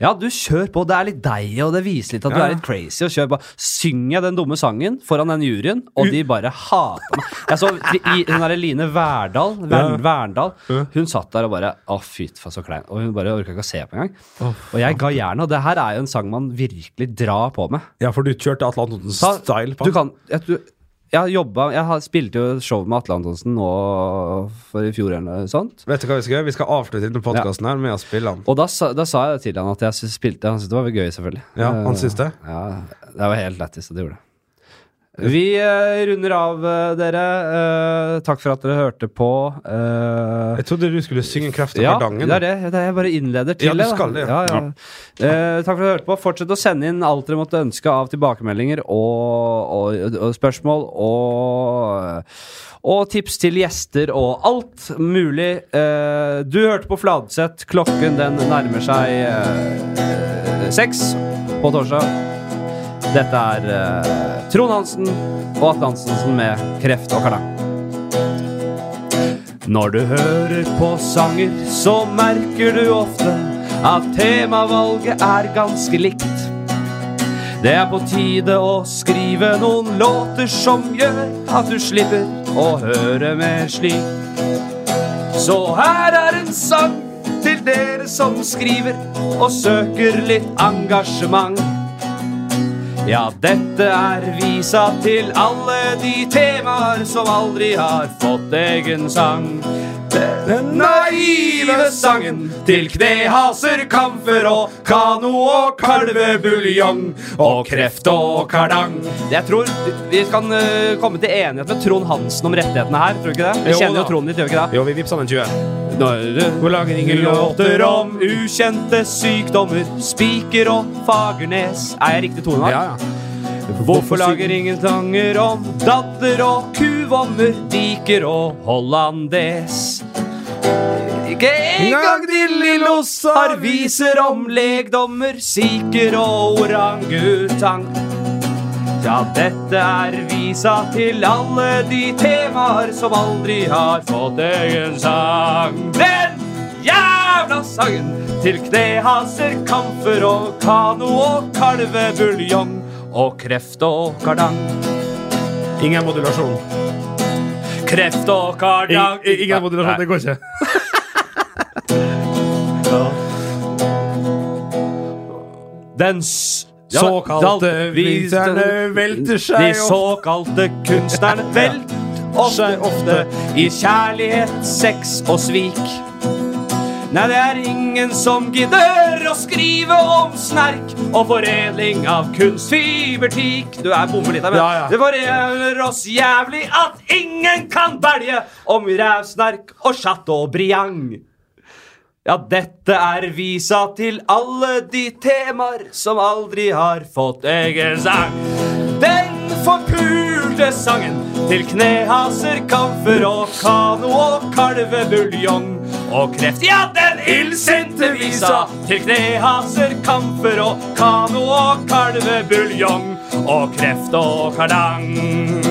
Speaker 1: ja, du kjør på. Det er litt deg, og det viser litt at du
Speaker 2: Ja.
Speaker 1: er litt crazy. Og kjør på. Synger jeg den dumme sangen foran den juryen, og de bare hater meg. Jeg så de- i, hun derre Line Verdal, Vern, Verndal, hun satt der og bare Å, fy faen, så klein. Og hun bare orka ikke å se på engang. Og jeg ga jernet, og det her er jo en sang man virkelig drar på med.
Speaker 2: Ja, for du kjørte Atle Antonsen
Speaker 1: Ta-
Speaker 2: style på
Speaker 1: Du
Speaker 2: han.
Speaker 1: kan, jeg, tror- jeg har jobbet- jeg har, spilte jo show med Atle Antonsen nå for i fjor eller noe sånt.
Speaker 2: Vet du hva vi skal gjøre? Vi skal avslutte denne podkasten her med å spille han.
Speaker 1: Og da, sa- da sa jeg til han at jeg sy- spilte, han syntes det var gøy selvfølgelig.
Speaker 2: Ja,
Speaker 1: Eh,
Speaker 2: han syns det?
Speaker 1: Ja, det var helt lættis, og det gjorde det. Vi eh, runder av, eh, dere. Eh, takk for at dere hørte på. Eh,
Speaker 2: Jeg trodde du skulle synge 'Kreft og
Speaker 1: ja,
Speaker 2: kardangen'.
Speaker 1: det er det. det er jeg bare innleder til
Speaker 2: Ja, du
Speaker 1: da.
Speaker 2: skal det,
Speaker 1: Ja,
Speaker 2: ja.
Speaker 1: ja. Eh, takk for at dere hørte på. Fortsett å sende inn alt dere måtte ønske av tilbakemeldinger og, og, og spørsmål og, og tips til gjester og alt mulig. Eh, du hørte på Fladseth. Klokken den nærmer seg eh, seks på torsdag. Dette er eh, Trond Hansen og Atle Hansen med Kreft og Karlang. Når du hører på sanger, så merker du ofte at temavalget er ganske likt. Det er på tide å skrive noen låter som gjør at du slipper å høre mer slik. Så her er en sang til dere som skriver og søker litt engasjement. Ja, dette er visa til alle de temaer som aldri har fått egen sang. Den naive sangen til knehaser, kamfer og kano og kalvebuljong og kreft og kardang. Jeg tror vi kan eh, komme til enighet med Trond Hansen om rettighetene her. tror du ikke det? Vi
Speaker 2: Jo
Speaker 1: kjenner jo
Speaker 2: da.
Speaker 1: Trond litt, gjør vi ikke det?
Speaker 2: Jo, vi vippsa den 20.
Speaker 1: Hvor lager ingen låter om ukjente sykdommer, spiker og Fagernes. Er jeg riktig toneart?
Speaker 2: Ja, ja.
Speaker 1: Hvorfor lager ingen sanger om dadder og kuvommer, diker og hollandes? Ikke engang de lillos har viser om legdommer, siker og orangutang. Ja, dette er visa til alle de temaer som aldri har fått egen sang. Den jævla sangen til knehaser, kamfer og kano og kalvebuljong og kreft og kardang.
Speaker 2: Ingen modulasjon.
Speaker 1: Kreft og kardang
Speaker 2: I- i- Ingen modulasjon, det går ikke.
Speaker 1: Den s-
Speaker 2: Såkalte
Speaker 1: dal- vi-
Speaker 2: viserne velter
Speaker 1: De
Speaker 2: seg opp.
Speaker 1: såkalte kunstnerne velt ofte,
Speaker 2: Seg
Speaker 1: ofte i kjærlighet, sex og svik. Nei, det er ingen som gidder å skrive om snerk og foredling av kunstfibertik. Du er bommer litt her, men
Speaker 2: Ja, ja.
Speaker 1: det forener oss jævlig at ingen kan belge om rævsnerk og chateaubriand. Ja, dette er visa til alle de temaer som aldri har fått egen sang. Den forpulte sangen til knehaser, kamfer og kano og kalvebuljong og kreft. Ja, den illsinte visa til knehaser, kamfer og kano og kalvebuljong og kreft og kardang.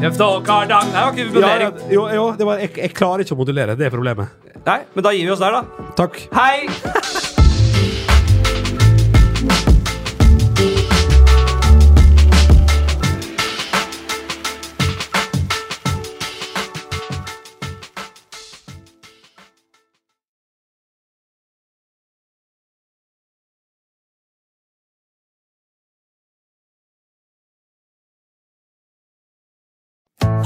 Speaker 1: Kreft og kardang. Nei, det var ikke
Speaker 2: Ja, ja,
Speaker 1: vurdering.
Speaker 2: jo, jo det var, jeg, jeg klarer ikke å modulere. Det er problemet.
Speaker 1: Nei, men da gir vi oss der, da.
Speaker 2: Takk.
Speaker 1: Hei!